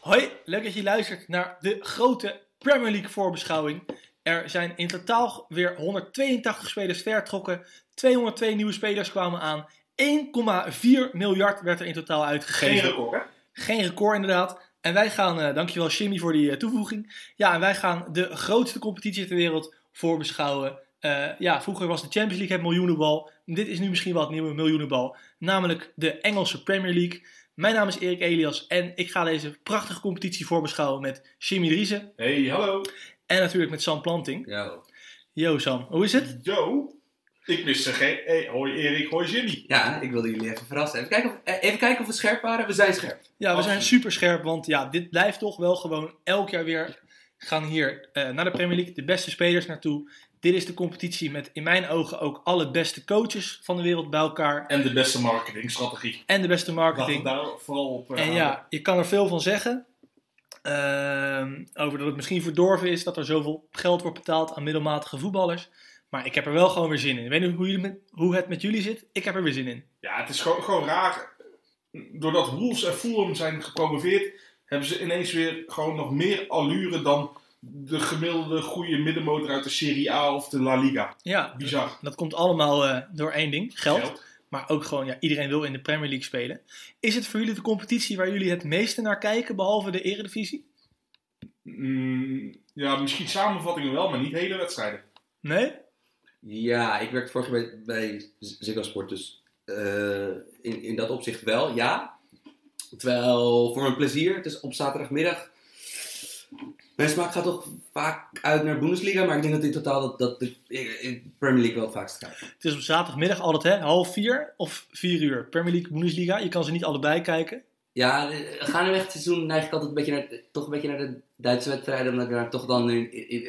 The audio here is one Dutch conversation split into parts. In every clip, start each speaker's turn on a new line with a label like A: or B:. A: Hoi, leuk dat je luistert naar de grote Premier League voorbeschouwing. Er zijn in totaal weer 182 spelers vertrokken, 202 nieuwe spelers kwamen aan, 1,4 miljard werd er in totaal uitgegeven.
B: Geen record, hè?
A: Geen record inderdaad. En wij gaan, eh, dankjewel Jimmy voor die eh, toevoeging. Ja, en wij gaan de grootste competitie ter wereld voorbeschouwen. Eh, ja, vroeger was de Champions League het miljoenenbal. Dit is nu misschien wel het nieuwe miljoenenbal. Namelijk de Engelse Premier League. Mijn naam is Erik Elias en ik ga deze prachtige competitie voorbeschouwen met Jimmy Driessen.
B: Hey, hallo.
A: En natuurlijk met Sam Planting.
C: Ja,
A: Yo Sam, hoe is het?
B: Yo. Ik wist ze geen... Hey, hoi Erik, hoi Jimmy.
C: ja, ik wilde jullie even verrassen. Even kijken, of, eh, even kijken of we scherp waren. We zijn scherp.
A: Ja, we zijn
B: Absoluut.
A: super scherp, want ja, dit blijft toch wel gewoon elk jaar weer gaan hier eh, naar de Premier League de beste spelers naartoe. Dit is de competitie met in mijn ogen ook alle beste coaches van de wereld bij elkaar
B: En de beste marketingstrategie.
A: en de beste
B: Laten we
A: marketing.
B: daar vooral op... eh,
A: En ja, je kan er veel van zeggen. Ehm, over dat het misschien verdorven is dat er zoveel geld wordt betaald aan middelmatige voetballers. Maar ik heb er wel gewoon weer zin in. Ik weet niet hoe, jullie met- hoe het met jullie zit. Ik heb er weer zin in.
B: Ja, het is gewoon, gewoon raar. Doordat Wolves en Fulham zijn gepromoveerd, hebben ze ineens weer gewoon nog meer allure dan de gemiddelde goede middenmotor uit de Serie A of de La Liga.
A: Ja,
B: Bizar.
A: dat komt allemaal eh, door één ding: geld. Maar ook gewoon, ja, iedereen wil in de Premier League spelen. Is het voor jullie de competitie waar jullie het meeste naar kijken, behalve de Eredivisie?
B: Mm, ja, misschien samenvattingen wel, maar niet hele wedstrijden.
A: Nee?
C: Ja, ik werkte vorig jaar bij, bij Ziggo Sport, dus eh, in, in dat opzicht wel, ja. Terwijl, voor mijn plezier, het is op zaterdagmiddag. Mijn smaak gaat toch vaak uit naar Bundesliga, maar ik denk dat in totaal dat, dat de eh, eh, Premier League wel het vaakst gaat.
A: Het is op zaterdagmiddag altijd, hè? Half vier of vier uur. Premier League, Bundesliga. Je kan ze niet allebei kijken.
C: Ja, eh, gaandeweg het seizoen neig ik altijd een beetje naar, toch een beetje naar de Duitse wedstrijden. Omdat ik daar toch dan in, in- in-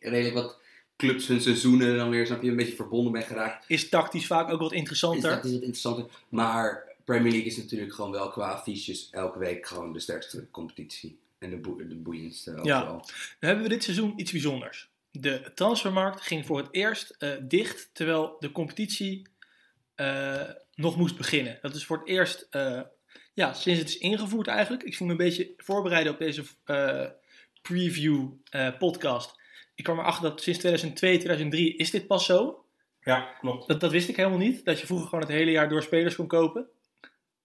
C: in redelijk wat clubs hun seizoenen dan weer, snap je, een beetje verbonden ben geraakt.
A: Is tactisch vaak ook wat
C: Dus
A: interessanter.
C: dat is wat interessanter. Maar Premier League is natuurlijk gewoon wel qua affiches elke week gewoon de sterkste competitie. En de, boe- de boeiendste
A: Ja.
C: overal.
A: Nu hebben we dit seizoen iets bijzonders. De transfermarkt ging voor het eerst eh, dicht, terwijl de competitie eh, nog moest beginnen. Dat is voor het eerst, eh, ja, sinds het is ingevoerd eigenlijk. Ik voel me een beetje voorbereiden op deze eh, preview eh, podcast. Ik kwam erachter dat sinds 2002, 2003 is dit pas zo.
B: Ja, klopt.
A: Dat, dat wist ik helemaal niet, dat je vroeger gewoon het hele jaar door spelers kon kopen.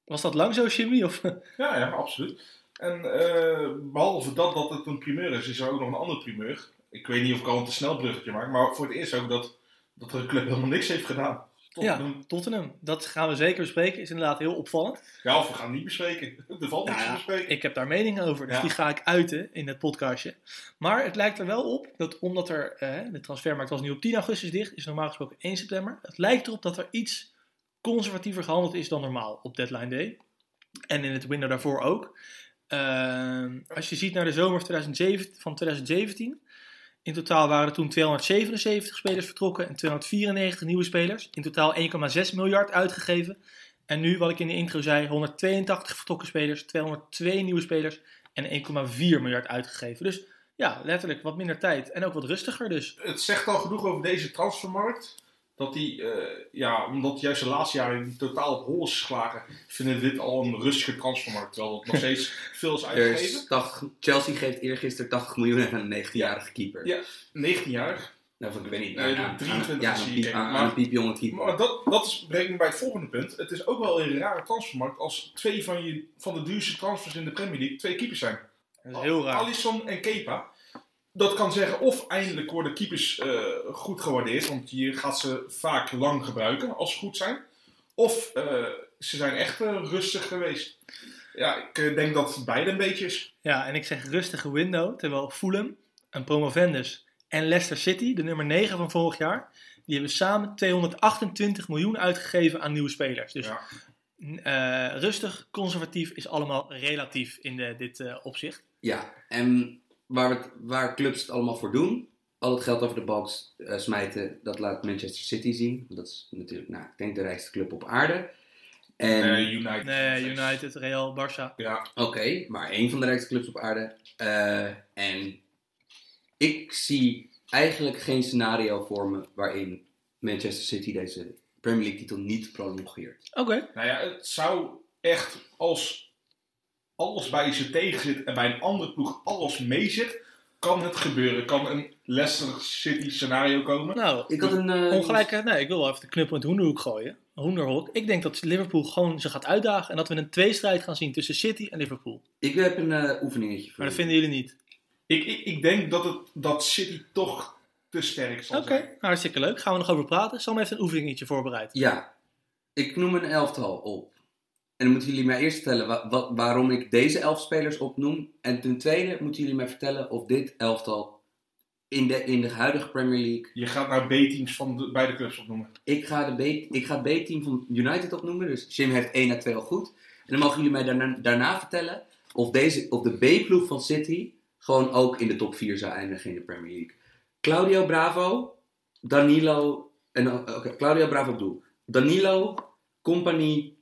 A: Was dat lang zo, Jimmy? Of?
B: Ja, ja, absoluut. En eh, behalve dat, dat het een primeur is, is er ook nog een ander primeur. Ik weet niet of ik al een te snel bruggetje maak, maar voor het eerst ook dat, dat de club helemaal niks heeft gedaan. Tot
A: Ja,
B: dan-
A: Tottenham. Dat gaan we zeker bespreken. Is inderdaad heel opvallend.
B: ja, of we gaan het niet bespreken. Er valt niks
A: Nou ja,
B: te bespreken.
A: Ik heb daar meningen over, dus
B: Ja.
A: die ga ik uiten in het podcastje. Maar het lijkt er wel op dat omdat er, eh, de transfermarkt was nu op 10 augustus dicht, is normaal gesproken 1 september. Het lijkt erop dat er iets conservatiever gehandeld is dan normaal op deadline day. En in het window daarvoor ook. Ehm, als je ziet naar de zomer 2007 van 2017. In totaal waren er toen 277 spelers vertrokken en 294 nieuwe spelers. In totaal 1,6 miljard uitgegeven. En nu, wat ik in de intro zei, 182 vertrokken spelers, 202 nieuwe spelers en 1,4 miljard uitgegeven. Dus ja, letterlijk wat minder tijd en ook wat rustiger dus.
B: Het zegt al genoeg over deze transfermarkt. Dat die, eh, ja, omdat juist de laatste jaren die totaal op hol is geslagen, vinden we dit al een rustige transfermarkt. Terwijl het nog steeds veel is
C: Er
B: uitgegeven.
C: is 80, Chelsea geeft eergisteren 80 miljoen aan een 19-jarige keeper.
B: Ja. 19 jaar.
C: Nou, of ik weet niet.
B: Nee,
C: aan- aan-
B: 23
C: ja,
B: is
C: aan
B: hij,
C: een piep-
B: kijk,
C: aan-
B: maar-
C: aan een piepjonge keeper.
B: Maar dat, dat is, brengt me bij het volgende punt. Het is ook wel een rare transfermarkt als twee van, je, van de duurste transfers in de Premier League twee keepers zijn.
A: Dat is heel raar.
B: Alisson en Kepa. Dat kan zeggen of eindelijk worden keepers eh, goed gewaardeerd, want je gaat ze vaak lang gebruiken als ze goed zijn. Of eh, ze zijn echt eh, rustig geweest. Ja, ik eh, denk dat het beide een beetje is.
A: Ja, en ik zeg rustige window, terwijl Fulham, een promovendus en Leicester City, de nummer 9 van vorig jaar, die hebben samen 228 miljoen uitgegeven aan nieuwe spelers. Dus
B: Ja.
A: eh, rustig, conservatief is allemaal relatief in de, dit eh, opzicht.
C: Ja, en waar, we het- waar clubs het allemaal voor doen, al het geld over de balk s- eh, smijten, dat laat Manchester City zien. Dat is natuurlijk, nou, ik denk de rijkste club op aarde. En,
B: Eh, United.
A: Nee, United, Real, Barça.
B: Ja,
C: Oké, maar één van de rijkste clubs op aarde. Eh, en ik zie eigenlijk geen scenario voor me waarin Manchester City deze Premier League titel niet prolongeert.
A: Oké.
B: Nou ja, het zou echt als alles bij ze tegen zit en bij een andere ploeg alles mee zit, kan het gebeuren. Kan een Leicester City scenario komen.
A: Nou,
C: Ik had een... eh,
A: ongelijke, nee, ik wil wel even de knuppel in het hoenderhoek gooien. Hoenderhok. Ik denk dat Liverpool gewoon ze gaat uitdagen en dat we een tweestrijd gaan zien tussen City en Liverpool.
C: Ik heb een eh, oefeningetje voor
A: Maar dat
C: jullie.
A: vinden jullie niet.
B: Ik, ik, ik denk dat, het, dat City toch te sterk zal
A: Oké,
B: zijn.
A: nou, hartstikke leuk. Gaan we nog over praten. Sam heeft een oefeningetje voorbereid.
C: Ja. Ik noem een elftal op. En dan moeten jullie mij eerst vertellen wa- wa- waarom ik deze elf spelers opnoem. En ten tweede moeten jullie mij vertellen of dit elftal in de, in de huidige Premier League...
B: Je gaat naar B-teams van de, beide clubs opnoemen.
C: Ik ga, de B, ik ga het B-team van United opnoemen. Dus Jim heeft 1 à 2 al goed. En dan mogen jullie mij daarna, daarna vertellen of, deze, of de B-ploeg van City gewoon ook in de top 4 zou eindigen in de Premier League. Claudio Bravo, Danilo... En, dan- oké, Claudio Bravo op doel. Danilo, Company,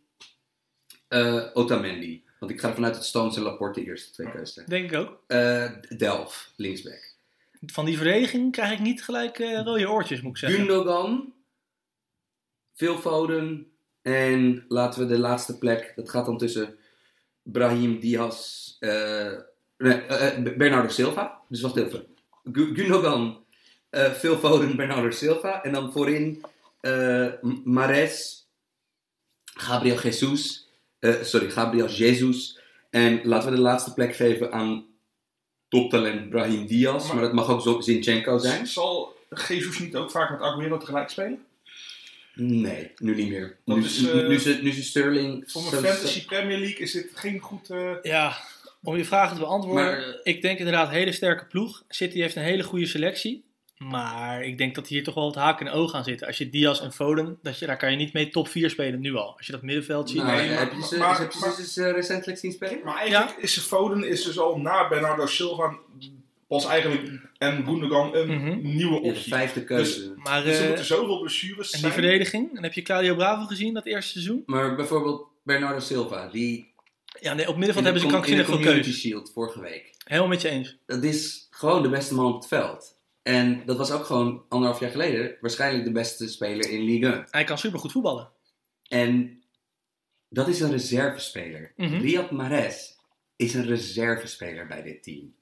C: eh, Otamendi. Want ik ga ervan uit dat Stones en Laporte de eerste twee keuzes zijn.
A: Denk ik ook.
C: Eh Delft, linksback.
A: Van die verdediging krijg ik niet gelijk eh, rode oortjes, moet ik zeggen.
C: Gundogan, Phil Foden en laten we de laatste plek, dat gaat dan tussen Brahim Diaz, eh, nee, eh, eh, Bernardo Silva. Dus wacht even. Gu- Gundogan, eh, Phil Foden, Bernardo Silva. En dan voorin eh, M- Mares, Gabriel Jesus, eh, sorry, Gabriel Jesus. En laten we de laatste plek geven aan toptalent Brahim Diaz, maar,
B: Maar-
C: dat mag ook zo- Zinchenko zijn.
B: Zal Jesus niet ook vaak met Aguero tegelijk spelen?
C: Nee, nu niet meer.
B: Dat
C: Nu,
B: is,
C: nu,
B: eh,
C: nu, ze- nu ze Sterling.
B: Voor
C: zo-
B: mijn Fantasy Premier League is dit geen goed... eh,
A: Ja, om je vragen te beantwoorden.
C: Maar, eh,
A: ik denk inderdaad hele sterke ploeg. City heeft een hele goede selectie. Maar ik denk dat hier toch wel wat haken en ogen aan zitten. Als je Diaz en Foden, dat je, daar kan je niet mee top 4 spelen nu al. Als je dat middenveld ziet.
C: Nou,
B: Nee, maar-
C: heb je ze,
B: maar-
C: heb je ze
B: maar-
C: dus, eh, recentelijk zien spelen?
B: Maar eigenlijk is Foden is dus al na Bernardo Silva pas eigenlijk en Gundogan een
A: Mhm.
B: nieuwe
C: Ja, de
B: optie.
C: vijfde keuze.
A: Maar
B: Dus er
A: eh,
B: moeten zoveel blessures
A: en die
B: zijn.
A: verdediging. En heb je Claudio Bravo gezien dat eerste seizoen?
C: Maar bijvoorbeeld Bernardo Silva, die.
A: Ja, nee, op middenveld
C: in
A: hebben
C: de
A: ze
C: com- in de
A: krankzinnig veel
C: Community
A: keus.
C: Shield vorige week.
A: Helemaal met je eens.
C: Dat is gewoon de beste man op het veld. En dat was ook gewoon anderhalf jaar geleden waarschijnlijk de beste speler in Ligue 1.
A: Hij kan supergoed voetballen.
C: En dat is een reservespeler.
A: Mhm.
C: Riyad Mahrez is een reservespeler bij dit team.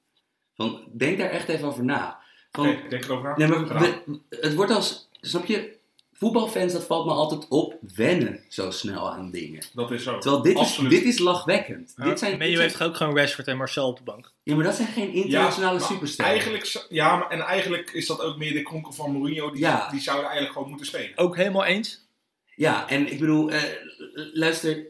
C: Van, denk daar echt even over na. Van,
B: Oké, ik denk erover na.
C: Oh. Nee, maar
B: Gedaan.
C: we- het wordt als, snap je, voetbalfans, dat valt me altijd op, wennen zo snel aan dingen.
B: Dat is zo.
C: Terwijl dit, is,
B: Absoluut.
C: dit is lachwekkend.
B: Ja,
C: dit zijn, dit
A: Menu
C: zijn-
A: heeft toch ook gewoon Rashford en Marcel op de bank.
C: Ja, maar dat zijn geen internationale
B: maar
C: supersterren.
B: Eigenlijk, zo- ja, maar- en eigenlijk is dat ook meer de kronkel van Mourinho. Die,
C: Ja.
B: die zouden eigenlijk gewoon moeten spelen.
A: Ook helemaal eens.
C: Ja, en ik bedoel, eh, luister,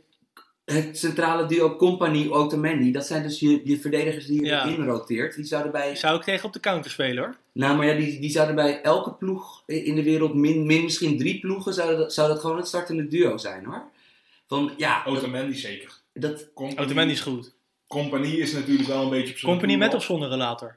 C: het centrale duo Company, Otamendi, dat zijn dus je, je verdedigers die je
A: Ja.
C: erin roteert. Die zouden bij,
A: Zou ik tegen op de counter spelen hoor.
C: nou maar ja, die, die zouden bij elke ploeg in de wereld, min, min misschien drie ploegen, zou dat, zou dat gewoon het startende duo zijn hoor. Van ja, dat,
B: Otamendi zeker.
C: dat,
B: Company,
A: Automan is goed.
B: Company is natuurlijk wel een beetje op zijn
A: Company met of zonder relator?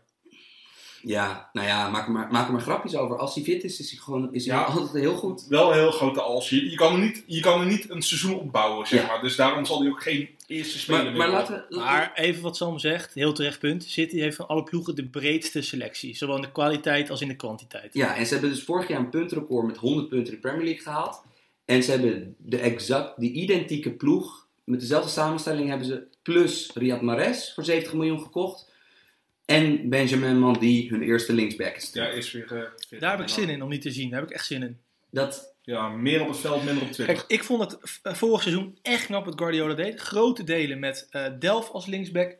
C: Ja, nou ja, maak er maar, maak er maar grapjes over. Als hij fit is, is hij gewoon is hij
B: Ja.
C: altijd heel goed.
B: Wel een heel grote als. Je, je, kan er niet, je kan er niet een seizoen opbouwen, zeg
C: Ja.
B: maar. Dus daarom zal hij ook geen eerste speler
C: Maar,
B: meer
C: maar
B: worden.
C: laten we...
A: Maar even wat Sam zegt, heel terecht punt. City heeft van alle ploegen de breedste selectie. Zowel in de kwaliteit als in de kwantiteit.
C: Ja, en ze hebben dus vorig jaar een puntenrecord met 100 punten in de Premier League gehaald. En ze hebben de exact, die identieke ploeg, met dezelfde samenstelling hebben ze plus Riyad Mahrez voor 70 miljoen gekocht. En Benjamin Mandy, hun eerste linksback is.
B: Ja, is weer... eh, fit.
A: Daar heb ik zin in om niet te zien. Daar heb ik echt zin in.
C: Dat,
B: Ja, meer op het veld, minder op Twitter.
A: Kijk, ik vond het v- eh, vorig seizoen echt knap wat Guardiola deed. Grote delen met eh Delft als linksback.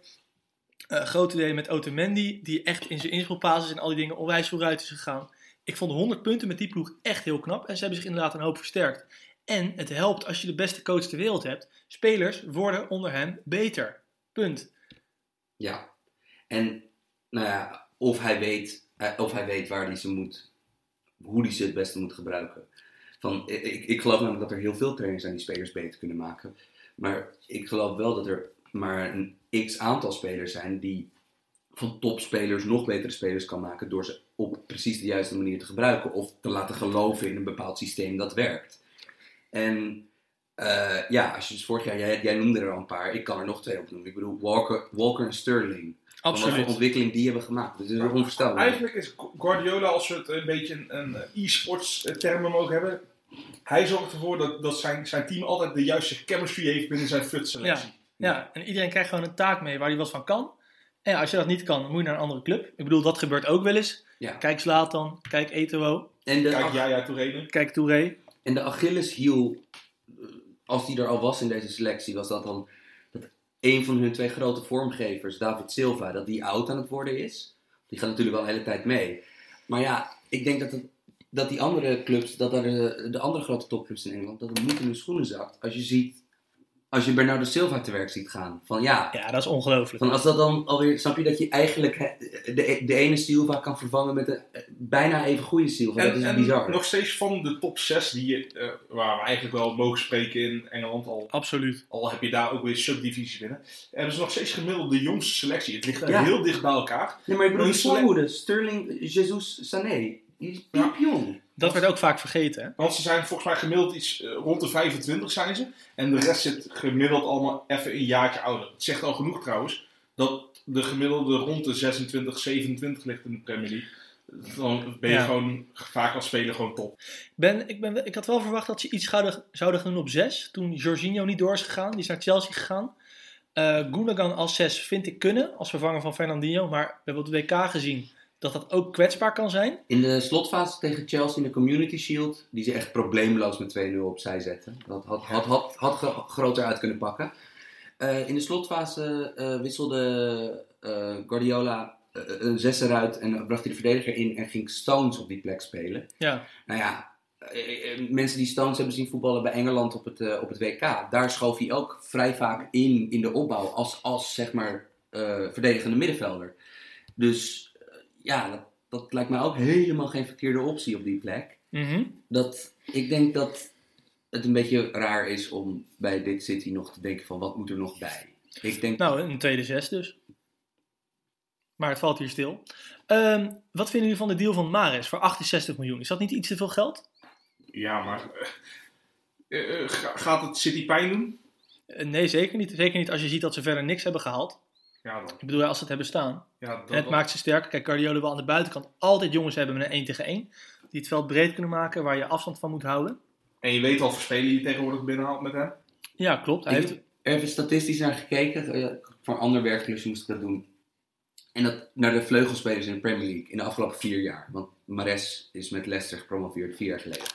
A: Eh, grote delen met Otamendi, die echt in zijn inspelbasis en al die dingen onwijs vooruit is gegaan. Ik vond 100 punten met die ploeg echt heel knap. En ze hebben zich inderdaad een hoop versterkt. En het helpt als je de beste coach ter wereld hebt. Spelers worden onder hem beter. Punt.
C: ja. En, nou ja, of hij weet, eh, of hij weet waar hij ze moet, hoe hij ze het beste moet gebruiken. Van, ik, ik- ik geloof namelijk dat er heel veel trainers zijn die spelers beter kunnen maken. Maar ik geloof wel dat er maar een x aantal spelers zijn die van topspelers nog betere spelers kan maken door ze op precies de juiste manier te gebruiken of te laten geloven in een bepaald systeem dat werkt. En eh, ja, als je dus vorig jaar, jij, jij noemde er al een paar, ik kan er nog twee op noemen. Ik bedoel Walker, Walker en Sterling. Van Wat voor
A: Absoluut.
C: ontwikkeling die hebben gemaakt. Dat is onvoorstelbaar.
B: Eigenlijk is Guardiola, als we het een beetje een, een e-sports eh, termen mogen hebben. Hij zorgt ervoor dat, dat zijn, zijn team altijd de juiste chemistry heeft binnen zijn fut selectie.
A: Ja, en iedereen krijgt gewoon een taak mee waar hij wat van kan. En ja, als je dat niet kan, dan moet je naar een andere club. Ik bedoel, dat gebeurt ook wel eens.
C: Ja.
A: Kijk Zlatan, kijk Eto'o,
C: En de,
B: Kijk,
C: Ach-
B: ja, ja, Touré.
A: kijk Touré.
C: en de Achilleshiel, eh, als die er al was in deze selectie, was dat dan dat een van hun twee grote vormgevers, David Silva, dat die oud aan het worden is. Die gaat natuurlijk wel de hele tijd mee. Maar ja, ik denk dat, het, dat die andere clubs, dat daar de, de andere grote topclubs in Engeland, dat het niet in hun schoenen zakt. Als je ziet, als je Bernardo Silva te werk ziet gaan. Van ja,
A: Ja, dat is ongelooflijk.
C: Van als dat dan alweer, snap je dat je eigenlijk he- de, de ene Silva kan vervangen met een eh, bijna even goede Silva? Dat
B: En,
C: is
B: en
C: bizar.
B: nog steeds van de top 6 die je, eh, waar we eigenlijk wel mogen spreken in Engeland al.
A: Absoluut.
B: Al heb je daar ook weer subdivisies binnen. Hebben ze nog steeds gemiddeld de jongste selectie. Het ligt
C: Ja.
B: heel dicht bij elkaar.
C: Nee, maar ik bedoel, die
B: Een sele-
C: slaghoede, Sterling, eh, Jesus, Sané, die is
B: Ja.
C: piepjong.
A: Dat werd ook vaak vergeten, hè?
B: Want ze zijn volgens mij gemiddeld iets eh, rond de 25 zijn ze. En de rest zit gemiddeld allemaal even een jaartje ouder. Het zegt al genoeg trouwens. Dat de gemiddelde rond de 26, 27 ligt in de Premier League. Dan ben je
A: Ja.
B: gewoon vaak als speler gewoon top.
A: Ben, ik, ben, ik had wel verwacht dat ze iets zouden, zouden gaan doen op 6. Toen Jorginho niet door is gegaan, die is naar Chelsea gegaan. Eh Gundogan als 6 vind ik kunnen, als vervanger van Fernandinho. Maar we hebben op de WK gezien dat dat ook kwetsbaar kan zijn.
C: In de slotfase tegen Chelsea in de Community Shield, die ze echt probleemloos met 2-0 opzij zetten. Dat had, had, had, had gro- groter uit kunnen pakken. Eh, in de slotfase eh, wisselde eh, Guardiola eh, een zes eruit en bracht hij de verdediger in en ging Stones op die plek spelen.
A: Ja,
C: Nou ja, eh, eh, mensen die Stones hebben zien voetballen bij Engeland op het, eh, op het WK, daar schoof hij ook vrij vaak in in de opbouw als, als zeg maar eh, verdedigende middenvelder. Dus eh, ja, dat, dat lijkt mij ook helemaal geen verkeerde optie op die plek.
A: Mhm.
C: Dat, ik denk dat het een beetje raar is om bij dit City nog te denken van wat moet er nog bij. Ik denk,
A: nou een tweede 6 dus. Maar het valt hier stil. Ehm, wat vinden jullie van de deal van Mares voor 68 miljoen? Is dat niet iets te veel geld?
B: Ja, maar eh, eh, ga- gaat het City pijn doen?
A: Eh, nee, zeker niet. Zeker niet als je ziet dat ze verder niks hebben gehaald.
B: Ja, dan.
A: Ik bedoel, als ze het hebben staan.
B: Ja, dat,
A: En het maakt ze sterker. Kijk, Guardiola wil aan de buitenkant altijd jongens hebben met een 1 tegen 1. Die het veld breed kunnen maken, waar je afstand van moet houden.
B: En je weet al voor spelen die tegenwoordig binnenhaalt met hem.
A: Ja, klopt. Hij
C: Ik
A: heeft,
C: heb er even statistisch naar gekeken. eh, Voor een ander werkklusje moest ik dat doen. En dat naar de vleugelspelers in de Premier League in de afgelopen vier jaar. Want Mares is met Leicester gepromoveerd vier jaar geleden.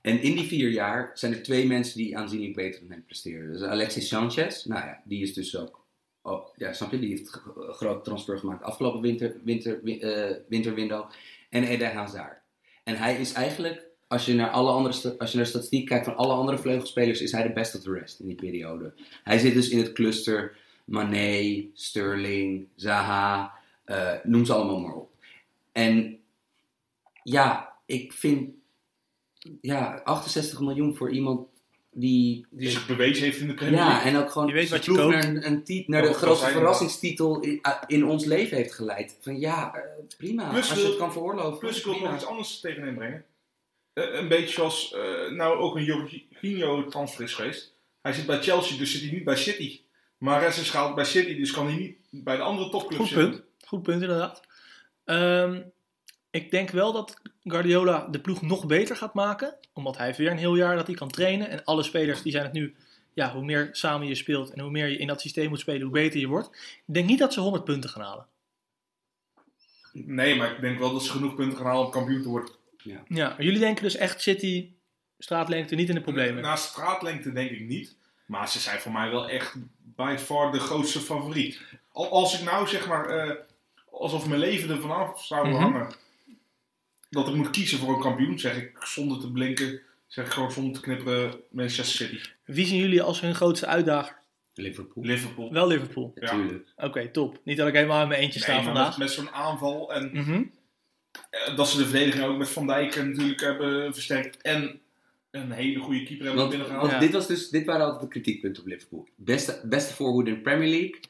C: En in die vier jaar zijn er twee mensen die aanzienlijk beter dan hem presteren. Dus Alexis Sanchez, nou ja, die is dus ook. Oh, ja, snap je? Die heeft g- een groot transfer gemaakt afgelopen winter, winter, win- eh, winterwindow. En Eden Hazard. En hij is eigenlijk, als je naar alle andere sta- als je naar de statistiek kijkt van alle andere vleugelspelers, is hij de best of the rest in die periode. Hij zit dus in het cluster Mané, Sterling, Zaha, eh, noem ze allemaal maar op. En ja, ik vind ja, 68 miljoen voor iemand die.
B: Die zich bewezen heeft in de Premier League.
C: ja, en ook gewoon
A: Je weet wat je
C: ploeg
A: koopt.
C: naar, een, een tit- naar
B: Ja,
C: de
B: wat
C: grootste
B: zijn we?
C: verrassingstitel in, ah, in ons leven heeft geleid. Van ja, eh, prima.
B: Plus
C: als je
B: wil-
C: het kan veroorloven.
B: Plus ik wil
C: prima.
B: nog iets anders tegen hem brengen. Eh, een beetje zoals eh, nou ook een Jorginho transfer is geweest. Hij zit bij Chelsea, dus zit hij niet bij City. Maar Ress is gehaald bij City, dus kan hij niet bij de andere topclubs
A: goed
B: zitten.
A: punt. Goed punt, inderdaad. Ehm, ik denk wel dat Guardiola de ploeg nog beter gaat maken. Omdat hij heeft weer een heel jaar dat hij kan trainen. En alle spelers die zijn het nu. Ja, hoe meer samen je speelt en hoe meer je in dat systeem moet spelen, hoe beter je wordt. Ik denk niet dat ze 100 punten gaan halen.
B: Nee, maar ik denk wel dat ze genoeg punten gaan halen om kampioen te worden.
A: Ja, maar jullie denken dus echt City, straatlengte, niet in de problemen.
B: Na straatlengte denk ik niet. Maar ze zijn voor mij wel echt by far de grootste favoriet. Al, als ik nou zeg maar, eh, alsof mijn leven er vanaf zou
A: Mhm.
B: hangen. Dat ik moet kiezen voor een kampioen, zeg ik zonder te blinken. Zeg ik gewoon zonder te knipperen Manchester City.
A: Wie zien jullie als hun grootste uitdager?
C: Liverpool.
B: Liverpool.
A: Wel Liverpool.
C: Natuurlijk.
A: Oké, top. Niet dat ik helemaal in mijn eentje
B: Nee,
A: sta
B: maar
A: vandaag.
B: Met, met zo'n aanval. En
A: Mhm.
B: eh, dat ze de verdediging ook met Van Dijk natuurlijk hebben versterkt. En een hele goede keeper hebben
C: Want,
B: binnengehaald.
C: want
A: Ja.
C: dit, was dus, dit waren altijd de kritiekpunten op Liverpool. Beste, beste voorhoede in de Premier League.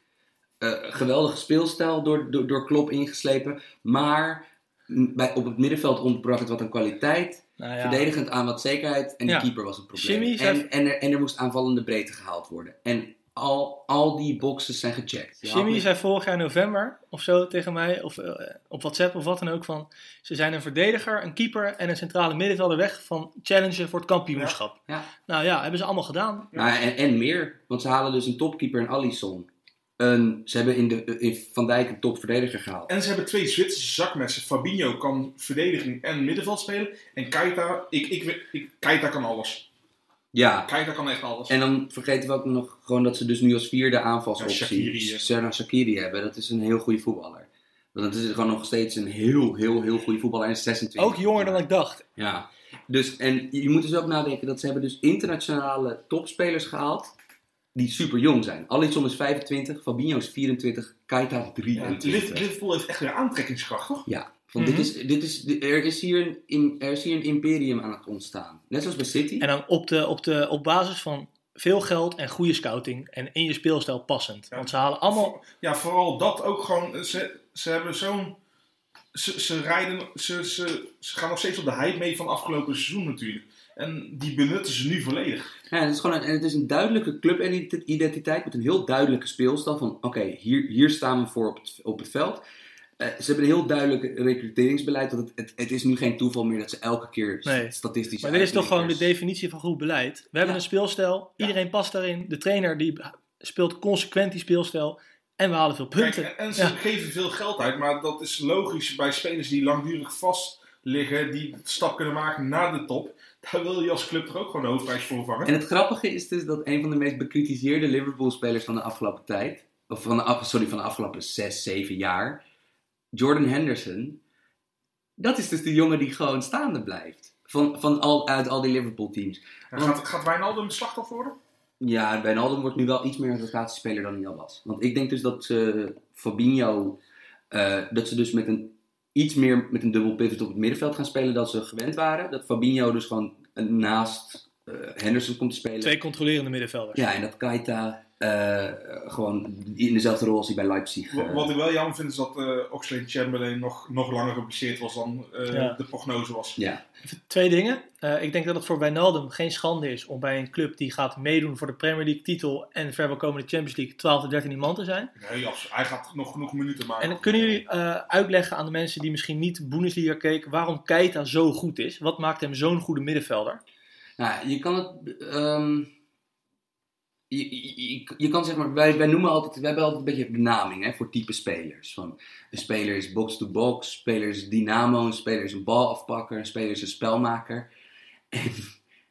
C: Eh, geweldige speelstijl door, door, door Klopp ingeslepen. Maar m- bij, op het middenveld ontbrak het wat aan kwaliteit.
A: Nou ja.
C: Verdedigend aan wat zekerheid. En
A: Ja.
C: de keeper was een probleem.
A: Jimmy
C: en,
A: zei-
C: en, er, en er moest aanvallende breedte gehaald worden. En al, al die boxes zijn gecheckt. Je
A: Jimmy
C: haalt-
A: zei vorig jaar november of zo tegen mij, of eh, op WhatsApp of wat dan ook, van ze zijn een verdediger, een keeper en een centrale middenvelder weg van challengen voor het kampioenschap.
C: Ja. Ja.
A: Nou ja, hebben ze allemaal gedaan.
C: Nou, en, en meer, want ze halen dus een topkeeper in Alisson. Een, ze hebben in, de, in Van Dijk een topverdediger gehaald.
B: En ze hebben twee Zwitserse zakmessen. Fabinho kan verdediging en middenveld spelen. En Keita, ik, ik, weet- ik, Keita kan alles.
C: Ja,
B: Keita kan echt alles.
C: en dan vergeten we ook nog gewoon dat ze dus nu als vierde
B: Ja, Shaqiri,
C: aanvalsoptie
B: ja.
C: Serna Shakiri hebben. Dat is een heel goede voetballer. Want dat is gewoon nog steeds een heel, heel, heel goede voetballer. En 26.
A: Ook jonger dan ik dacht.
C: Ja, dus en je moet dus ook nadenken dat ze hebben dus internationale topspelers gehaald die super jong zijn. Alisson is 25, Fabinho is 24, Keita
B: Ja,
C: 23.
B: Liv- Liverpool heeft echt weer aantrekkingskracht, toch?
C: Van
A: Mhm.
C: dit is, dit is, er, is hier een, in- er is hier een imperium aan het ontstaan. Net zoals bij City.
A: En dan op, de, op, de, op basis van veel geld en goede scouting en in je speelstijl passend. Want ze halen allemaal,
B: Ja, vooral dat ook gewoon. eh, Ze, ze hebben zo'n. Ze, ze rijden. Ze, ze, ze gaan nog steeds op de hype mee van afgelopen seizoen natuurlijk. En die benutten ze nu volledig.
C: Ja, het, is gewoon een, en het is een duidelijke clubidentiteit met een heel duidelijke speelstijl. Van oké, hier, hier staan we voor op het, op het veld. Eh, ze hebben een heel duidelijk recruteringsbeleid. Want het, het, het is nu geen toeval meer dat ze elke keer
A: Nee.
C: statistisch
A: maar dit is toch gewoon de definitie van goed beleid. We hebben
C: Ja.
A: een speelstijl, iedereen past daarin. De trainer die speelt consequent die speelstijl en we halen veel
B: Kijk,
A: punten.
B: en, en ze
A: Ja.
B: geven veel geld uit, maar dat is logisch bij spelers die langdurig vast liggen, die de stap kunnen maken naar de top. Daar wil je als club toch ook gewoon de hoofdprijs voor vangen.
C: En het grappige is dus dat een van de meest bekritiseerde Liverpool-spelers van de afgelopen tijd, of van de, af- sorry, van de afgelopen 6, 7 jaar, Jordan Henderson, dat is dus de jongen die gewoon staande blijft. Van, van al, uit al die Liverpool-teams.
B: En gaat, gaat Wijnaldum het slachtoffer worden?
C: Ja, Wijnaldum wordt nu wel iets meer een rotatiespeler dan hij al was. Want ik denk dus dat ze Fabinho, eh, dat ze dus met een iets meer met een dubbel pivot op het middenveld gaan spelen dan ze gewend waren. Dat Fabinho dus gewoon naast eh, Henderson komt te spelen.
A: Twee controlerende middenvelders.
C: Ja, en dat Keita eh, gewoon in dezelfde rol als hij bij Leipzig. eh,
B: Wat, wat ik wel jammer vind is dat eh Oxlade Chamberlain nog, nog langer geblesseerd was dan eh,
A: Ja.
B: de prognose was.
C: ja.
A: Twee dingen. Eh, ik denk dat het voor Wijnaldum geen schande is om bij een club die gaat meedoen voor de Premier League titel en verwel komende Champions League 12 en 13 man te zijn.
B: Nee, als- hij gaat nog genoeg minuten maken.
A: En kunnen jullie eh, uitleggen aan de mensen die misschien niet Bundesliga keken waarom Keita zo goed is? Wat maakt hem zo'n goede middenvelder?
C: Nou, je kan het. ehm, je, je, je- je kan zeg maar, wij, wij noemen altijd, wij hebben altijd een beetje benaming hè, voor type spelers. Van, een speler is box-to-box, een speler is dynamo, een speler is een balafpakker, een speler is een spelmaker. En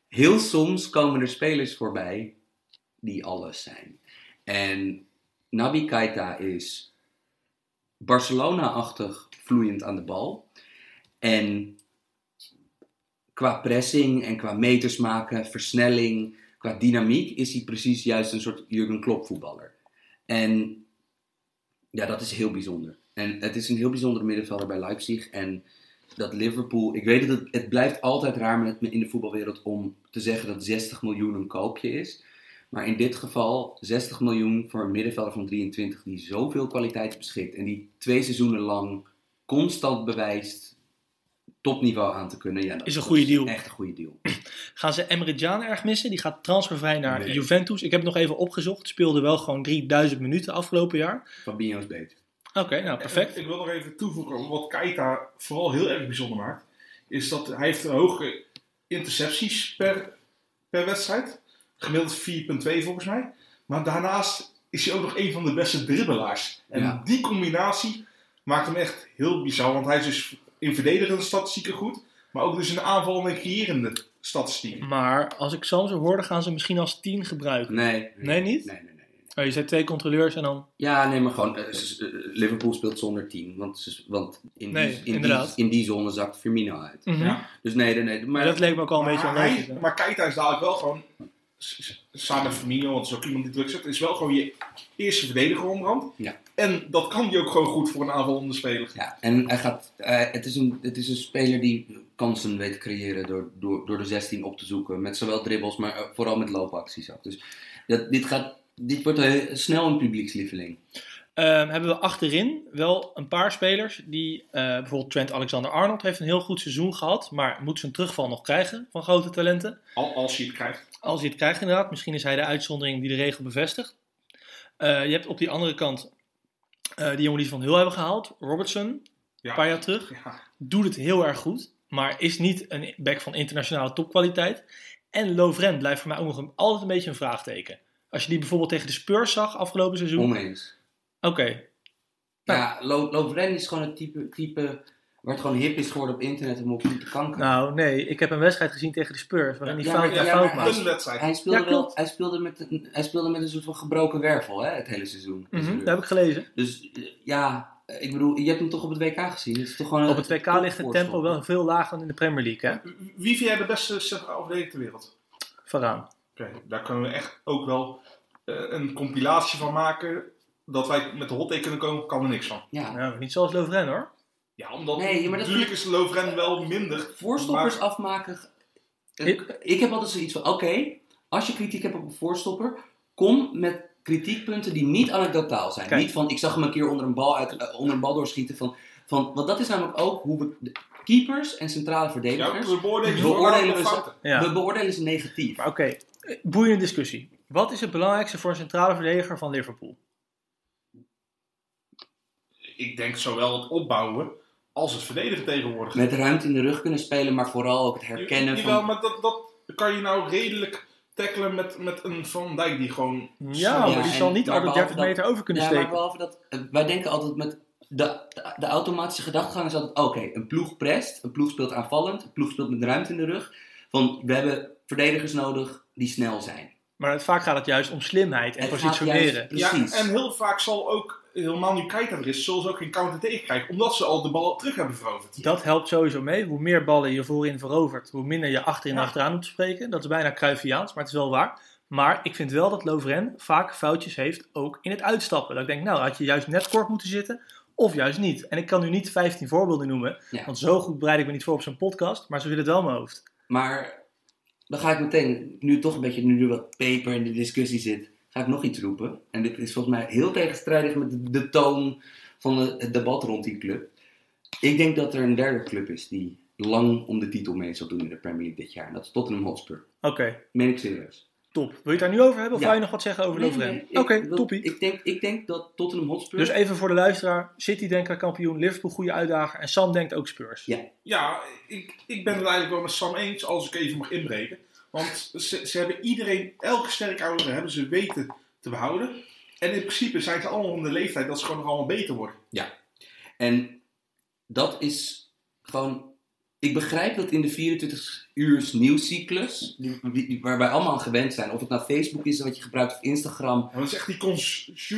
C: heel soms komen er spelers voorbij die alles zijn. En Nabi Keita is Barcelona-achtig vloeiend aan de bal. En qua pressing en qua meters maken, versnelling, qua dynamiek is hij precies juist een soort Jurgen Klopp voetballer. En ja, dat is heel bijzonder. En het is een heel bijzonder middenvelder bij Leipzig. En dat Liverpool, ik weet dat het, het blijft altijd raar met, in de voetbalwereld om te zeggen dat 60 miljoen een koopje is. Maar in dit geval 60 miljoen voor een middenvelder van 23 die zoveel kwaliteit beschikt. En die twee seizoenen lang constant bewijst topniveau aan te kunnen. Ja, dat
A: Is een goede deal.
C: Echt een goede deal.
A: Gaan ze Emre Can erg missen? Die gaat transfervrij naar
C: Nee.
A: Juventus. Ik heb het nog even opgezocht. Speelde wel gewoon 3000 minuten afgelopen jaar.
C: Fabinho is beter.
A: Oké, nou perfect.
B: En Ik wil nog even toevoegen, wat Keita vooral heel erg bijzonder maakt, is dat hij heeft een hoge intercepties per, per wedstrijd. Gemiddeld 4,2 volgens mij. Maar daarnaast is hij ook nog een van de beste dribbelaars. En
C: Ja.
B: die combinatie maakt hem echt heel bizar, want hij is dus in verdedigende statistieken goed, maar ook dus in aanval en creërende statistieken.
A: Eh, Maar als ik Sam zo hoorde, gaan ze misschien als 10 gebruiken.
C: Nee.
A: Nee, niet?
C: Nee, nee, nee.
A: Oh, je zei twee controleurs en dan...
C: Ja, nee, maar gewoon, eh, s- eh, Liverpool speelt zonder 10. Want, ze- want in,
A: Nee,
C: die, in, die,
A: inderdaad.
C: in die zone zakt Firmino uit.
A: Mhm.
B: Ja.
C: Dus nee, nee, nee. Maar
A: Maar dat leek me ook al een beetje
B: maar,
A: onlogisch.
B: hij, maar Keita is dadelijk wel gewoon, s- s- samen met Firmino, want dat is ook iemand die druk zet, is wel gewoon je eerste verdediger onderhand.
C: Ja.
B: En dat kan die ook gewoon goed voor een aanvallende speler.
C: ja, en hij gaat, eh, het, is een, het is een speler die kansen weet te creëren door, door, door de 16 op te zoeken. Met zowel dribbles, maar eh, vooral met loopacties ook. Dus dat, dit, gaat, dit wordt eh, snel een publiekslieveling.
A: Ehm, hebben we achterin wel een paar spelers die, eh, bijvoorbeeld Trent Alexander-Arnold heeft een heel goed seizoen gehad, maar moet zijn terugval nog krijgen van grote talenten.
B: Al, als je het krijgt.
A: Als hij het krijgt inderdaad, misschien is hij de uitzondering die de regel bevestigt. Eh, je hebt op die andere kant eh, die jongen die ze van Hill hebben gehaald. Robertson,
B: Ja.
A: een paar jaar terug.
B: Ja.
A: Doet het heel erg goed. Maar is niet een back van internationale topkwaliteit. En Lovren blijft voor mij ook nog een- altijd een beetje een vraagteken. Als je die bijvoorbeeld tegen de Spurs zag afgelopen seizoen.
C: Oneens.
A: Oké, Nou.
C: Ja, Lo- Lovren is gewoon het type, type waar het gewoon hip is geworden op internet om op te kanker.
A: nou nee. Ik heb een wedstrijd gezien tegen de Spurs. Waarin die
C: Ja,
A: fout
C: maar-
A: na
C: ja,
A: fout
C: maar-
A: maakt.
B: Een wedstrijd.
C: Hij speelde,
A: Ja,
C: wel,
A: klopt.
C: hij, speelde met een, hij speelde met een soort van gebroken wervel hè, het hele seizoen.
A: Mhm, dat heb ik gelezen.
C: Dus eh, ja, eh, ik bedoel, je hebt hem toch op het WK gezien? Het is toch gewoon
A: Op het WK ligt het tempo
C: topvoorsprong.
A: wel veel lager dan in de Premier League. Hè?
B: Wie vind jij de beste centrale verdediger ter wereld?
A: Vooraan.
B: Oké, daar kunnen we echt ook wel eh, een compilatie van maken. Dat wij met de hot take kunnen komen, kan er niks van.
C: Ja.
A: Nou, niet zoals Lovren hoor.
B: Ja, omdat
C: Nee, maar dat
B: natuurlijk is Lovren wel minder.
C: Voorstoppers
B: maar-
C: afmaken. eh,
A: Ik-
C: Ik, heb altijd zoiets van: oké, als je kritiek hebt op een voorstopper, kom met kritiekpunten die niet anekdotaal zijn.
A: Kijk.
C: Niet van: ik zag hem een keer onder een bal, uit, eh, onder een bal doorschieten. Van, van, want dat is namelijk ook hoe we de keepers en centrale
B: Ja,
C: verdedigers.
B: we beoordelen
C: We
B: ze vooral
C: beoordelen
B: op
C: ze-
B: fouten.
A: Ja.
C: We beoordelen ze negatief.
A: Maar oké, eh, boeiende discussie. Wat is het belangrijkste voor een centrale verdediger van Liverpool?
B: Ik denk zowel het opbouwen als het verdedigen tegenwoordig.
C: Met ruimte in de rug kunnen spelen, maar vooral ook het herkennen
B: Jawel,
C: van.
B: maar dat, dat kan je nou redelijk tackelen met, met een Van Dijk die gewoon...
A: Ja, maar
C: Ja,
A: die
C: en
A: zal niet
C: daar
A: alle 30
C: behalve dat-
A: meter over kunnen
C: Ja, maar
A: steken.
C: behalve dat, eh, wij denken altijd met de, de, de automatische gedachtegang is altijd, oké, een ploeg prest, een ploeg speelt aanvallend, een ploeg speelt met ruimte in de rug. Van, we hebben verdedigers nodig die snel zijn.
A: Maar het- vaak gaat het juist om slimheid en
C: Het gaat
A: positioneren.
C: juist- Precies.
B: Ja, en heel vaak zal ook, helemaal nu Keita er is, zullen ze ook geen counter tegenkrijgen. Omdat ze al de bal terug hebben veroverd.
A: Dat helpt sowieso mee. Hoe meer ballen je voorin verovert, hoe minder je achterin en
B: Ja.
A: achteraan moet spreken. Dat is bijna Cruyffiaans, maar het is wel waar. Maar ik vind wel dat Lovren vaak foutjes heeft, ook in het uitstappen. Dat ik denk, nou had je juist net kort moeten zitten, of juist niet. En ik kan nu niet 15 voorbeelden noemen,
C: Ja.
A: want zo goed bereid ik me niet voor op zo'n podcast. Maar zo zit het wel in mijn hoofd.
C: Maar dan ga ik meteen, nu toch een beetje, nu er wat peper in de discussie zit, ga ik nog iets roepen. En dit is volgens mij heel tegenstrijdig met de, de toon van de- het debat rond die club. Ik denk dat er een derde club is die lang om de titel mee zal doen in de Premier League dit jaar. En dat is Tottenham Hotspur.
A: Oké,
C: Meen ik serieus.
A: top. Wil je het daar nu over hebben of
C: Ja.
A: wil je nog wat zeggen over
C: Nee,
A: Lovren?
C: nee, ik
A: Oké,
C: wil-
A: toppie.
C: Ik denk, ik denk dat Tottenham Hotspur...
A: Dus even voor de luisteraar, City denkt aan kampioen, Liverpool goede uitdager en Sam denkt ook Spurs.
C: Ja.
B: Ja, ik, ik ben het eigenlijk wel met Sam eens, als ik even mag inbreken. Want ze, ze hebben iedereen, elke sterke ouder hebben ze weten te behouden. En in principe zijn ze allemaal om de leeftijd dat ze gewoon nog allemaal beter worden.
C: En dat is gewoon... Ik begrijp dat in de 24 uur nieuwscyclus, die- die- waar wij allemaal aan gewend zijn, of het nou Facebook is wat je gebruikt of Instagram,
B: Want het is echt die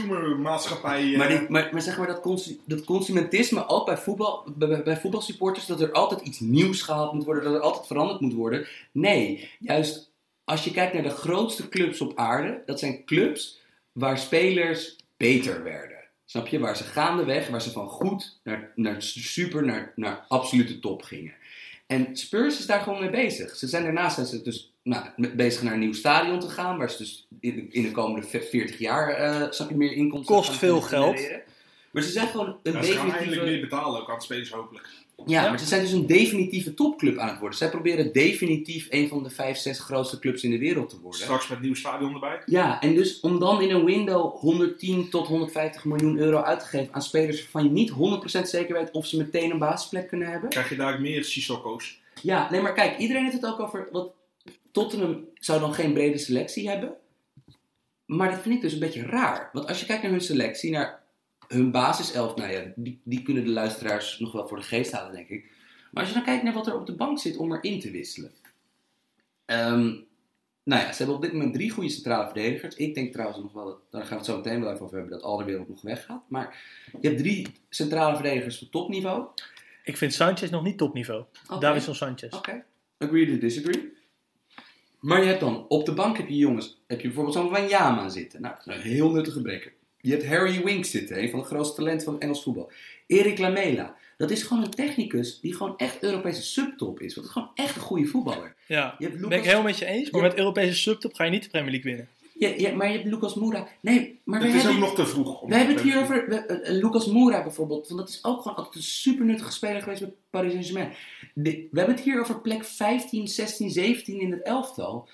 B: consumermaatschappij. eh,
C: maar, die- maar, maar zeg maar dat, consu- dat consumentisme, ook bij, voetbal, bij, bij- bij voetbalsupporters, dat er altijd iets nieuws gehaald moet worden, dat er altijd veranderd moet worden. Nee, juist als je kijkt naar de grootste clubs op aarde, dat zijn clubs waar spelers beter werden. Snap je? Waar ze gaandeweg, waar ze van goed naar, naar super, naar, naar absolute top gingen. En Spurs is daar gewoon mee bezig. Ze zijn daarnaast zijn ze dus nou, met- bezig naar een nieuw stadion te gaan, waar ze dus in, in de komende ve- 40 jaar eh, snap je, meer inkomsten
A: Kost
C: gaan
A: veel
C: genereren.
A: geld.
C: Maar ze zijn gewoon een
B: ja, ze gaan eindelijk
C: definitieve...
B: meer betalen ook aan het spelers dus hopelijk.
C: Ja,
A: Ja.
C: maar ze zijn dus een definitieve topclub aan het worden. Zij proberen definitief een van de vijf, zes grootste clubs in de wereld te worden.
B: Straks met nieuw stadion erbij.
C: Ja, en dus om dan in een window 110 tot 150 miljoen euro uit te geven aan spelers waarvan je niet 100% zeker weet of ze meteen een basisplek kunnen hebben.
B: Krijg je daar meer Sissokos.
C: Ja, nee, maar kijk, iedereen heeft het ook over. Wat, Tottenham zou dan geen brede selectie hebben. Maar dat vind ik dus een beetje raar. Want als je kijkt naar hun selectie, naar hun basiself, nou ja, die, die kunnen de luisteraars nog wel voor de geest halen, denk ik. Maar als je dan kijkt naar wat er op de bank zit om erin te wisselen. Ehm, nou ja, ze hebben op dit moment drie goede centrale verdedigers. Ik denk trouwens nog wel, dat, daar gaan we het zo meteen wel even over hebben, dat Alderwereld nog weggaat. Maar je hebt drie centrale verdedigers van topniveau.
A: Ik vind Sanchez nog niet topniveau.
C: Oké.
A: Davison Sanchez.
C: Oké. Agree to disagree. Maar je hebt dan, op de bank heb je jongens, heb je bijvoorbeeld zo'n Wanyama zitten. Nou, dat is een heel nuttige breker. Je hebt Harry Winks zitten, een van de grootste talenten van Engels voetbal. Erik Lamela. Dat is gewoon een technicus die gewoon echt Europese subtop is. Want het is gewoon echt een goede voetballer.
A: Ja,
C: Je hebt
A: ben
C: Lucas,
A: ik helemaal met je eens. Maar
C: Ja.
A: met Europese subtop ga je niet de Premier League winnen.
C: je, je- maar je hebt Lucas Moura. Nee, maar we
B: Het is
C: hebben,
B: ook nog te vroeg. om
C: we hebben
B: te
C: het hier over we- eh, eh, Lucas Moura bijvoorbeeld. Want dat is ook gewoon altijd een super nuttige speler geweest bij Paris Saint-Germain. De- We hebben het hier over plek 15, 16, 17 in het elftal.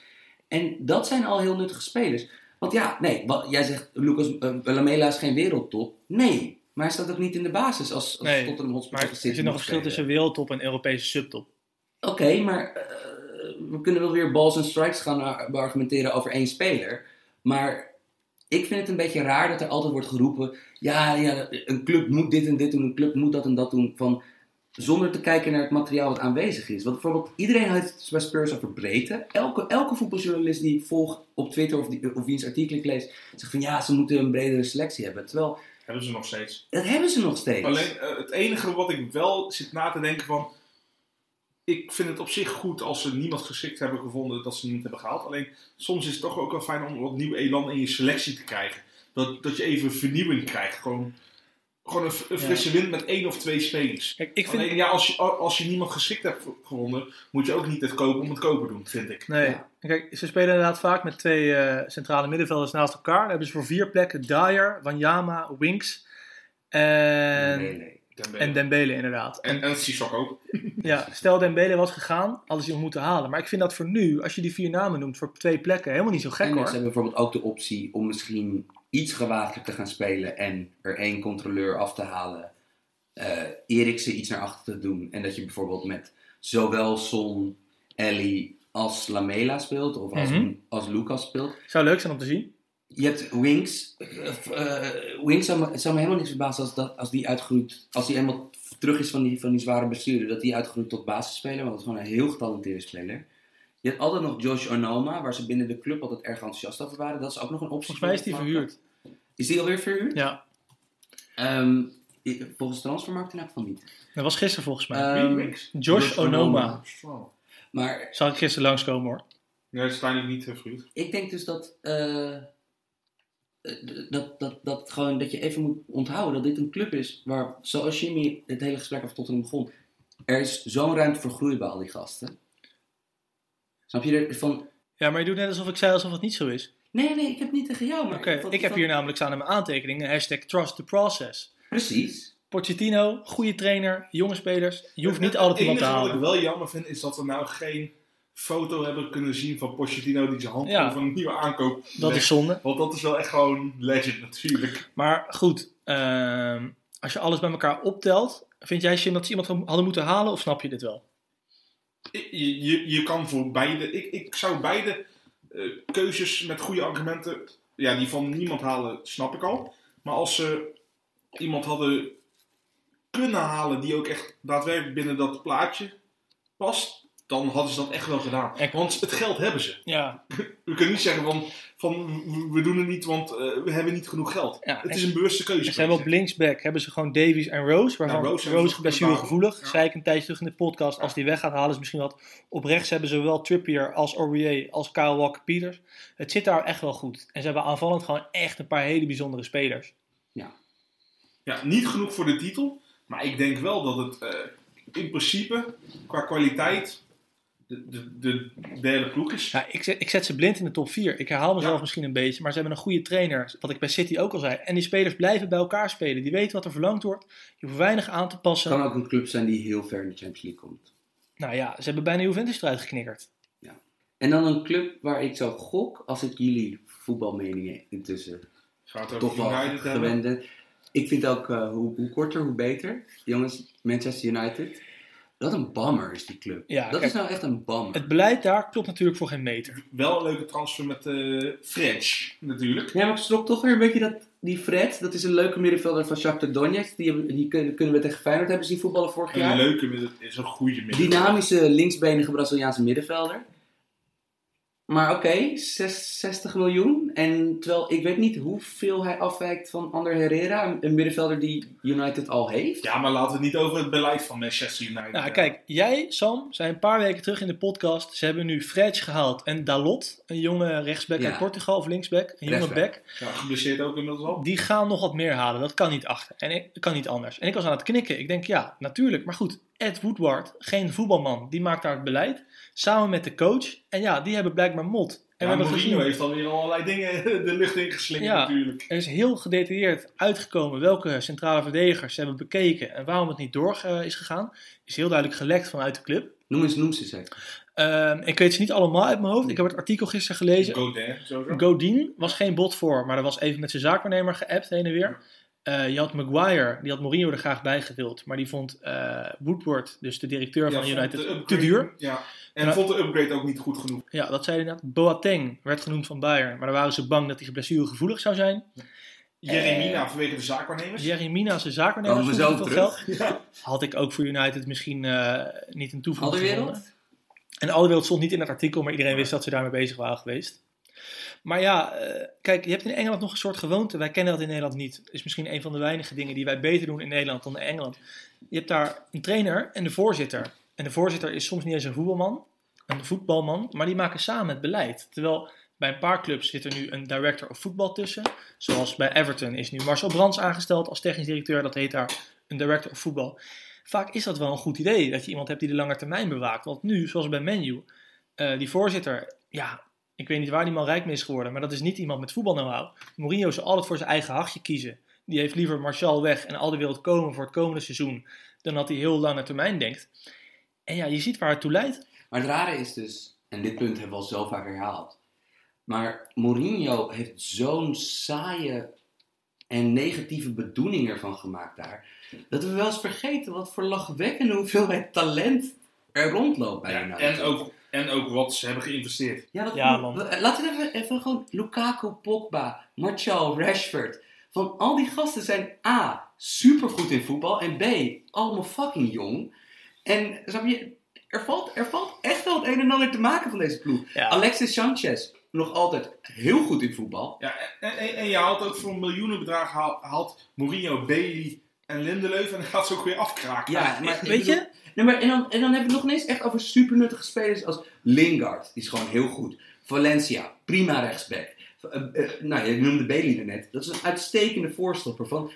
C: En dat zijn al heel nuttige spelers. Want ja, nee, wat, jij zegt Lucas eh, Lamela is geen wereldtop. Nee, maar hij staat ook niet in de basis als, als
A: Nee,
C: Tottenham Hotspur
A: Maar er
C: City
A: zit nog
C: moet
A: een verschil
C: spelen.
A: tussen wereldtop en Europese subtop.
C: Oké, maar eh, we kunnen wel weer balls en strikes gaan ar- beargumenteren over één speler. Maar ik vind het een beetje raar dat er altijd wordt geroepen... Ja, ja, een club moet dit en dit doen, een club moet dat en dat doen. Van, zonder te kijken naar het materiaal wat aanwezig is. Want bijvoorbeeld, iedereen heeft het bij Spurs over breedte. Elke, elke voetbaljournalist die ik volg op Twitter of, die, of wiens artikel ik lees... Zegt van, ja, ze moeten een bredere selectie hebben. Terwijl,
B: Hebben ze nog steeds.
C: dat hebben ze nog steeds.
B: Alleen eh, het enige wat ik wel zit na te denken van. Ik vind het op zich goed als ze niemand geschikt hebben gevonden dat ze niemand hebben gehaald. Alleen soms is het toch ook wel fijn om wat nieuw elan in je selectie te krijgen. Dat, dat je even vernieuwing krijgt. Gewoon, gewoon een, f- een
A: Ja.
B: frisse wind met één of twee spelers.
A: Kijk, ik vind...
B: Alleen ja, als je, als je niemand geschikt hebt gevonden, moet je ook niet het kopen om het kopen doen, vind ik.
A: Nee.
C: Ja.
A: En Kijk, ze spelen inderdaad vaak met twee eh, centrale middenvelders naast elkaar. Dan hebben ze voor vier plekken Dyer, Wanyama, Winks en,
C: Nee, nee.
B: Dembele.
A: en Dembele inderdaad.
B: en, en Sissoko ook.
A: Ja, stel Dembele was gegaan, hadden ze hem moeten halen. Maar ik vind dat voor nu, als je die vier namen noemt voor twee plekken, helemaal niet zo gek
C: en
A: hoor.
C: ze hebben bijvoorbeeld ook de optie om misschien iets gewaagder te gaan spelen en er één controleur af te halen. eh Eriksen iets naar achter te doen. En dat je bijvoorbeeld met zowel Son, Ellie als Lamela speelt of als,
A: Mhm.
C: als Lucas speelt.
A: Zou leuk zijn om te zien.
C: Je hebt Wings. eh, eh, Wings zou me, het zou me helemaal niks verbazen als, dat, als die uitgroeit. Als die helemaal terug is van die, van die zware bestuurder. Dat die uitgroeit tot basisspeler. Want dat is gewoon een heel getalenteerde speler. Je hebt altijd nog Josh Onoma. Waar ze binnen de club altijd erg enthousiast over waren. Dat is ook nog een optie.
A: Volgens mij is die
C: voor de
A: verhuurd.
C: markt. Is die alweer verhuurd?
A: Ja,
C: Ehm, i- volgens transfermarkt in elk geval niet.
A: dat was gisteren volgens mij.
C: Ehm,
B: Wie, Winks?
A: Josh,
C: Josh
A: Onoma.
C: Onoma.
B: Oh.
C: maar
A: Zal ik gisteren langskomen hoor.
B: Nee, dat is uiteindelijk niet eh, verhuurd.
C: ik denk dus dat, eh, eh, dat, dat, dat, gewoon, dat je even moet onthouden dat dit een club is waar, zoals Jimmy het hele gesprek over Tottenham begon, er is zo'n ruimte voor groei bij al die gasten. Snap je er van?
A: Ja, maar je doet net alsof ik zei alsof het niet zo is.
C: Nee, nee, ik heb niet tegen jou, maar
A: Oké, ik heb
C: van-
A: hier namelijk staan in mijn aantekeningen. Hashtag trust the process.
C: Precies.
A: Pochettino, goede trainer, jonge spelers. Je hoeft niet altijd iemand te
B: Het enige
A: halen.
B: wat ik wel jammer vind, is dat we nou geen foto hebben kunnen zien van Pochettino die zijn hand
A: Ja.
B: over een nieuwe aankoop
A: Dat
B: legt.
A: is zonde.
B: Want dat is wel echt gewoon legend natuurlijk.
A: Maar goed, ehm, als je alles bij elkaar optelt, vind jij Jim dat ze iemand hadden moeten halen of snap je dit wel?
B: Je, je, je kan voor beide... Ik, ik zou beide eh, keuzes met goede argumenten... Ja, die van niemand halen, snap ik al. Maar als ze iemand hadden kunnen halen die ook echt daadwerkelijk binnen dat plaatje past... Dan hadden ze dat echt wel gedaan.
A: Ik-
B: Want het geld hebben ze.
A: Ja,
B: We kunnen niet zeggen van, van we- we doen het niet, want eh, we hebben niet genoeg geld.
A: Ja,
B: het
A: en-
B: is een bewuste keuze.
A: ze hebben op linksback hebben ze gewoon Davies en Rose, waarvan
B: Nou,
A: Rose,
B: Rose hebben ze
A: Rose
B: goed
A: blessuregevoelig.
B: gedaan. Ja.
A: Zei ik een tijdje terug in de podcast, als die weggaat halen ze misschien wat. Op rechts hebben ze wel Trippier als Aurier, als Kyle Walker-Peters. Het zit daar echt wel goed. En ze hebben aanvallend gewoon echt een paar hele bijzondere spelers.
B: ja, niet genoeg voor de titel, maar ik denk wel dat het eh, in principe qua kwaliteit de, de, de derde ploeg is.
A: Ja, ik, zet, ik zet ze blind in de top 4. Ik herhaal mezelf
B: Ja.
A: misschien een beetje, maar ze hebben een goede trainer. Wat ik bij City ook al zei. En die spelers blijven bij elkaar spelen. Die weten wat er verlangd wordt. Je hoeft weinig aan te
C: Het
A: passen.
C: kan ook een club zijn die heel ver in de Champions League komt.
A: Nou ja, ze hebben bijna Juventus eruit geknikkerd.
C: En dan een club waar ik zo gok als ik jullie voetbalmeningen intussen
B: Zou het
C: toch
B: over
C: wel
B: United hebben?
C: gewend. bent. Ik vind ook eh, hoe, hoe korter, hoe beter. Jongens, Manchester United. Wat een bammer is die club.
A: Ja,
C: dat
A: kijk.
C: is nou echt een bammer.
A: Het beleid daar klopt natuurlijk voor geen meter.
B: Wel een leuke transfer met eh, French natuurlijk.
C: Ja, maar ik schrok toch weer een beetje dat die Fred, dat is een leuke middenvelder van Shakhtar Donetsk. Die, hebben- die kunnen, kunnen we tegen Feyenoord hebben zien voetballen vorig
B: Een
C: jaar.
B: leuke midden- is een goede midden.
C: Dynamische linksbenige Braziliaanse middenvelder. Maar oké, zes- 60 miljoen. En terwijl ik weet niet hoeveel hij afwijkt van Ander Herrera, een- een middenvelder die United al heeft.
B: Ja, maar laten we het niet over het beleid van Manchester United
A: Nou
B: hebben.
A: kijk, jij Sam, zei een paar weken terug in de podcast. Ze hebben nu Fredge gehaald en Dalot. Een jonge rechtsback
C: Ja.
A: uit Portugal of linksback. Een jonge
C: Rechtsback.
A: back.
B: Ja, geblesseerd ook inmiddels al.
A: Die gaan nog wat meer halen. Dat kan niet achter. En ik kan niet anders. En ik was aan het knikken. Ik denk, ja, natuurlijk. Maar goed, Ed Woodward, geen voetbalman, die maakt daar het beleid. Samen met de coach. En ja, die hebben blijkbaar mot. En we
B: Ja,
A: hebben
B: Mourinho
A: gezien,
B: heeft alweer allerlei dingen de lucht ingeslingerd
A: Ja.
B: natuurlijk.
A: er is heel gedetailleerd uitgekomen welke centrale verdedigers ze hebben bekeken en waarom het niet door eh, is gegaan. Is heel duidelijk gelekt vanuit de club.
C: Noem eens, noem ze eens. even.
A: Ehm, ik weet ze niet allemaal uit mijn hoofd. Ik heb het artikel gisteren gelezen.
B: Godin, sowieso.
A: Godin was geen bot voor, maar er was even met zijn zaakwaarnemer geappt heen en weer. Eh, je had Maguire, die had Mourinho er graag bij gewild, maar die vond eh, Woodward, dus de directeur van
B: vond de
A: United, te
B: upgrade-
A: duur.
B: Ja, en
A: Ja.
B: vond de upgrade ook niet goed genoeg.
A: Ja, dat zei hij inderdaad. Boateng werd genoemd van Bayern, maar daar waren ze bang dat hij blessuregevoelig zou zijn. Eh.
B: Jeremina vanwege de zaakwaarnemers.
A: Jeremina, zijn
C: Komen
A: zaakwaarnemer,
C: we
A: vond
C: zo
A: het
C: terug.
A: wel Had ik ook voor United misschien eh, niet een toevoeging gevonden.
C: Alderwereld?
A: En alle wereld stond niet in het artikel, maar iedereen wist dat ze daarmee bezig waren geweest. Maar ja, eh, kijk, je hebt in Engeland nog een soort gewoonte. Wij kennen dat in Nederland niet. Is misschien een van de weinige dingen die wij beter doen in Nederland dan in Engeland. Je hebt daar een trainer en de voorzitter. En de voorzitter is soms niet eens een voetbalman, een voetbalman, maar die maken samen het beleid. Terwijl bij een paar clubs zit er nu een director of voetbal tussen. Zoals bij Everton is nu Marcel Brands aangesteld als technisch directeur. Dat heet daar een director of voetbal. Vaak is dat wel een goed idee dat je iemand hebt die de lange termijn bewaakt. Want nu, zoals bij Menu, eh, die voorzitter, ja, ik weet niet waar die man rijk mee is geworden, maar dat is niet iemand met voetbal know-how. Mourinho zal altijd voor zijn eigen hachje kiezen. Die heeft liever Martial weg en al de wereld komen voor het komende seizoen, dan dat hij heel lange termijn denkt. En ja, je ziet waar het toe leidt.
C: Maar het rare is dus, en dit punt hebben we al zo vaak herhaald. Maar Mourinho heeft zo'n saaie en negatieve bedoeling ervan gemaakt daar. Dat we wel eens vergeten wat voor lachwekkende hoeveelheid talent er rondloopt bij
B: Ja,
C: United.
B: en, ook, en ook wat ze hebben geïnvesteerd.
C: Ja, dat
A: Ja,
C: vond ik-
A: man.
C: eh, Laten we even, even gewoon Lukaku, Pogba, Martial, Rashford. Van al die gasten zijn A, supergoed in voetbal. En B, allemaal fucking jong. En snap je, er valt, er valt echt wel het een en ander te maken van deze ploeg.
A: Ja,
C: Alexis Sanchez, nog altijd heel goed in voetbal.
B: Ja, en, en, en je haalt ook voor een miljoenenbedrag haal- haalt Mourinho, Bailey en Lindelöf en dan gaat ze ook weer afkraken.
C: Ja, maar ik
A: weet je?
C: Nee, maar en, dan, en dan hebben we het nog ineens echt over supernuttige spelers als Lingard. Die is gewoon heel goed. Valencia, prima rechtsback. Eh, eh, nou, je noemde Bailey er net. Dat is een uitstekende voorstopper van...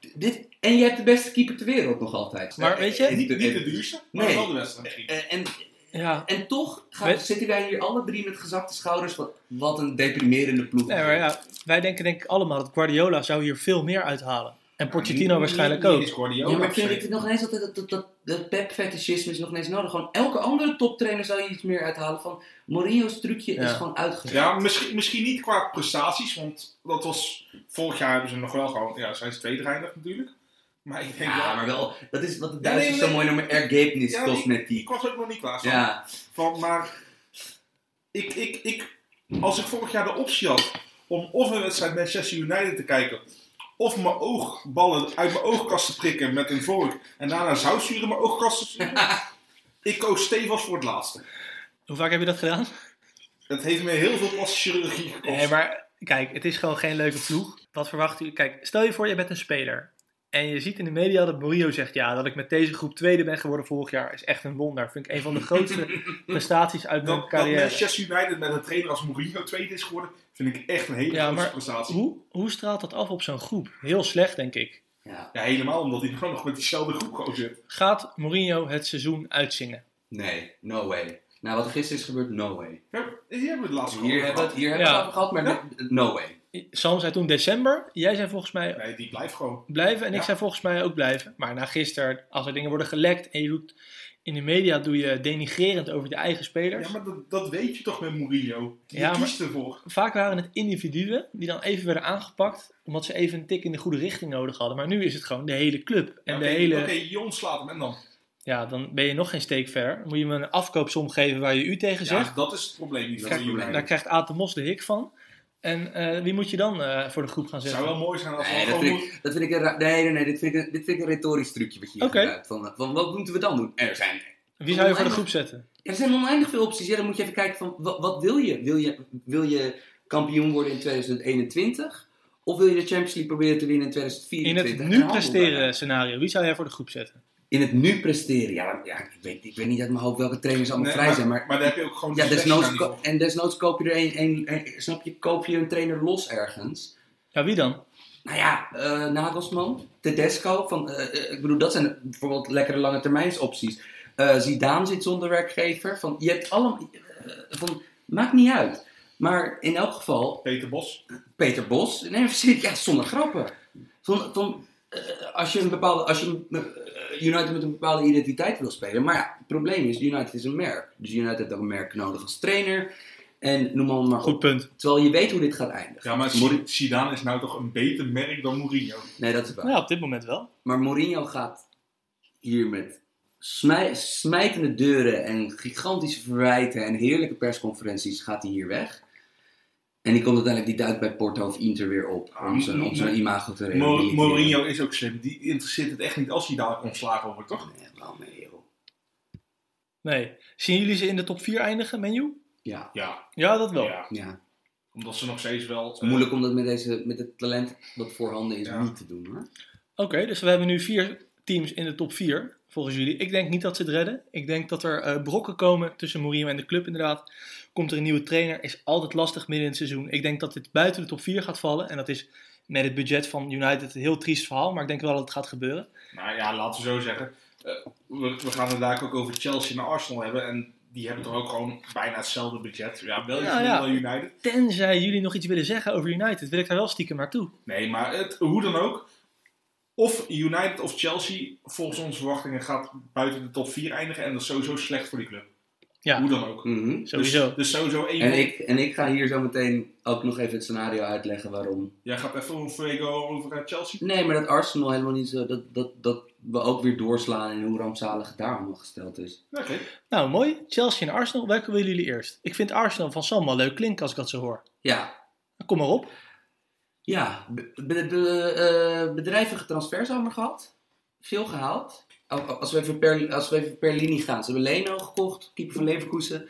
C: d- Dit, en je hebt de beste keeper ter wereld nog altijd.
A: Maar weet je-
C: Eh,
B: Niet,
C: eh,
B: niet de duurste, maar
C: Nee.
B: wel de beste misschien.
C: eh, en,
A: ja.
C: en toch gaan,
A: Weet-
C: zitten wij hier alle drie met gezakte schouders. Wat, wat een deprimerende ploeg.
A: Nee, maar ja, wij denken denk ik allemaal dat Guardiola zou hier veel meer uithalen. En Pochettino
C: Mm,
A: waarschijnlijk ook.
C: Ja, maar ik vind het nog ineens altijd dat, dat, dat, dat pep-fetischisme is nog ineens nodig. Gewoon elke andere toptrainer zou je iets meer uithalen van... Mourinho's trucje is
A: Ja.
C: gewoon uitgewerkt.
B: Ja, misschien, misschien niet qua prestaties, want dat was vorig jaar hebben ze nog wel gewoon, ja, zijn ze tweede eindig natuurlijk. Maar ik denk
C: Ja,
B: ja,
C: maar wel. Dat is wat de Duitsers
B: nee, nee.
C: zo mooi noemen ergebnis
B: Ja, ik
C: cosmetiek.
B: was ook nog niet klaar. Sam.
C: Ja,
B: Van, maar ik, ik, ik, als ik vorig jaar de optie had om of een wedstrijd Manchester United te kijken, of mijn oogballen uit mijn oogkast te prikken met een vork en daarna zoutzuur in mijn oogkast te zuren, ik koos stevast voor het laatste.
A: Hoe vaak heb je dat gedaan?
B: Dat heeft me heel veel plastische chirurgie gekost.
A: Nee, maar kijk, het is gewoon geen leuke ploeg. Wat verwacht u? Kijk, stel je voor, je bent een speler. En je ziet in de media dat Mourinho zegt... ja, dat ik met deze groep tweede ben geworden vorig jaar... is echt een wonder. Vind ik een van de grootste prestaties uit mijn
B: dat, dat
A: carrière.
B: Manchester United met een trainer als Mourinho tweede is geworden, vind ik echt een hele
A: Ja,
B: grote
A: maar
B: prestatie.
A: Hoe, hoe straalt dat af op zo'n groep? Heel slecht, denk ik.
C: ja.
B: Ja, helemaal omdat hij gewoon nog met diezelfde groep gewoon zit.
A: Gaat Mourinho het seizoen uitzingen?
C: Nee, no way. Nou, wat er gisteren is gebeurd, no way.
B: Ja, hier hebben we het laatste
C: Hier hebben we het,
B: gehad.
C: hier hebben we
A: Ja.
C: het over gehad, maar
B: Ja.
C: no- no way.
A: Sam zei toen december. Jij zei volgens mij
B: Nee, die blijft gewoon.
A: blijven. En ik
B: Ja.
A: zei volgens mij ook blijven. Maar na gisteren, als er dingen worden gelekt... en je doet in de media doe je denigrerend over je eigen spelers...
B: Ja, maar dat, dat weet je toch met Mourinho? Je
A: Ja, maar-
B: kiest ervoor.
A: Vaak waren het individuen die dan even werden aangepakt omdat ze even een tik in de goede richting nodig hadden. Maar nu is het gewoon de hele club. En
B: Oké,
A: de hele,
B: Oké, je ontslaat hem en dan.
A: ja, dan ben je nog geen steek verder. Dan moet je hem een afkoopsom geven waar je u tegen
B: Ja,
A: zegt.
B: dat is het probleem niet
A: Kijk,
B: van United.
A: Daar krijgt Aad de Mos de hik van. En eh, wie moet je dan eh, voor de groep gaan
B: Het
A: zetten?
B: zou wel mooi zijn als we
C: Nee, dat
B: gewoon...
C: vind,
B: moeten-
C: ik, dat vind ik een ra- nee, nee, nee, dit vind ik, een- dit vind ik een retorisch trucje wat je hier
A: Oké.
C: gebruikt. Van, van, wat moeten we dan doen? Er zijn,
A: Wie zou je voor de groep zetten?
C: er zijn oneindig veel opties. Ja, dan moet je even kijken van, wat, wat wil je? Wil je, wil je kampioen worden in 2021? Of wil je de Champions League proberen te winnen in
A: In
C: 2024?
A: het
C: En
A: nu
C: handel
A: presteren
C: daarna.
A: scenario, wie zou jij voor de groep zetten?
C: In het nu presteren. Ja, dan- ja ik, weet, ik weet niet uit mijn hoofd welke trainers allemaal
B: Nee,
C: vrij zijn, maar
B: maar daar heb je ook gewoon...
C: Ja,
B: de
C: desnoods
B: selectie
C: ko-
B: aan die
C: en desnoods koop je er een, een, een- snap je, koop je een trainer los ergens.
A: Ja, wie dan?
C: Nou ja, eh Nagelsman, Tedesco, van, eh, eh, ik bedoel, dat zijn bijvoorbeeld lekkere lange termijnsopties. Eh Zidane zit zonder werkgever, van, je hebt allemaal, eh, van, maakt niet uit. Maar in elk geval,
B: Peter Bos.
C: Peter Bos, nee, maar serieus, ja, zonder grappen. Van, van, eh, als je een bepaalde, als je, een- eh, United met een bepaalde identiteit wil spelen. Maar ja, het probleem is, United is een merk. Dus United heeft ook een merk nodig als trainer. En noem maar, maar
A: Goed
C: op.
A: punt.
C: Terwijl je weet hoe dit gaat eindigen.
B: Ja, maar
C: Mourinho-
B: Zidane is nou toch een beter merk dan Mourinho?
C: Nee, dat is waar.
A: Nou, op dit moment wel.
C: Maar Mourinho gaat hier met smij- smijtende deuren en gigantische verwijten en heerlijke persconferenties gaat hij hier weg. En die komt uiteindelijk die duikt bij Porto of Inter weer op om zijn, om zijn imago te
B: Mo-
C: realiseren.
B: Mourinho is ook slim. Die interesseert het echt niet als hij dadelijk ontslagen wordt, toch?
C: Nee, wel nee, joh.
A: Nee. Zien jullie ze in de top 4 eindigen, menu?
C: Ja,
B: Ja.
A: Ja, dat wel.
B: ja.
C: ja. Het
B: Omdat ze nog steeds wel...
C: is
B: eh,
C: moeilijk om dat met, deze, met het talent dat voorhanden is
B: Ja.
C: niet te doen hoor.
A: Oké, dus we hebben nu vier teams in de top 4, volgens jullie. Ik denk niet dat ze het redden. Ik denk dat er eh, brokken komen tussen Mourinho en de club inderdaad. Komt er een nieuwe trainer, is altijd lastig midden in het seizoen. Ik denk dat dit buiten de top 4 gaat vallen. En dat is met het budget van United een heel triest verhaal, maar ik denk wel dat het gaat gebeuren.
B: Nou ja, laten we zo zeggen. eh, we, we gaan het daar ook over Chelsea en Arsenal hebben. En die hebben toch ook gewoon bijna hetzelfde budget. Ja, wel iets
A: Ja,
B: minder
A: ja.
B: dan United.
A: Tenzij jullie nog iets willen zeggen over United, wil ik daar wel stiekem naartoe.
B: Nee, maar het, hoe dan ook. Of United of Chelsea, volgens onze verwachtingen, gaat buiten de top 4 eindigen. En dat is sowieso slecht voor die club.
A: Ja.
B: Hoe dan ook.
C: Mhm.
A: Sowieso.
B: Dus, dus sowieso één.
C: En, ik, en ik ga hier zo meteen ook nog even het scenario uitleggen waarom
B: Jij gaat even een Fuego over eh, Chelsea.
C: Nee, maar dat Arsenal helemaal niet zo. Dat, dat, dat we ook weer doorslaan in hoe rampzalig het daar allemaal gesteld is.
B: Oké.
A: Nou, mooi. Chelsea en Arsenal, welke willen jullie eerst? Ik vind Arsenal van Sam wel leuk klinken als ik dat zo hoor. Nou,
C: Ja,
A: Kom maar op.
C: ja. Be, be- be- eh, bedrijvige transferzomer gehad. Veel gehaald. Al- al- Als we, even per, als we even per linie gaan. Ze hebben Leno gekocht, keeper van Leverkusen.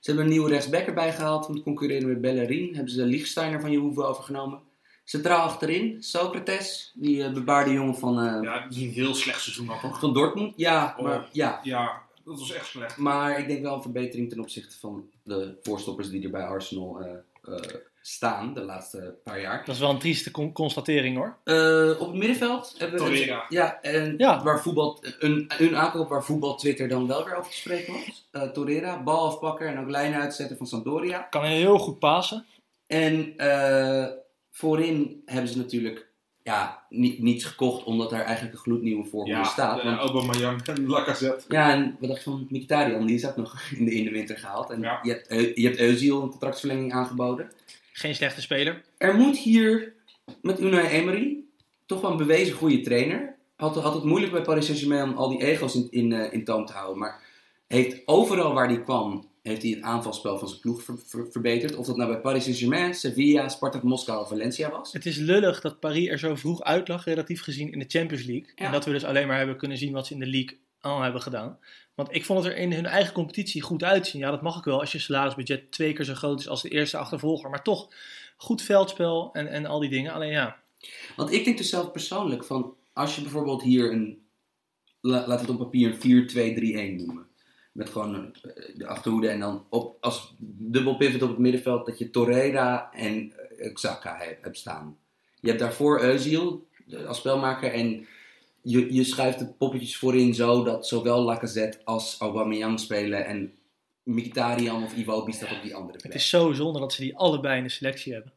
C: Ze hebben een nieuwe rechtsback erbij gehaald. Om te concurreren met Bellerin. Hebben ze Liechtensteiner van Jehoeve overgenomen. Centraal achterin, Socrates. Die eh, bebaarde jongen van, eh,
B: Ja, het is een heel slecht seizoen dan toch?
C: van Dortmund. Ja,
B: Oh.
C: maar ja.
B: Ja, dat was echt slecht.
C: Maar ik denk wel een verbetering ten opzichte van de voorstoppers die er bij Arsenal eh, eh, staan de laatste paar jaar.
A: Dat is wel een trieste con- constatering hoor.
C: Eh, op het middenveld hebben we.
B: Torreira.
C: Ja, en
A: Ja.
C: Waar voetbal, een, een aankoop waar voetbal Twitter dan wel weer over te spreken was. Eh, Torreira, bal afpakken en ook lijnen uitzetten van Sampdoria.
A: Kan heel goed pasen.
C: En eh, voorin hebben ze natuurlijk ja, ni- niets gekocht omdat daar eigenlijk een gloednieuwe voorhoede
B: Ja,
C: staat.
B: eh,
C: Want
B: Aubameyang en Lacazette.
C: Ja, en wat dacht je van Mkhitaryan? Die is ook nog in de, in de winter gehaald. En
B: Ja.
C: je, hebt, Eu- je hebt Eusiel een contractverlenging aangeboden.
A: Geen slechte speler.
C: Er moet hier met Unai Emery toch wel een bewezen goede trainer. Had, had het moeilijk bij Paris Saint-Germain om al die ego's in, in, eh, in toom te houden. Maar heeft overal waar hij kwam, heeft hij het aanvalsspel van zijn ploeg ver- ver- verbeterd. Of dat nou bij Paris Saint-Germain, Sevilla, Spartak Moskou of Valencia was.
A: Het is lullig dat Paris er zo vroeg uit lag, relatief gezien, in de Champions League.
C: Ja.
A: En dat we dus alleen maar hebben kunnen zien wat ze in de league al hebben gedaan. Want ik vond het er in hun eigen competitie goed uitzien. Ja, dat mag ik wel als je salarisbudget twee keer zo groot is als de eerste achtervolger. Maar toch, goed veldspel en, en al die dingen. Alleen ja,
C: Want ik denk dus zelf persoonlijk van, als je bijvoorbeeld hier een, la- laten we het op papier een 4-2-3-1 noemen. Met gewoon eh, de achterhoede en dan op, als dubbel pivot op het middenveld dat je Torreira en eh, Xhaka he- hebt staan. Je hebt daarvoor Özil eh, als spelmaker en je, je schuift de poppetjes voorin zo dat zowel Lacazette als Aubameyang spelen en Mkhitaryan of Iwobi staat op die andere
A: het
C: plek.
A: is zo zonde dat ze die allebei in de selectie hebben.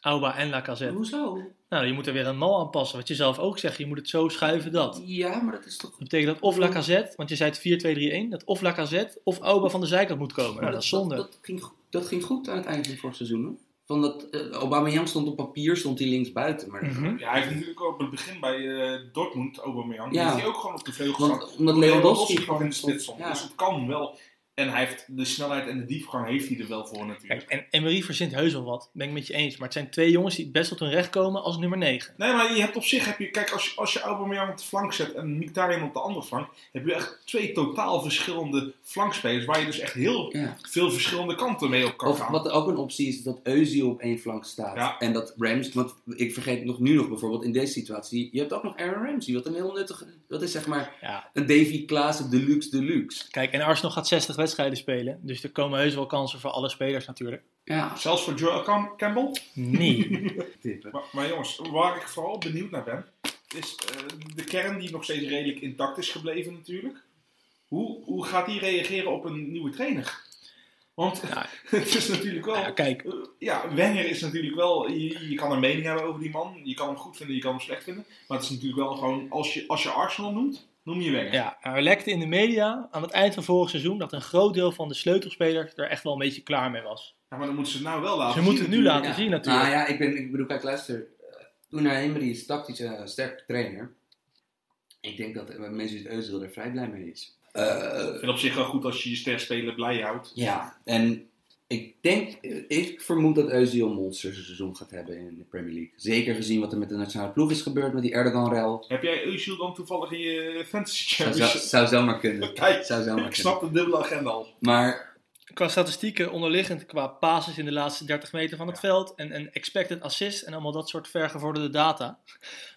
A: Auba en Lacazette.
C: Hoezo?
A: Nou, je moet er weer een mal aan passen. Wat je zelf ook zegt, je moet het zo schuiven dat.
C: Ja, maar dat is toch...
A: Dat betekent dat of Lacazette, want je zei het 4-2-3-1, dat of Lacazette of Auba van de zijkant moet komen. Nou, dat is zonde.
C: Dat, ging, go- dat ging goed aan het eind van het vorig seizoen. Hè? Van dat eh, Aubameyang stond op papier, stond hij links buiten. Maar,
A: Mhm.
B: Ja, hij heeft natuurlijk ook op het begin bij eh, Dortmund, Aubameyang,
C: Ja.
B: heeft hij ook gewoon op de vleugel gestaan.
C: Want omdat Lewandowski
B: gewoon in de
C: stond.
B: spits stond.
C: Ja.
B: Dus het kan wel. En hij heeft de snelheid en de diepgang heeft hij er wel voor natuurlijk.
A: Kijk, en Emery verzint heus wel wat, ben ik met je eens. Maar het zijn twee jongens die best tot hun recht komen als nummer 9.
B: Nee, maar je hebt op zich, heb je, kijk, als je, als je Aubameyang op de flank zet en Mkhitaryan op de andere flank, heb je echt twee totaal verschillende flankspelers waar je dus echt heel
C: Ja.
B: veel verschillende kanten mee op kan
C: Of
B: gaan.
C: wat ook een optie is, is dat Özil op één flank staat.
B: Ja.
C: En dat Rams, want ik vergeet nog nu nog bijvoorbeeld in deze situatie. Je hebt ook nog Aaron Ramsey, wat een heel nuttig, dat is zeg maar
A: Ja.
C: een Davy Klaassen deluxe deluxe.
A: Kijk, en Arsenal gaat 60 wedstrijden spelen. Dus er komen heus wel kansen voor alle spelers natuurlijk. Nou
C: Ja,
B: Zelfs voor Joel Cam- Campbell.
A: Nee.
C: tippen.
B: Maar, maar jongens, waar ik vooral benieuwd naar ben, is eh, de kern die nog steeds redelijk intact is gebleven natuurlijk. Hoe, hoe gaat die reageren op een nieuwe trainer? Want
A: Ja.
B: het is natuurlijk wel...
A: Nou ja, kijk,
B: Eh, Ja, Wenger is natuurlijk wel. Je, je kan een mening hebben over die man. Je kan hem goed vinden, je kan hem slecht vinden. Maar het is natuurlijk wel gewoon. Als je, als je Arsenal noemt, Noem je Wenger.
A: Ja, maar we lekte in de media aan het eind van vorig seizoen dat een groot deel van de sleutelspelers er echt wel een beetje klaar mee was.
B: Ja, maar dan moeten ze het nou wel laten
A: Ze
B: zien
A: moeten het nu
B: natuurlijk.
A: laten zien natuurlijk.
C: Nou ja, ik, ben, ik bedoel, kijk, luister. Toen Emery is tactisch een sterke trainer. Ik denk dat eh, Mesut Özil er vrij blij mee is. Eh,
B: Ik vind het op zich wel goed als je je sterspeler blij houdt.
C: ja, en ik denk, eh, ik vermoed dat Özil een monster seizoen gaat hebben in de Premier League. Zeker gezien wat er met de nationale ploeg is gebeurd met die Erdogan-rel.
B: Heb jij Özil dan toevallig in je fantasy
C: Zou, zou,
B: Champions?
C: zou zomaar kunnen.
B: dus- Kijk,
C: Zou zomaar
B: ik snap de dubbele agenda al.
C: kunnen. Maar
A: Qua statistieken onderliggend, qua passes in de laatste 30 meter van het veld en, en expected assist en allemaal dat soort vergevorderde data,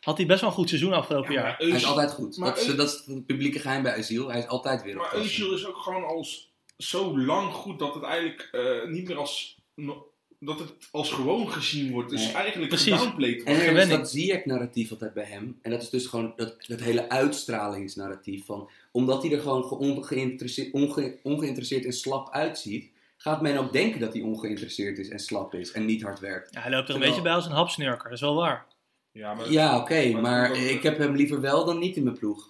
A: had hij best wel een goed seizoen afgelopen
B: Ja,
A: jaar.
B: maar
C: hij is
B: Özil,
C: altijd goed.
B: Dus- maar
C: dat, is,
B: Özil-
C: dat is het publieke geheim bij Özil. Hij is altijd weer op
B: maar
C: koers.
B: Özil is ook gewoon al s- zo lang goed dat het eigenlijk eh, niet meer als... no- dat het als gewoon gezien wordt. Dus
C: Nee.
B: eigenlijk
A: Precies.
B: gedownplayed wordt.
C: En er is
A: Gewenning.
C: dat Ziyech-narratief altijd bij hem. En dat is dus gewoon dat, dat hele uitstralingsnarratief. Van, omdat hij er gewoon ge- ongeïnteresseerd, onge- ongeïnteresseerd en slap uitziet, gaat men ook denken dat hij ongeïnteresseerd is en slap is en niet hard werkt.
A: Ja, hij loopt er een
C: Terwijl-
A: beetje bij als een hapsnurker, dat is wel waar.
B: Ja, maar...
C: Ja, oké,
B: maar-
C: maar ik heb hem liever wel dan niet in mijn ploeg.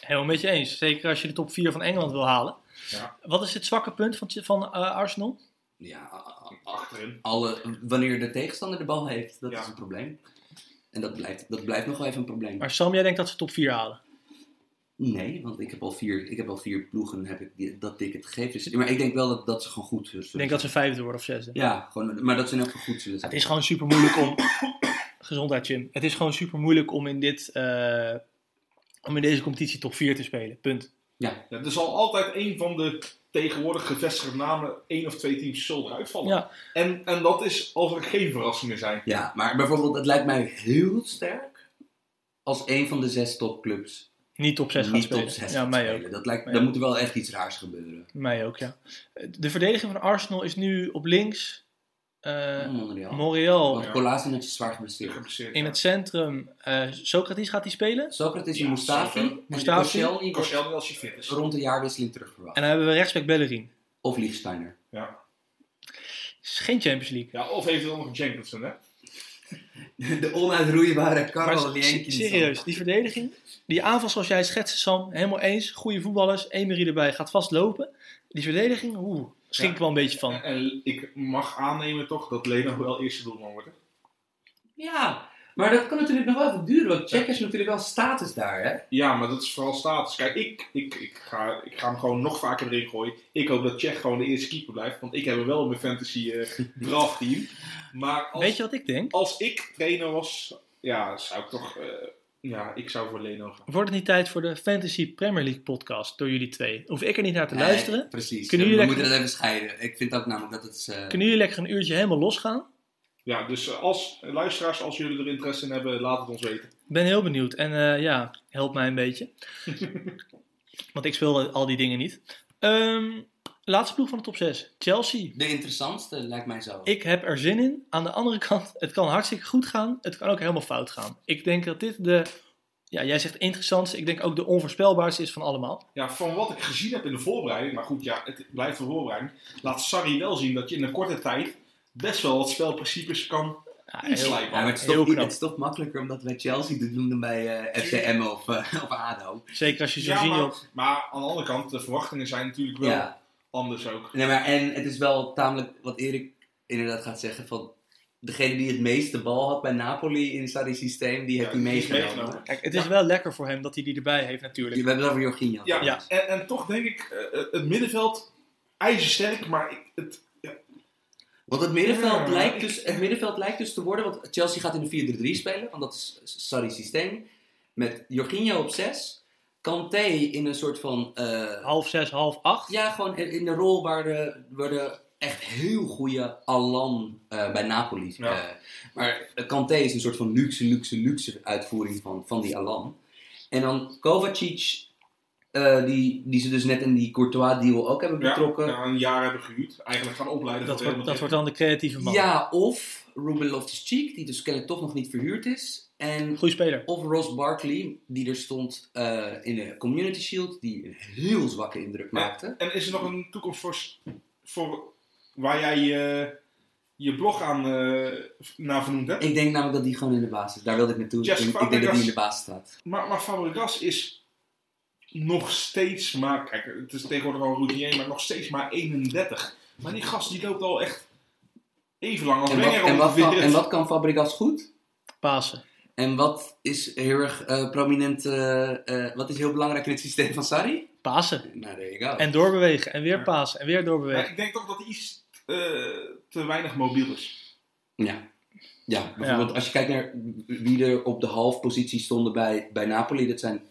A: Helemaal met je eens, zeker als je de top 4 van Engeland wil halen.
B: Ja.
A: Wat is het zwakke punt van, van eh, Arsenal?
C: Ja, a- a- a-
B: eh, Achterin.
C: alle, wanneer de tegenstander de bal heeft, dat
B: Ja.
C: is een probleem. En dat blijft, dat blijft nog wel even een probleem.
A: Maar Sam, jij denkt dat ze top 4 halen.
C: Nee, want ik heb al vier, ik heb al vier ploegen heb ik die- dat ticket gegeven. Dus- Maar ik denk wel dat, dat ze gewoon goed zullen
A: Ik denk dat ze vijfde worden of zesde.
C: Ja, gewoon, maar dat ze in elk geval goed dus- zullen
A: Het
C: zijn.
A: is gewoon super moeilijk om. Gezondheid, Jim. Het is gewoon super moeilijk om in, dit, eh, om in deze competitie top 4 te spelen. Punt.
C: Ja,
B: Ja, er zal altijd een van de tegenwoordig gevestigde namen één of twee teams zullen uitvallen.
A: Ja.
B: En, en dat is als er geen verrassingen zijn.
C: ja, maar bijvoorbeeld, het lijkt mij heel sterk als een van de zes topclubs
A: Niet top 6 gaat
C: niet
A: spelen.
C: top 6
A: ja,
C: gaat
A: mij
C: spelen. Dat lijkt,
A: Mij
C: dan
A: ook.
C: moet er wel echt iets raars gebeuren.
A: ook. Mij ook, ja. De verdediging van Arsenal is nu op links. eh
C: Monreal.
A: Montreal
C: Want Kolasinac is zwaar geblesseerd.
B: Geblesseerd,
A: in
B: ja.
A: het centrum. eh, Socrates gaat hij spelen.
C: Socrates en
B: Ja, zeker.
C: Mustafi.
A: Mustafi.
C: Koscielny wordt
B: Koscielny als je fit is.
C: rond de jaarwisseling terugverwacht.
A: En dan hebben we rechtsback Bellerin.
C: Of Liechtensteiner.
B: Ja.
A: Is geen Champions League.
B: ja, of eventueel nog een Jenkinson, hè?
C: De onuitroeibare Karel
A: Maar
C: Lienkin.
A: serieus, die verdediging, die aanval zoals jij schetst, Sam, helemaal eens. Goede voetballers, Emery erbij, gaat vast lopen. Die verdediging, oeh, schrik
B: Ja.
A: ik wel een beetje van.
B: En, en ik mag aannemen toch dat Leno wel eerste doelman wordt. hè?
C: Ja, maar dat kan natuurlijk nog wel even duren. Want check is natuurlijk wel status daar, hè?
B: Ja, maar dat is vooral status. Kijk, ik, ik, ik, ga, ik ga hem gewoon nog vaker erin gooien. Ik hoop dat Tsjech gewoon de eerste keeper blijft. Want ik heb hem wel in mijn fantasy eh draft team. Maar als,
A: Weet je wat ik denk?
B: als ik trainer was, ja, zou ik toch... eh, ja, ik zou voor Leno gaan.
A: Wordt het niet tijd voor de Fantasy Premier League podcast door jullie twee? Hoef ik er niet naar te
C: Nee,
A: luisteren?
C: precies.
A: Kunnen
C: we
A: jullie
C: moeten dat even scheiden. Ik vind ook namelijk dat het... is, eh,
A: Kunnen jullie lekker een uurtje helemaal losgaan?
B: Ja, dus eh, als eh, luisteraars, als jullie er interesse in hebben, laat het ons weten.
A: Ik ben heel benieuwd en eh, ja, help mij een beetje. Want ik speel al die dingen niet. Ehm, laatste ploeg van de top 6, Chelsea.
C: De interessantste lijkt mij zo.
A: Ik heb er zin in. Aan de andere kant, het kan hartstikke goed gaan. Het kan ook helemaal fout gaan. Ik denk dat dit de, ja, jij zegt interessantste. Ik denk ook de onvoorspelbaarste is van allemaal.
B: Ja, van wat ik gezien heb in de voorbereiding, maar goed, ja, het blijft een voorbereiding. Laat Sarri wel zien dat je in een korte tijd best wel wat spelprincipes kan
A: Ja, heel-
B: inslijpen.
C: Ja, maar het is,
A: Heel
C: toch, niet-
A: knap.
C: het is toch makkelijker om dat bij Chelsea te doen dan bij eh, FCM of, eh, of ADO.
A: zeker als je zo
B: Ja,
A: ziet.
B: maar, maar aan de andere kant, de verwachtingen zijn natuurlijk wel
C: Ja.
B: anders ook.
C: Nee, maar, en het is wel tamelijk wat Erik inderdaad gaat zeggen van... Degene die het meeste bal had bij Napoli in Sarri's systeem, die heeft
B: Ja,
C: hij
B: die is
C: meegenomen.
B: meegenomen.
A: Kijk, het is wel lekker voor hem dat hij die erbij heeft
C: We
A: natuurlijk.
C: hebben het over Jorginho.
B: Ja,
A: Ja.
B: En, en toch denk ik, eh, het middenveld ijzersterk, maar ik- het,
C: Want het
B: Ja.
C: middenveld, lijkt dus, het middenveld lijkt dus te worden, want Chelsea gaat in de 4-3-3 spelen, want dat is Sarri's systeem. Met Jorginho op 6, Kanté in een soort van... eh,
A: Half zes, half acht.
C: Ja, gewoon in in de rol waar de, waar de echt heel goede Alan eh, bij Napoli.
B: Ja.
C: eh, maar Kanté is een soort van luxe, luxe, luxe uitvoering van, van die Alan. En dan Kovacic, eh, die, die ze dus net in die Courtois-deal ook hebben
B: ja,
C: betrokken. Ja,
B: ja, een jaar hebben gehuurd. Eigenlijk gaan opleiden.
A: Dat
B: voor
A: wordt,
B: Real
A: dat
B: Madrid.
A: wordt dan de creatieve man.
C: of Ruben Loftus-Cheek, die dus kennelijk toch nog niet verhuurd is. En
A: Goeie speler.
C: Of Ross Barkley, die er stond eh, in de Community Shield, die een heel zwakke indruk maakte.
B: En is er nog een toekomst voor, s- voor waar jij je, je blog aan eh, naar vernoemd hebt?
C: Ik denk namelijk dat die gewoon in de basis. Daar wilde ik naartoe.
B: Jesse
C: ik, ik denk dat die
B: Fabregas.
C: in de basis staat.
B: Maar, maar Fabregas is nog steeds maar... Kijk, het is tegenwoordig al routinier, maar nog steeds maar 31. Maar die gast die loopt al echt even lang als
C: En wat,
B: Wenger
C: en, wat kan,
B: ongeveer.
C: en wat kan Fabregas goed?
A: Pasen.
C: En wat is heel erg eh, prominent, eh, eh, wat is heel belangrijk in het systeem van Sarri?
A: Pasen.
C: Nou, there you go.
A: En doorbewegen. En weer
B: Ja.
A: pasen. En weer
B: Maar
A: doorbewegen.
B: ik denk toch dat hij iets eh, te weinig mobiel is.
C: Ja. Ja, bijvoorbeeld als je kijkt naar wie er op de halfpositie stonden bij, bij Napoli, dat zijn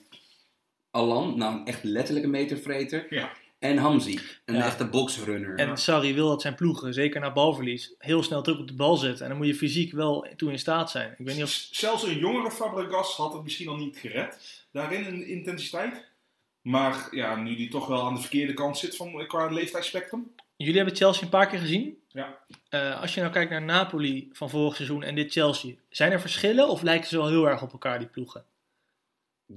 C: Alan, nou een echt letterlijk een metervreter,
B: Ja.
C: en Hamzi, een
A: Ja.
C: echte boxrunner.
A: En Sarri wil dat zijn ploegen, zeker na balverlies, heel snel druk op de bal zetten. En dan moet je fysiek wel toe in staat zijn. Ik weet niet of...
B: Z- Zelfs een jongere Fabregas had het misschien al niet gered. Daarin in intensiteit. Maar ja, nu die toch wel aan de verkeerde kant zit van, qua leeftijdsspectrum.
A: Jullie hebben Chelsea een paar keer gezien.
B: Ja.
A: Eh, als je nou kijkt naar Napoli van vorig seizoen en dit Chelsea. Zijn er verschillen of lijken ze wel heel erg op elkaar, die ploegen?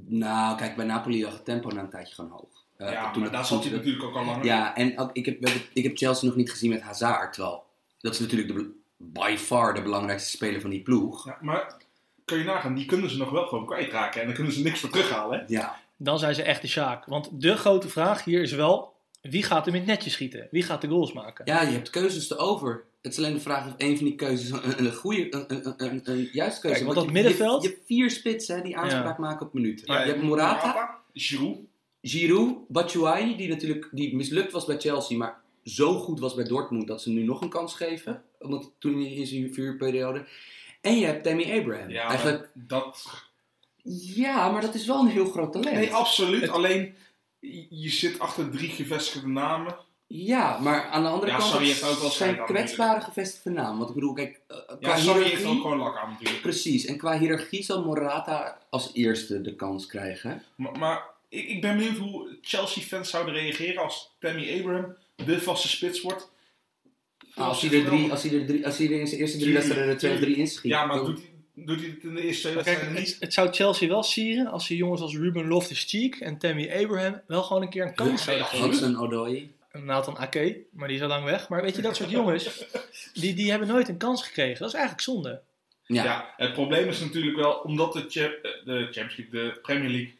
C: Nou, kijk, bij Napoli lag het tempo na een tijdje gewoon hoog. Eh,
B: ja,
C: toen
B: maar
C: het-
B: daar zat hij
C: toen-
B: natuurlijk ook al langer.
C: Ja, en ook- ik heb, we hebben- ik heb Chelsea nog niet gezien met Hazard, terwijl dat is natuurlijk de, bel- by far de belangrijkste speler van die ploeg.
B: Ja, maar kun je nagaan, die kunnen ze nog wel gewoon kwijtraken. En dan kunnen ze niks voor terughalen. Hè?
C: Ja,
A: Dan zijn ze echt de Sjaak. Want de grote vraag hier is wel, wie gaat hem in het netje schieten? Wie gaat de goals maken?
C: ja je hebt keuzes te over. Het is alleen de vraag of een van die keuzes een, een goede, een, een, een, een, een juiste keuze
A: Kijk, want
C: je-
A: dat middenveld-
C: Je, je hebt vier spitsen die aanspraak maken op minuten.
B: Ja,
C: je hebt Morata,
B: Morata, Giroud.
C: Giroud, Batshuayi, die natuurlijk die mislukt was bij Chelsea, maar zo goed was bij Dortmund dat ze hem nu nog een kans geven. Omdat toen hij in zijn vuurperiode. En je hebt Tammy Abraham.
B: Ja, maar
C: Eigenlijk,
B: dat...
C: ja, maar dat is wel een heel groot talent.
B: Nee, absoluut. Alleen, je zit achter drie gevestigde namen.
C: Ja, maar aan de andere
B: Ja,
C: kant
B: sorry,
C: het
B: heeft ook wel schijnt
C: zijn
B: aan
C: kwetsbare gevestigde naam. Want ik bedoel, kijk, eh, qua
B: Ja, Sarri heeft ook
C: hiërarchie...
B: gewoon lak aan natuurlijk.
C: Precies, en qua hiërarchie zal Morata als eerste de kans krijgen.
B: Maar, maar ik, ik ben benieuwd hoe Chelsea-fans zouden reageren als Tammy Abraham de vaste spits wordt.
C: als, hij er drie, als, hij er drie, als hij er in zijn eerste drie
B: Tuurlijk,
C: wedstrijden er twee of drie inschiet.
B: Ja, maar
C: dan-
B: doet hij, doet hij het in de eerste twee
A: Maar Kijk,
B: wedstrijden
A: het,
B: niet?
A: het zou Chelsea wel sieren als ze jongens als Ruben Loftus-Cheek en Tammy Abraham wel gewoon een keer een kans zouden
B: ja,
A: geven.
C: Hudson Odoi.
A: En Nathan Ake, maar die is al lang weg. Maar weet je, dat soort jongens, die, die hebben nooit een kans gekregen. Dat is eigenlijk zonde.
C: Ja.
B: Ja. het probleem is natuurlijk wel, omdat de, cha- eh, de Champions League, de Premier League,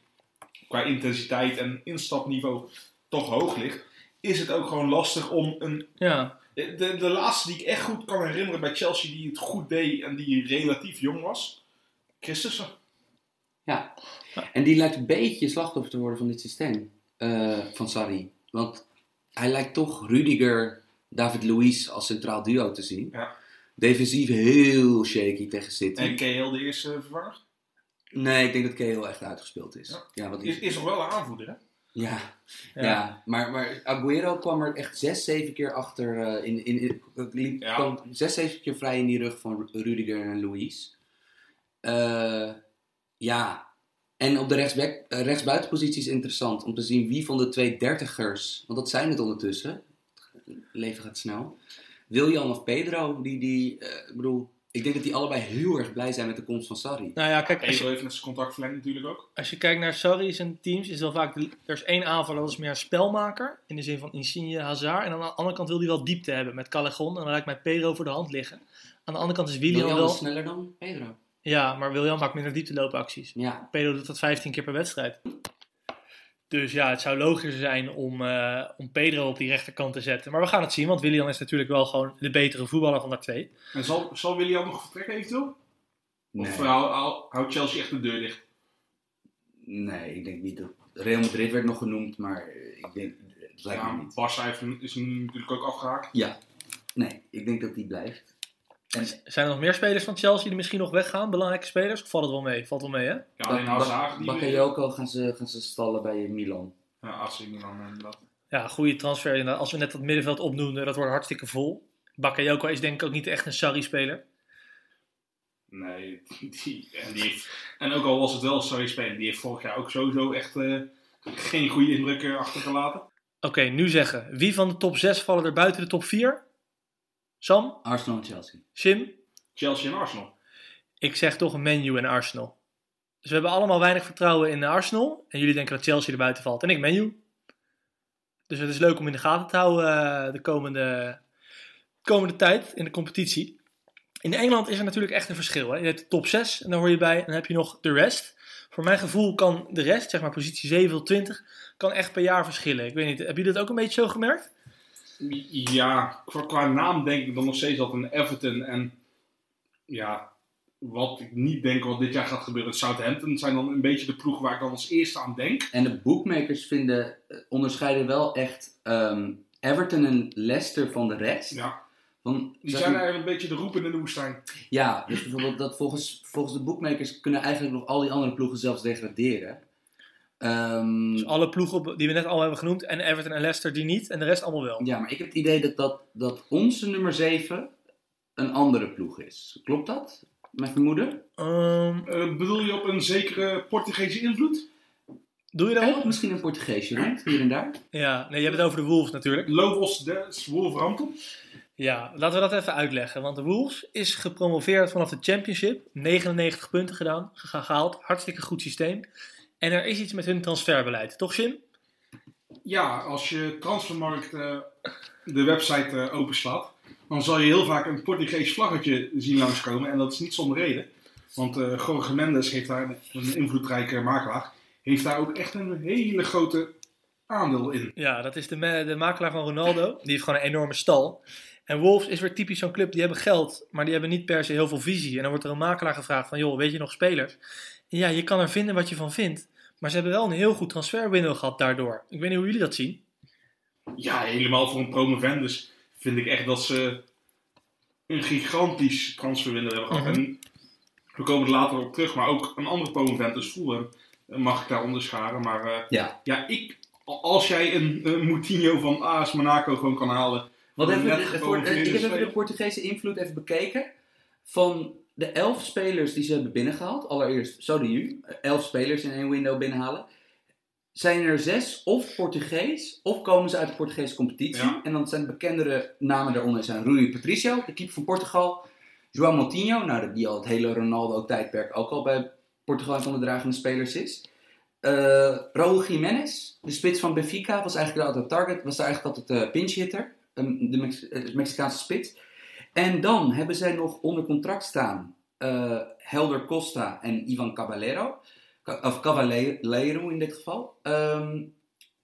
B: qua intensiteit en instapniveau toch hoog ligt, is het ook gewoon lastig om een...
A: Ja,
B: De, de laatste die ik echt goed kan herinneren bij Chelsea die het goed deed en die relatief jong was, Christensen.
C: ja. En die lijkt een beetje slachtoffer te worden van dit systeem eh, van Sarri. Want hij lijkt toch Rudiger, David Luiz als centraal duo te zien.
B: Ja.
C: Defensief heel shaky tegen City.
B: En KL de eerste eh, vervanger.
C: Nee, ik denk dat Cahill echt uitgespeeld is. Ja,
B: Ja.
C: want
B: Is,
C: die-
B: is nog wel een aanvoerder, hè?
C: ja,
A: ja.
C: ja. Maar, maar Aguero kwam er echt zes, zeven keer achter. eh, in, in, in- liep-
B: Ja.
C: kwam zes, zeven keer vrij in die rug van Ru- Rudiger en Louise. Eh, ja. En op de rechtsback, eh, rechtsbuitenpositie is interessant om te zien wie van de twee dertigers, want dat zijn het ondertussen, het leven gaat snel, William of Pedro, die, die eh, ik bedoel, ik denk dat die allebei heel erg blij zijn met de komst van Sarri.
A: Nou ja, kijk, als je,
B: Pedro heeft net zijn contract verlengd natuurlijk ook.
A: als je kijkt naar Sarri's en teams, is wel vaak, de- er is één aanvaller, dat is meer een spelmaker. In de zin van Insigne, Hazard. En aan de andere kant wil hij wel diepte hebben met Callejon. En dan lijkt mij Pedro voor de hand liggen. Aan de andere kant is Willian
C: William
A: wel...
C: is sneller dan Pedro.
A: Ja, maar Willian maakt minder diepteloopacties.
C: Ja,
A: Pedro doet dat 15 keer per wedstrijd. Dus ja, het zou logischer zijn om, eh, om Pedro op die rechterkant te zetten. Maar we gaan het zien, want Willian is natuurlijk wel gewoon de betere voetballer van de twee.
B: En zal, zal Willian nog vertrekken eventueel? Of eh,
C: Nee,
B: hou- hou- houdt Chelsea echt de deur dicht?
C: nee, ik denk niet dat. Real Madrid werd nog genoemd, maar eh, ik denk. Het lijkt
B: Ja,
C: me niet.
B: Barca heeft hem- is hem natuurlijk ook afgehaakt.
C: Ja. Nee, ik denk dat die blijft. En
A: Zijn er nog meer spelers van Chelsea die misschien nog weggaan? Belangrijke spelers? Of valt het wel mee? Valt wel mee, hè?
B: Ja, alleen
C: Bak-
B: Hazard. die-
C: Bakayoko gaan ze, gaan ze stallen bij eh, Milan.
B: Ja, AC Milan inderdaad.
A: Ja, goede transfer. inderdaad. Als we net dat middenveld opnoemden, dat wordt hartstikke vol. Bakayoko is denk ik ook niet echt een Sarri-speler.
B: Nee, die, en, die heeft- en ook al was het wel sorry spelen, die heeft vorig jaar ook sowieso echt eh, geen goede indruk eh, achtergelaten.
A: Oké, nu zeggen. Wie van de top 6 vallen er buiten de top 4? Sam?
C: Arsenal en Chelsea.
A: Sim?
B: Chelsea en Arsenal.
A: Ik zeg toch een menu en Arsenal. Dus we hebben allemaal weinig vertrouwen in Arsenal. En jullie denken dat Chelsea er buiten valt. En ik menu. Dus het is leuk om in de gaten te houden eh, de komende, komende tijd in de competitie. In Engeland is er natuurlijk echt een verschil. Hè? Je hebt de top 6 en daar hoor je bij. En dan heb je nog de rest. Voor mijn gevoel kan de rest, zeg maar positie 7 tot 20, kan echt per jaar verschillen. Ik weet niet, hebben jullie dat ook een beetje zo gemerkt?
B: Ja, qua, qua naam denk ik dan nog steeds altijd aan Everton. En ja, wat ik niet denk wat dit jaar gaat gebeuren, Southampton zijn dan een beetje de ploeg waar ik dan als eerste aan denk.
C: En de bookmakers vinden, eh, onderscheiden wel echt ehm, Everton en Leicester van de rest.
B: Ja,
C: Van,
B: die
C: zeg
B: zijn
C: maar-
B: eigenlijk een beetje de roepen in de woestijn.
C: ja, dus bijvoorbeeld dat volgens, volgens de bookmakers kunnen eigenlijk nog al die andere ploegen zelfs degraderen. Ehm,
A: Dus alle ploegen op- die we net al hebben genoemd. En Everton en Leicester die niet. En de rest allemaal wel.
C: ja, maar ik heb het idee dat, dat, dat onze nummer 7 een andere ploeg is. Klopt dat? Mijn vermoeden?
A: Ehm,
B: Eh, bedoel je op een zekere Portugese invloed?
A: doe je dat
C: Ook
A: wel?
C: misschien een Portugeesje rond, hier en daar.
A: Ja, nee, je hebt het over de Wolves natuurlijk.
B: Lobos des Wolverhampton?
A: Ja, laten we dat even uitleggen. Want de Wolves is gepromoveerd vanaf de Championship. 99 punten gedaan, ge- gehaald. Hartstikke goed systeem. En er is iets met hun transferbeleid, toch Jim?
B: Ja, als je Transfermarkt eh, de website eh, openslaat, dan zal je heel vaak een Portugees vlaggetje zien langskomen. En dat is niet zonder reden. Want eh Jorge Mendes heeft daar, een invloedrijke makelaar, heeft daar ook echt een hele grote aandeel in.
A: Ja, dat is de, ma- de makelaar van Ronaldo. Die heeft gewoon een enorme stal. En Wolves is weer typisch zo'n club. Die hebben geld, maar die hebben niet per se heel veel visie. En dan wordt er een makelaar gevraagd van, joh, weet je nog spelers? En ja, je kan er vinden wat je van vindt. Maar ze hebben wel een heel goed transferwindow gehad daardoor. Ik weet niet hoe jullie dat zien.
B: Ja, helemaal voor een promovendus vind ik echt dat ze een gigantisch transferwindow hebben
A: Mhm.
B: gehad. En we komen er later op terug, maar ook een andere promovendus, Fulham, eh, mag ik daar onderscharen. Maar eh,
C: Ja.
B: ja, ik, als jij een, eh, Moutinho van AS Monaco gewoon kan halen.
C: Wat
B: Net
C: even, voor,
B: gepromoveerde
C: eh, ik heb even
B: speler.
C: de Portugese invloed even bekeken. Van de elf spelers die ze hebben binnengehaald, allereerst Sodiu, elf spelers in één window binnenhalen. Zijn er zes of Portugees, of komen ze uit de Portugese competitie.
B: Ja.
C: En dan zijn bekendere namen daaronder zijn Rui Patricio, de keeper van Portugal. João Moutinho, nou, die al het hele Ronaldo-tijdperk ook al bij Portugal een van de dragende spelers is. Eh Raúl Jiménez, de spits van Benfica, was eigenlijk altijd target, was daar eigenlijk altijd eh pinch hitter, de Mex- eh, Mexicaanse spits. En dan hebben zij nog onder contract staan eh, Helder Costa en Ivan Caballero, Ca- of Caballero in dit geval. Ehm,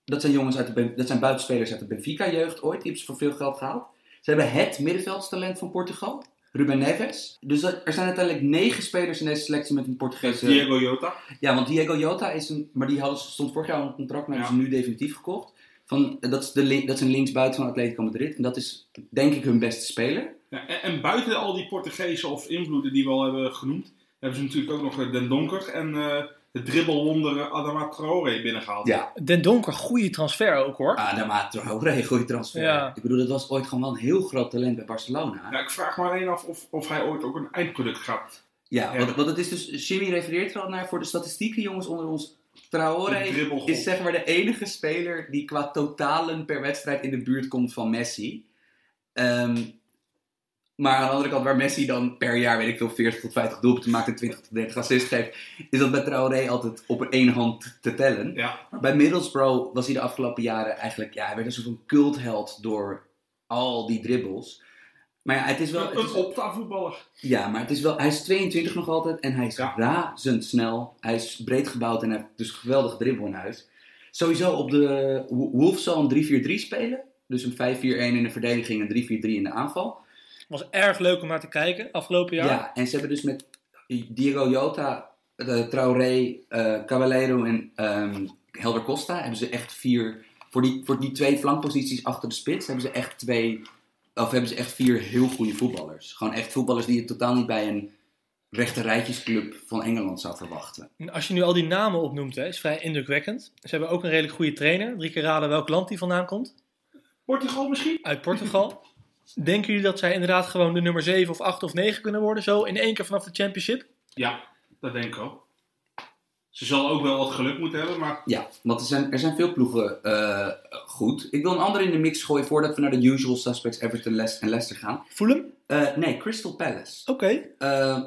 C: dat zijn jongens uit de, Ben- dat zijn buitenspelers uit de Benfica-jeugd ooit, die hebben ze voor veel geld gehaald. Ze hebben het middenveldstalent van Portugal. Ruben Neves. Dus dat- er zijn uiteindelijk negen spelers in deze selectie met een Portugese...
B: Diego Jota.
C: Ja, want Diego Jota is een. Maar die hadden, ze- stond vorig jaar onder contract, maar
B: Ja.
C: hebben ze nu definitief gekocht. Van, eh, dat, is de, link- dat is een linksbuiten van Atletico Madrid. En dat is denk ik hun beste speler.
B: Ja, en, en buiten al die Portugezen of invloeden die we al hebben genoemd, hebben ze natuurlijk ook nog eh, Den Donker en eh de dribbelwonder eh, Adama Traoré binnengehaald.
C: Ja,
A: Den Donker, goede transfer ook hoor.
C: Adama Traoré, goede transfer.
A: Ja.
C: Ik bedoel, dat was ooit gewoon wel een heel groot talent bij Barcelona.
B: Ja, ik vraag me alleen af of, of hij ooit ook een eindproduct gaat.
C: Ja,
B: Ja.
C: Want, want het is dus, Jimmy refereert er al naar voor de statistieken, jongens onder ons.
B: Een
C: Traoré
B: dribbelgod.
C: is zeg maar de enige speler die qua totalen per wedstrijd in de buurt komt van Messi. Ehm, maar aan de andere kant, waar Messi dan per jaar, weet ik veel, 40 tot 50 doelpunten maakt en 20 tot 30 assists geeft, is dat bij Traoré altijd op één hand te tellen.
B: Ja,
C: Bij Middlesbrough was hij de afgelopen jaren eigenlijk, ja, hij werd een soort van cultheld door al die dribbles. Maar ja, het is wel...
B: een,
C: het is-
B: een opta voetballer.
C: ja, maar het is wel, hij is 22 nog altijd en hij is
B: Ja.
C: razendsnel. Hij is breed gebouwd en hij heeft dus geweldig dribbel in huis. Sowieso op de Wo- Wolves zal een 3-4-3 spelen. Dus een 5-4-1 in de verdediging en 3-4-3 in de aanval.
A: Was erg leuk om naar te kijken afgelopen
C: Ja.
A: jaar.
C: en ze hebben dus met Diego Jota, eh, Traoré, eh Caballero en ehm, Helder Costa hebben ze echt vier. Voor die, voor die twee flankposities achter de spits hebben ze echt twee. Of hebben ze echt vier heel goede voetballers. Gewoon echt voetballers die je totaal niet bij een rechte rijtjesclub van Engeland zou verwachten.
A: En Als je nu al die namen opnoemt, hè, is vrij indrukwekkend. Ze hebben ook een redelijk goede trainer. Drie keer raden welk land die vandaan komt.
B: Portugal misschien?
A: Uit Portugal. Denken jullie dat zij inderdaad gewoon de nummer 7 of 8 of 9 kunnen worden? Zo in één keer vanaf de championship?
B: Ja, dat denk ik wel. Ze zal ook wel wat geluk moeten hebben, maar
C: Ja, want er zijn, er zijn veel ploegen eh, goed. Ik wil een ander in de mix gooien voordat we naar de usual suspects Everton Les en Leicester gaan.
A: Fulham? Oké.
C: Eh, nee, Crystal Palace. Eh,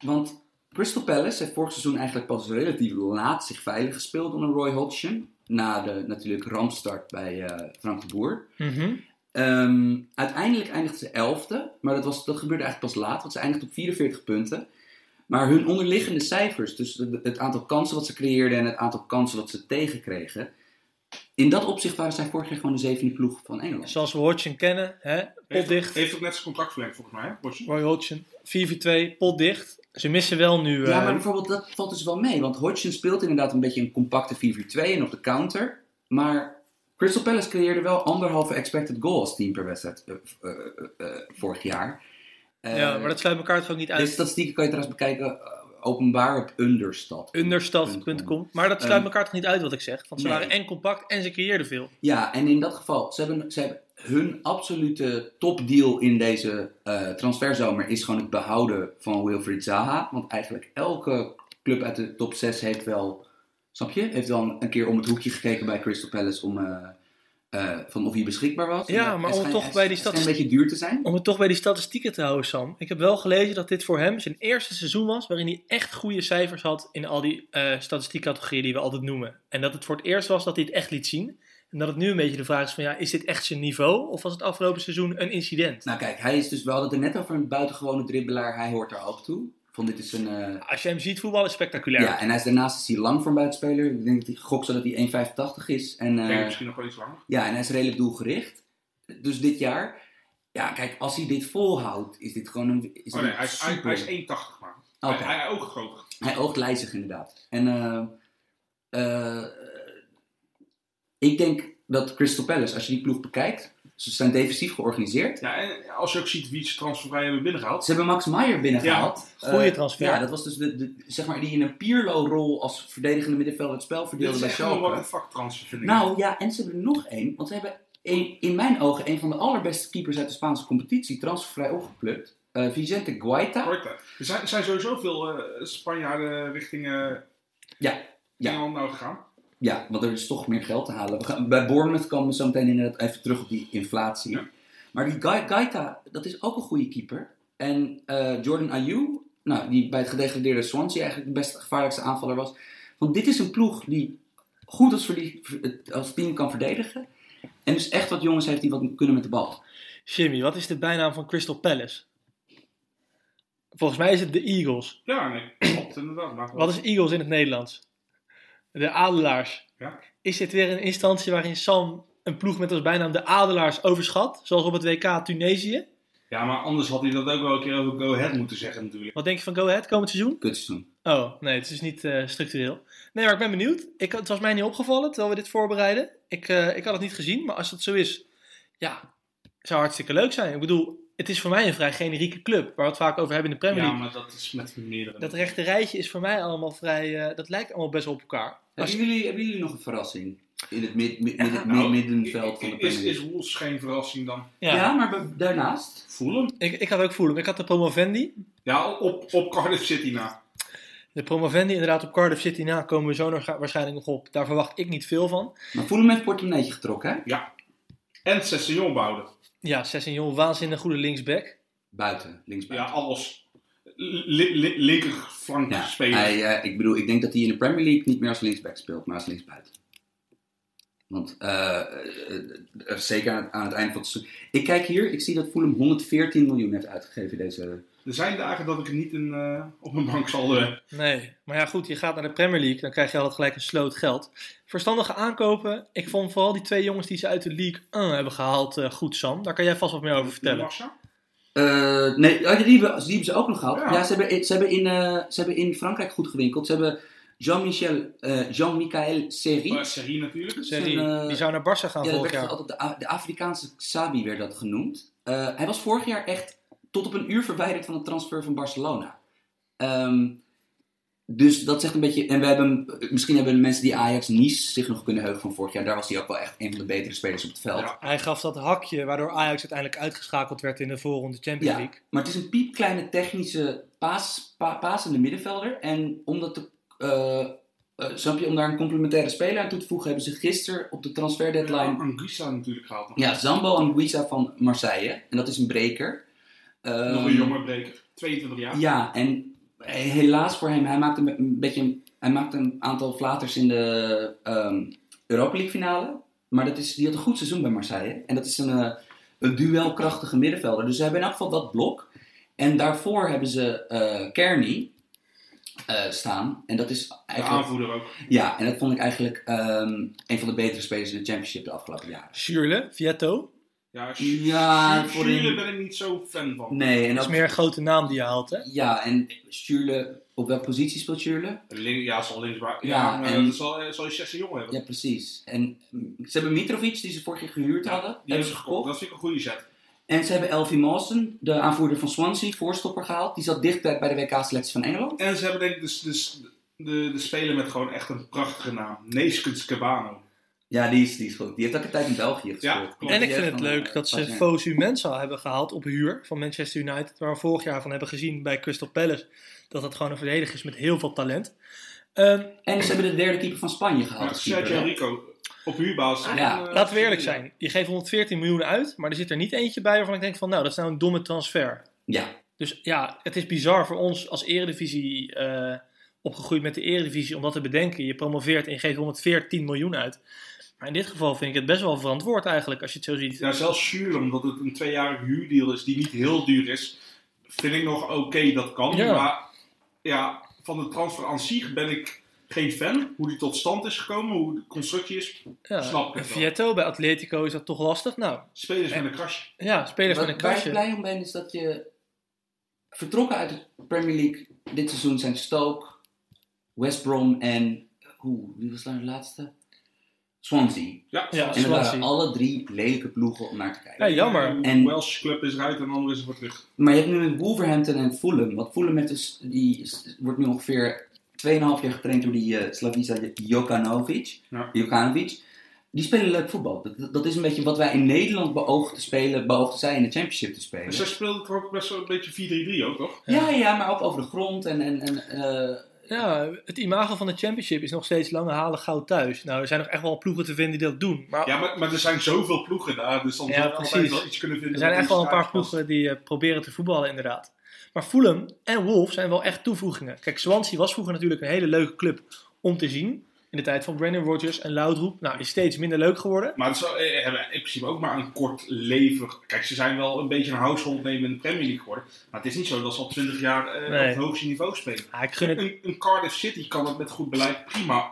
C: want Crystal Palace heeft vorig seizoen eigenlijk pas relatief laat zich veilig gespeeld onder Roy Hodgson. Na de natuurlijk rampstart bij eh, Frank de Boer.
A: Mhm.
C: Ehm, uiteindelijk eindigde ze elfde, maar dat, was, dat gebeurde eigenlijk pas laat, want ze eindigde op 44 punten. Maar hun onderliggende cijfers, dus de- het aantal kansen wat ze creëerden en het aantal kansen wat ze tegenkregen, in dat opzicht waren zij vorig jaar gewoon de zevende ploeg van Engeland.
A: Zoals we Hodgson kennen, hè? pot
D: Heeft,
A: dicht.
D: heeft ook net zijn contract verlengd volgens mij, hè? Potje.
A: Roy Hodgson, 4-4-2, pot dicht. Ze missen wel nu... eh,
C: Ja, maar bijvoorbeeld dat valt dus wel mee, want Hodgson speelt inderdaad een beetje een compacte 4-4-2 en op de counter, maar Crystal Palace creëerde wel anderhalve expected goal als team per wedstrijd eh, eh, eh, eh, vorig jaar. Eh,
A: ja, maar dat sluit elkaar toch ook niet
C: De
A: uit.
C: statistieken kan je trouwens bekijken eh, openbaar op Understad.
A: Understad.com. Maar dat sluit
C: Ehm,
A: elkaar toch niet uit wat ik zeg. Want ze
C: nee.
A: waren en compact en ze creëerden veel.
C: Ja, en in dat geval, ze hebben, ze hebben hun absolute topdeal in deze eh transferzomer is gewoon het behouden van Wilfried Zaha. Want eigenlijk elke club uit de top 6 heeft wel, snap je, heeft wel een- een keer om het hoekje gekeken bij Crystal Palace om... eh, eh, van of hij beschikbaar was.
A: Ja,
C: En, eh,
A: maar
C: hij
A: om
C: schijnt-
A: toch
C: hij
A: bij die
C: schijnt
A: statis-
C: een beetje duur te zijn.
A: Om het toch bij die statistieken te houden, Sam. Ik heb wel gelezen dat dit voor hem zijn eerste seizoen was. waarin hij echt goede cijfers had. in al die eh statistiekcategorieën die we altijd noemen. En dat het voor het eerst was dat hij het echt liet zien. En dat het nu een beetje de vraag is: van ja, is dit echt zijn niveau? Of was het afgelopen seizoen een incident?
C: Nou kijk, hij is dus, we hadden het er net over een buitengewone dribbelaar. Hij hoort daar ook toe. Van dit is een, eh,
A: Nou, Als je hem ziet voetballen, is het spectaculair.
C: Ja, en hij is daarnaast is hij lang voor een buitenspeler. Ik denk dat hij gok zo dat hij 1,85 is. En, eh,
D: Ik denk dat misschien nog wel iets langer.
C: ja, en hij is redelijk doelgericht. Dus dit jaar, ja, kijk, als hij dit volhoudt, is dit gewoon een.
D: Oh
C: Is dit
D: nee, hij is, hij,
C: super-
D: hij is 1,80 maar.
C: Oké.
D: Hij, hij ook groter.
C: Hij oogt lijzig inderdaad. En eh, eh, ik denk dat Crystal Palace, als je die ploeg bekijkt, ze zijn defensief georganiseerd.
D: Ja, en als je ook ziet wie ze transfervrij hebben binnengehaald.
C: Ze hebben Max Maier binnengehaald. Eh,
A: goeie transfer.
C: Ja, dat was dus de, de- zeg maar die in een Pierlo-rol als verdedigende middenvelder het spel
D: Dit
C: verdeelde
D: is
C: bij
D: echt wel
C: Schalke.
D: wat een vaktransfer vind ik.
C: Nou ja, en ze hebben er nog één. Want ze hebben een, in mijn ogen een van de allerbeste keepers uit de Spaanse competitie transfervrij opgeplukt. Eh, Vicente Guaita.
D: Korte. Er zijn, er zijn sowieso veel eh, Spanjaarden richting eh,
C: Ja, ja.
D: Engeland nou gegaan.
C: Ja, want er is toch meer geld te halen. We gaan, bij Bournemouth komen we zo meteen inderdaad even terug op die inflatie.
D: Ja.
C: Maar die Gai- Gaita, dat is ook een goede keeper. En eh, Jordan Ayew, nou, die bij het gedegradeerde Swansea eigenlijk de beste gevaarlijkste aanvaller was. Want dit is een ploeg die goed als, verdie- als team kan verdedigen. En dus echt wat jongens heeft die wat kunnen met de bal.
A: Jimmy, wat is de bijnaam van Crystal Palace? Volgens mij is het de Eagles.
D: Ja, nee, klopt inderdaad. Maar
A: Wat is Eagles in het Nederlands? De Adelaars.
D: Ja.
A: Is dit weer een instantie waarin Sam een ploeg met als bijnaam de Adelaars overschat? Zoals op het WK Tunesië.
D: Ja, maar anders had hij dat ook wel een keer over Go Ahead moeten zeggen natuurlijk.
A: Wat denk je van Go Ahead komend seizoen?
C: kutseizoen.
A: Oh, nee, het is niet eh, structureel. Nee, maar ik ben benieuwd. Ik, het was mij niet opgevallen terwijl we dit voorbereiden. Ik, eh, ik had het niet gezien, maar als dat zo is, ja, zou hartstikke leuk zijn. Ik bedoel, het is voor mij een vrij generieke club, waar we het vaak over hebben in de Premier
D: Ja,
A: League.
D: maar dat is met meerdere.
A: Dat rechte rijtje is voor mij allemaal vrij, eh, dat lijkt allemaal best wel op elkaar. Als-
C: Hebben jullie, hebben jullie nog een verrassing in het mid, mid, mid-
D: Nou,
C: middenveld van de Premier
D: is,
C: League?
D: is Wolves geen verrassing dan?
A: ja,
C: ja, maar we- daarnaast.
D: Fulham?
A: Ik, ik had ook Fulham. Ik had de Promovendi.
D: Ja, op, op Cardiff City na.
A: De Promovendi inderdaad op Cardiff City na komen we zo nog, waarschijnlijk nog op. Daar verwacht ik niet veel van.
C: Maar voelen met portemonneetje getrokken, hè?
D: En Session behouden.
A: Ja, Sessignon, waanzinnig goede linksback.
C: Buiten, linksbuiten.
D: Ja, alles. Li- li- Linkerflank
C: Ja,
D: spelen.
C: hij, eh, ik bedoel, ik denk dat hij in de Premier League niet meer als linksback speelt, maar als linksbuiten. Want eh, eh, eh, zeker aan het, aan het einde van het seizoen. Ik kijk hier, ik zie dat Fulham 114 miljoen heeft uitgegeven deze.
D: Er zijn dagen dat ik het niet in, eh, op mijn bank zal eh,
A: Nee, maar ja goed, je gaat naar de Premier League, dan krijg je altijd gelijk een sloot geld. Verstandige aankopen. Ik vond vooral die twee jongens die ze uit de League 1 hebben gehaald eh, goed, Sam. Daar kan jij vast wat meer over vertellen.
D: Massa.
C: Eh, nee, oh, die, die hebben, die hebben ze ook nog gehad. Ja,
D: Ja.
C: ze, hebben, ze, hebben in, eh, ze hebben in Frankrijk goed gewinkeld. Ze hebben Jean-Michel, eh, Jean-Michael Seri.
B: Oh,
D: Eh, Serie natuurlijk.
A: Serie,
C: Zo'n, eh,
A: die zou naar Barça gaan
C: Ja, dat
A: volgend
C: werd
A: jaar.
C: altijd de, A- de Afrikaanse Xabi werd dat genoemd. Eh, hij was vorig jaar echt tot op een uur verwijderd van de transfer van Barcelona. Ehm, dus dat zegt een beetje... En we hebben, hem- misschien hebben de mensen die Ajax Nice zich nog kunnen heugen van vorig jaar. Daar was hij ook wel echt een van de betere spelers op het veld.
D: Ja.
A: Hij gaf dat hakje waardoor Ajax uiteindelijk uitgeschakeld werd in de voorronde Champions
C: Ja,
A: League.
C: Maar het is een piepkleine technische paas, pa, pasende middenvelder. En omdat de, eh, eh, snap je, om daar een complementaire speler aan toe te voegen... hebben ze gisteren op de transfer deadline
D: Anguissa natuurlijk gehaald. nog.
C: Ja, Zambo Anguissa van Marseille. En dat is een breker. Ehm,
D: Nog een jonge breker. 22 jaar.
C: Ja, en helaas voor hem, hij maakte een, een beetje, hij maakte een aantal flaters in de ehm Europa League finale. Maar dat is, die had een goed seizoen bij Marseille. En dat is een, eh, een duelkrachtige middenvelder. Dus ze hebben in elk geval dat blok. En daarvoor hebben ze eh Kearney eh, staan. En dat is
B: De
C: eigenlijk...
B: aanvoerder ook.
C: Ja, en dat vond ik eigenlijk ehm, een van de betere spelers in de championship de afgelopen jaren.
A: Schürrle, Vietto.
B: Ja,
C: Ja, voorin.
B: Schuurle ben ik niet zo fan van.
C: Nee, en
A: Dat is
C: ook...
A: meer een grote naam die je haalt, hè?
C: Ja, en Schürrle... Op welke positie speelt Schürrle?
B: Link- ja, zal linksback.
C: Ja,
B: Ja, maar
C: en-
B: dat zal, eh, zal je 16 jongen hebben.
C: Ja, precies. En mm, ze hebben Mitrovic, die ze vorig jaar gehuurd hadden,
B: Die
C: hebben ze gekocht.
B: Dat vind ik een goede zet.
C: En ze hebben Elfie Mawson, de aanvoerder van Swansea, voorstopper gehaald. Die zat dicht bij bij de WK-selectie van Engeland.
B: En ze hebben denk ik dus, dus de, de speler met gewoon echt een prachtige naam. Neeskens Cabano.
C: Ja, die is, die is goed. Die heeft ook een tijd in België
B: Ja,
C: gespeeld.
B: klopt.
A: En ik
C: Die
A: vind
C: heeft
A: het
C: dan,
A: leuk
C: eh,
A: dat ze
C: Feyenoord.
A: Fosu Mensah hebben gehaald op huur van Manchester United. Waar we vorig jaar van hebben gezien bij Crystal Palace. Dat dat gewoon een verdediger is met heel veel talent. Ehm,
C: En ze hebben de derde keeper van Spanje gehaald.
B: Ja,
C: als keeper,
B: Sergio
C: hè?
B: Rico op huurbasis.
C: Ah, ja.
B: En, eh,
A: laten we eerlijk zijn. Je geeft 114 miljoen uit. Maar er zit er niet eentje bij waarvan ik denk van nou dat is nou een domme transfer.
C: ja,
A: Dus ja, het is bizar voor ons als eredivisie eh, opgegroeid met de eredivisie om dat te bedenken. Je promoveert en je geeft 114 miljoen uit. Maar in dit geval vind ik het best wel verantwoord eigenlijk als je het zo ziet.
B: Ja, zelfs Schuurle, omdat het een tweejarig huurdeal is die niet heel duur is, vind ik nog oké, dat kan.
A: Ja.
B: Maar ja, van de transfer aan zich ben ik geen fan. Hoe die tot stand is gekomen, hoe de constructie is.
A: Ja,
B: Snap ik
A: en
B: wel.
A: Vietto bij Atletico is dat toch lastig? Nou,
B: Spelers met een krasje.
A: ja, spelers
C: Wat
A: met een
C: waar ik
A: kastje.
C: blij om ben, is dat je vertrokken uit de Premier League dit seizoen zijn Stoke, West Brom en... Oeh, wie was daar de laatste? Swansea.
B: Ja,
A: Ja,
C: En dat
A: Swansea.
C: waren alle drie lelijke ploegen om naar te kijken.
A: Ja, jammer.
B: Een
C: En-
B: Welsh club is eruit en de andere is er voor terug.
C: Maar je hebt nu een Wolverhampton en Fulham. Want Fulham heeft dus, die is- wordt nu ongeveer 2,5 jaar getraind door die eh Slavisa Jokanovic.
B: Ja.
C: Jokanovic. Die spelen leuk voetbal. Dat, dat is een beetje wat wij in Nederland beoogden te spelen, beoogden zij in de Championship te
B: En
C: spelen.
B: zij Dus speelde toch ook best wel een beetje 4-3-3 ook, toch?
C: Ja, ja, maar ook over de grond en... en, en eh,
A: Ja, het imago van de Championship is nog steeds lange halen goud thuis. Nou, er zijn nog echt wel ploegen te vinden die dat doen. Maar
B: Ja, maar, maar er zijn zoveel ploegen daar, dus dan
A: Ja,
B: zullen we altijd
A: precies.
B: wel iets kunnen
A: er
B: vinden.
A: zijn
B: dat
A: echt wel een
B: iets
A: paar
B: uitpast.
A: ploegen die eh, proberen te voetballen, inderdaad. Maar Fulham en Wolves zijn wel echt toevoegingen. Kijk, Swansea was vroeger natuurlijk een hele leuke club om te zien. In de tijd van Brandon Rodgers en Loudroep. Nou, is steeds minder leuk geworden.
B: Maar ze eh, hebben in principe ook maar een kort leven. Kijk, ze zijn wel een beetje een household name in de Premier League geworden. Maar het is niet zo dat ze al 20 jaar eh,
A: Nee.
B: op het hoogste niveau spelen.
A: Ah, ik gun het.
B: Een, een Cardiff City kan dat met goed beleid prima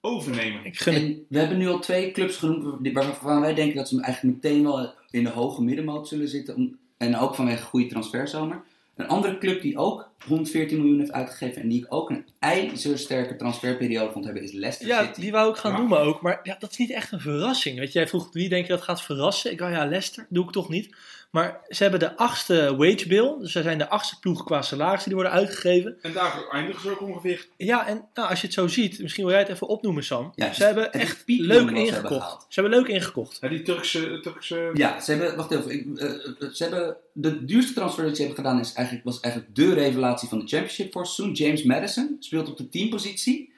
B: overnemen.
A: Ik gun het.
C: en we hebben nu al twee clubs genoemd die- waarvan wij denken dat ze eigenlijk meteen wel in de hoge middenmoot zullen zitten. om- en ook vanwege goede transferzomer. Een andere club die ook 114 miljoen heeft uitgegeven en die ik ook een ijzersterke transferperiode vond hebben is Leicester
A: Ja,
C: City.
A: die wou ik gaan
B: Ja.
A: noemen ook. Maar ja, dat is niet echt een verrassing. Weet je, jij vroeg wie denk je dat gaat verrassen? Ik dacht, ja, Leicester doe ik toch niet. Maar ze hebben de achtste wage bill. Dus zij zijn de achtste ploeg qua salaris die worden uitgegeven.
B: En daar eindigen ze ook ongeveer.
A: Ja, en nou, als je het zo ziet, misschien wil jij het even opnoemen, Sam.
C: Ja,
A: ze hebben
C: het is
A: echt
C: piekjong
A: leuk
C: wat ze hebben
A: ingekocht.
C: gehaald.
A: Ze hebben leuk ingekocht.
B: Ja, die Turkse... Turkse...
C: Ja, ze hebben, wacht even, ik, eh, eh, ze hebben, de duurste transfer dat ze hebben gedaan is eigenlijk, was eigenlijk de revelatie van de championship voor het seizoen. James Madison speelt op de 10 positie.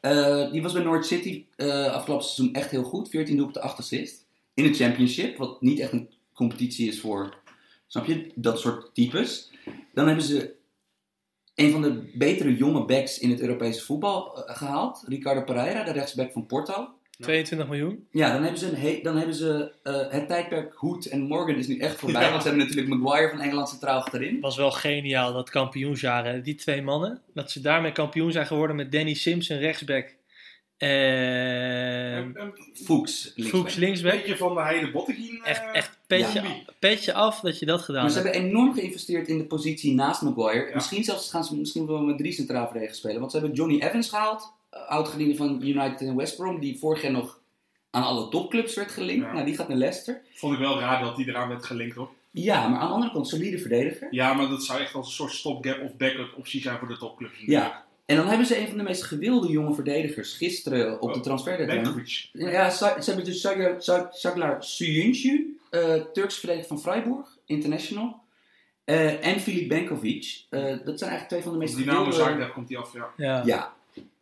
C: Eh, die was bij Norwich City eh, afgelopen seizoen echt heel goed. 14 doelpunten, 8 assist. In de championship, wat niet echt een competitie is voor, snap je, dat soort types. Dan hebben ze een van de betere jonge backs in het Europese voetbal eh, gehaald. Ricardo Pereira, de rechtsback van Porto.
A: 22 miljoen.
C: Ja, dan hebben ze, een he- dan hebben ze eh, het tijdperk Hoed en Morgan is nu echt voorbij. Want ze hebben natuurlijk Maguire van Engeland centraal achterin.
A: Was wel geniaal, dat kampioensjaar. hè. Die twee mannen. Dat ze daarmee kampioen zijn geworden met Danny Simpson rechtsback. En
B: eh, Een, een
C: Fuchs, linksback.
A: Fuchs linksback.
B: beetje van de Heide Bottegien. eh,
A: Echt, echt petje,
B: combi.
A: petje af dat je dat gedaan
C: Maar Dus ze
A: hebt.
C: hebben enorm geïnvesteerd in de positie naast Maguire.
B: Ja.
C: Misschien zelfs gaan ze misschien wel met drie centraal verdedigers spelen. Want ze hebben Johnny Evans gehaald, eh, oud-gediende van United en West Brom, die vorig jaar nog aan alle topclubs werd gelinkt.
B: Ja.
C: Nou, die gaat naar Leicester.
B: Vond ik wel raar dat die eraan werd gelinkt, hoor.
C: Ja, maar aan de andere kant solide verdediger.
B: Ja, maar dat zou echt als een soort stopgap of backup optie zijn voor de topclubs.
C: Ja. En dan hebben ze een van de meest gewilde jonge verdedigers gisteren op de
B: Oh,
C: transferdeadline.
B: Benkovic.
C: Ja, ze ze hebben dus Saglar- Sa- Saglar Suyuncu, eh, Turks verdediger van Freiburg, international. eh, en Filip Benkovic. Eh, dat zijn eigenlijk twee van de meest
B: Dynamo
C: gewilde-
B: Zagreb komt die af, ja.
A: Ja.
C: Ja,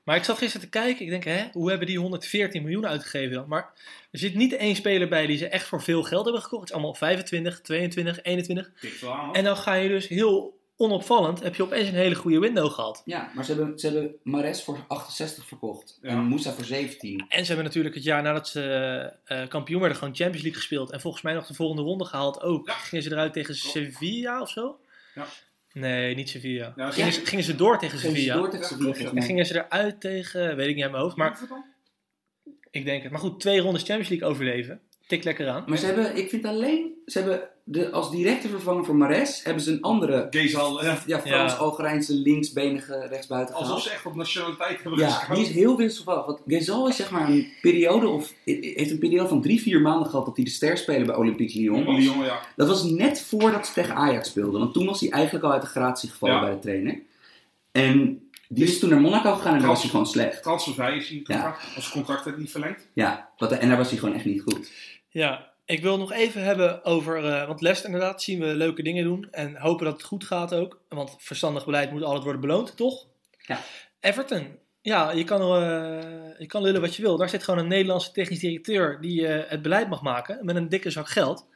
A: Maar ik zat gisteren te kijken. Ik denk, hè, hoe hebben die 114 miljoen uitgegeven dan? Maar er zit niet één speler bij die ze echt voor veel geld hebben gekocht. Het is allemaal 25, 22, 21.
B: Tikt wel aan, hoor.
A: En dan ga je dus heel onopvallend heb je opeens een hele goede window gehad.
C: Ja, maar ze hebben, ze hebben Mares voor 68 verkocht.
B: Ja.
C: En Moussa voor 17.
A: En ze hebben natuurlijk het jaar nadat ze eh, eh, kampioen werden gewoon Champions League gespeeld. En volgens mij nog de volgende ronde gehaald ook.
B: Ja.
A: Gingen ze eruit tegen
B: Klopt.
A: Sevilla of zo?
B: Ja.
A: Nee, niet Sevilla.
B: Ja,
A: Gingen, ze, gingen ze door tegen
C: Geef ze
A: Sevilla.
C: door tegen Sevilla. volgens
A: En
C: mij.
A: gingen ze eruit tegen, weet ik niet uit mijn hoofd, maar ik denk het. Maar goed, twee rondes Champions League overleven. Tik lekker aan.
C: Maar ze hebben, ik vind alleen, ze hebben de, als directe vervanger voor Mares, hebben ze een andere,
B: Gezal, eh,
C: ja, Frans-Algerijnse linksbenige rechtsbuiten gehaald.
B: alsof ze echt op nationaliteit hebben
C: Ja,
B: gescout.
C: die is heel wisselvallig. Want Gezal is zeg maar een periode of heeft een periode van drie, vier maanden gehad dat hij de ster spelen bij Olympique Lyon was.
B: Lyon, ja.
C: Dat was net voordat ze tegen Ajax speelden. Want toen was hij eigenlijk al uit de gratie gevallen
B: Ja. Dus
C: bij de trainer. En die is toen naar Monaco gegaan en daar was hij gewoon slecht.
B: Transfervrij is hij
C: Ja.
B: contract, als contract werd niet verlengd.
C: Ja, wat, en daar was hij gewoon echt niet goed.
A: Ja, ik wil nog even hebben over, eh, want Leicester inderdaad zien we leuke dingen doen en hopen dat het goed gaat ook. Want verstandig beleid moet altijd worden beloond, toch?
C: Ja.
A: Everton, ja, je kan, eh, je kan lullen wat je wil. Daar zit gewoon een Nederlandse technisch directeur die eh, het beleid mag maken met een dikke zak geld.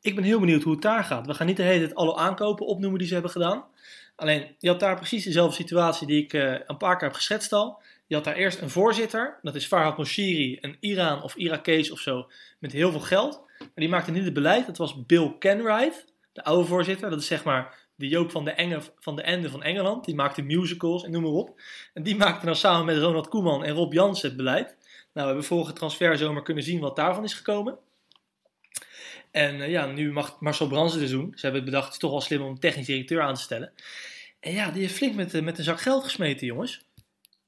A: Ik ben heel benieuwd hoe het daar gaat. We gaan niet de hele tijd alle aankopen opnoemen die ze hebben gedaan. Alleen, je had daar precies dezelfde situatie die ik eh, een paar keer heb geschetst al. Je had daar eerst een voorzitter, dat is Farhad Moshiri, een Iraan of Irakees of zo, met heel veel geld. Maar die maakte niet het beleid. Dat was Bill Kenwright, de oude voorzitter. Dat is zeg maar de Joop van de, Enge, van de Ende van Engeland. Die maakte musicals en noem maar op. En die maakte dan samen met Ronald Koeman en Rob Jansen het beleid. Nou, we hebben vorige transferzomer kunnen zien wat daarvan is gekomen. En eh, ja, nu mag Marcel Bransen dus doen. Ze hebben bedacht, het is toch wel slim om een technisch directeur aan te stellen. En ja, die heeft flink met, eh, met een zak geld gesmeten, jongens.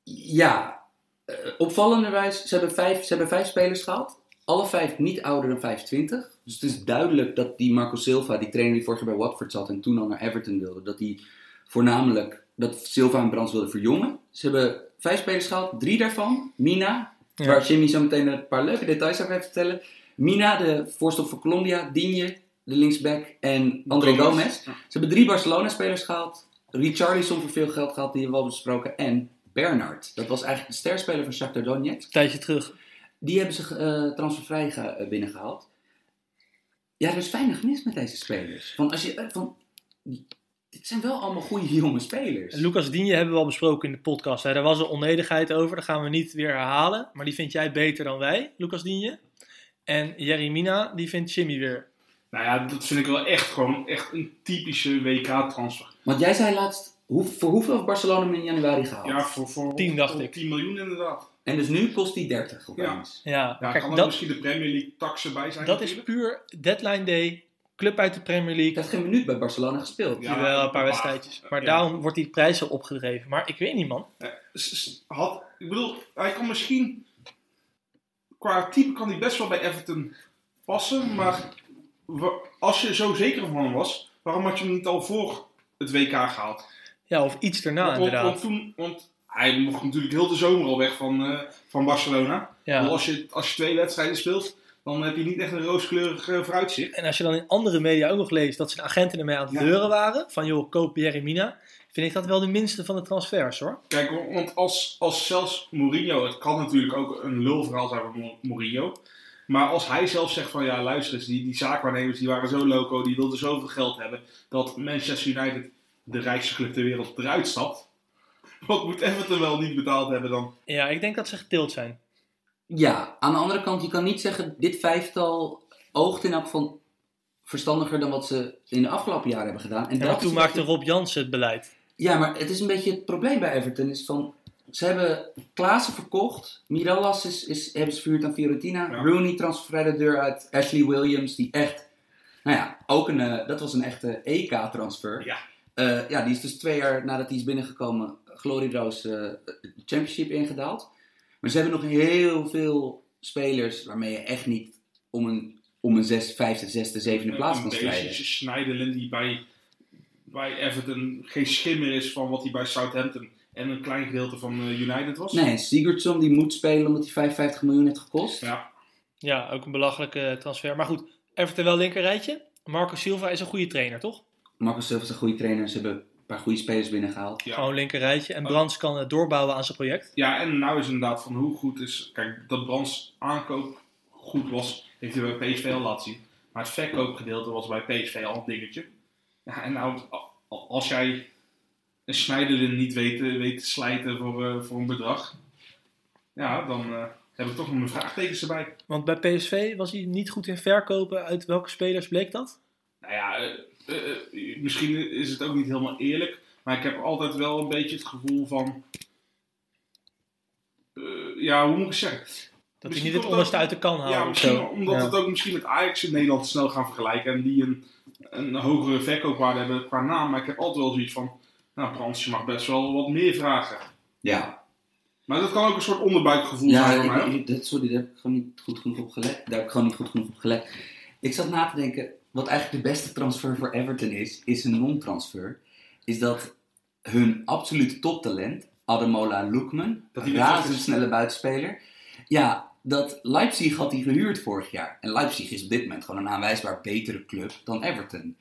C: Ja, eh, opvallenderwijs, ze hebben, vijf, ze hebben vijf spelers gehaald. Alle vijf niet ouder dan 25. Dus het is duidelijk dat die Marco Silva, die trainer die vorig jaar bij Watford zat en toen al naar Everton wilde, dat die voornamelijk dat Silva en Brands wilden verjongen. Ze hebben vijf spelers gehaald, drie daarvan. Mina,
A: Ja.
C: waar Jimmy zo meteen een paar leuke details over heeft te vertellen. Mina, de voorstel van Colombia, Digne, de linksback en André
B: Gomez.
C: Gomez. Ze hebben drie Barcelona-spelers gehaald. Richarlison voor veel geld gehaald, die hebben we al besproken. En Bernard, dat was eigenlijk de sterspeler van Shakhtar Donetsk.
A: Tijdje terug.
C: Die hebben ze eh transfervrij ge- eh, binnengehaald. Ja, er is weinig mis met deze spelers. Van als je, eh, van, dit zijn wel allemaal goede jonge spelers.
A: Lucas Digne hebben we al besproken in de podcast. Hè. Daar was een onenigheid over, dat gaan we niet weer herhalen. Maar die vind jij beter dan wij, Lucas Digne. En Jeremina, die vindt Jimmy weer.
B: Nou ja, dat vind ik wel echt gewoon echt een typische WK-transfer.
C: Want jij zei laatst, hoe, voor hoeveel heeft Barcelona hem in januari gehaald?
B: Ja, voor, voor
A: 10 dacht
B: voor
A: ik.
B: 10 miljoen inderdaad.
C: En dus nu kost hij 30 opeens.
A: Ja,
B: Ja, dus-
A: kijk,
B: kan er
A: dat,
B: misschien de Premier League taxen bij zijn?
A: dat is
B: natuurlijk?
A: puur deadline day, club uit de Premier
C: Ik
A: League.
C: heb geen minuut bij Barcelona gespeeld.
B: Ja,
A: Jawel, een paar
B: maar-
A: wedstrijdjes. Maar
B: ja.
A: daarom wordt die prijs zo opgedreven. Maar ik weet niet, man.
B: S- s- Had, ik bedoel, hij kan misschien... Qua type kan hij best wel bij Everton passen, maar wa- als je zo zeker van hem was, waarom had je hem niet al voor het WK gehaald?
A: Ja, of iets daarna,
B: want, want-
A: inderdaad.
B: want toen, want hij mocht natuurlijk heel de zomer al weg van, eh, van Barcelona.
A: Ja.
B: Want Als, je, als je twee wedstrijden speelt, dan heb je niet echt een rooskleurig eh, vooruitzicht.
A: En als je dan in andere media ook nog leest dat zijn agenten ermee aan het
B: Ja.
A: leuren waren. Van joh, koop Jeremina. Vind ik dat wel de minste van de transfers hoor.
B: Kijk, wa- want als, als zelfs Mourinho, het kan natuurlijk ook een lulverhaal zijn van Mou- Mourinho. Maar als hij zelf zegt van ja, luister eens, die, die zaakwaarnemers die waren zo loco, die wilden zoveel geld hebben, dat Manchester United, de rijkste club ter wereld, eruit stapt. Wat moet Everton wel niet betaald hebben dan?
A: Ja, ik denk dat ze getild zijn.
C: Ja, aan de andere kant, je kan niet zeggen, dit vijftal oogt in elk geval verstandiger dan wat ze in de afgelopen jaren hebben gedaan. En
A: En
C: dat
A: toen
C: is-
A: maakte Rob Jansen het beleid.
C: Ja, maar het is een beetje het probleem bij Everton. Is van, ze hebben Klaassen verkocht. Mirallas is, is, hebben ze verhuurd aan Fiorentina.
B: Ja.
C: Rooney transfervrij de deur uit. Ashley Williams, die echt... Nou ja, ook een, eh, dat was een echte EK-transfer.
B: Ja.
C: Eh, ja, die is dus twee jaar nadat hij is binnengekomen... glorieloos eh, de championship ingedaald. Maar ze hebben nog heel veel spelers... waarmee je echt niet om een, om een zes, vijfde, zesde, zevende plaats
B: een
C: kan strijden.
B: beetje Schneiderlin die bij, bij Everton geen schimmer is van wat hij bij Southampton en een klein gedeelte van eh, United was.
C: Nee, Sigurdsson die moet spelen omdat hij 55 miljoen heeft gekost.
B: Ja,
A: Ja, ook een belachelijke eh, transfer. Maar goed, Everton wel linker rijtje. Marco Silva is een goede trainer, toch?
C: Marco Silva is een goede trainer. Ze hebben een paar goede spelers binnengehaald.
B: Ja. Oh.
A: Gewoon linker rijtje. En Brands kan eh, doorbouwen aan zijn project.
B: ja, en nou is inderdaad van hoe goed is. Kijk, dat Brands aankoop goed was, heeft hij bij PSV al laten zien. Maar het verkoopgedeelte was bij PSV al een dingetje. Ja, en nou, a- al- als jij een snijder niet weet, eh, weet te slijten voor, eh, voor een bedrag, ja, dan eh, heb ik toch nog mijn vraagtekens erbij.
A: Want bij PSV was hij niet goed in verkopen. Uit welke spelers bleek dat?
B: Nou ja, eh, eh, eh, misschien is het ook niet helemaal eerlijk, maar ik heb altijd wel een beetje het gevoel van. eh, ja, hoe moet ik het zeggen?
A: Dat
B: Misschien
A: hij niet
B: komt
A: het onderste
B: het ook-
A: uit de kan haalde.
B: Ja,
A: of
B: misschien
A: Nou, zo.
B: omdat
A: Ja.
B: het ook misschien met Ajax in Nederland snel gaan vergelijken en die een, een hogere verkoopwaarde hebben qua naam. Maar ik heb altijd wel zoiets van, nou Brans, je mag best wel wat meer vragen.
C: Ja,
B: Maar dat kan ook een soort onderbuikgevoel zijn voor
C: ja
B: mij.
C: ik- ik- dat, sorry, daar heb ik gewoon niet goed genoeg op gelet. Daar heb ik gewoon niet goed genoeg op gelet. Ik zat na te denken, wat eigenlijk de beste transfer voor Everton is, is een non-transfer. Is dat hun absolute toptalent, Ademola Lookman,
B: Dat die weer terug
C: razendsnelle buitenspeler. Ja, dat Leipzig had hij gehuurd vorig jaar. En Leipzig is op dit moment gewoon een aanwijsbaar betere club dan Everton.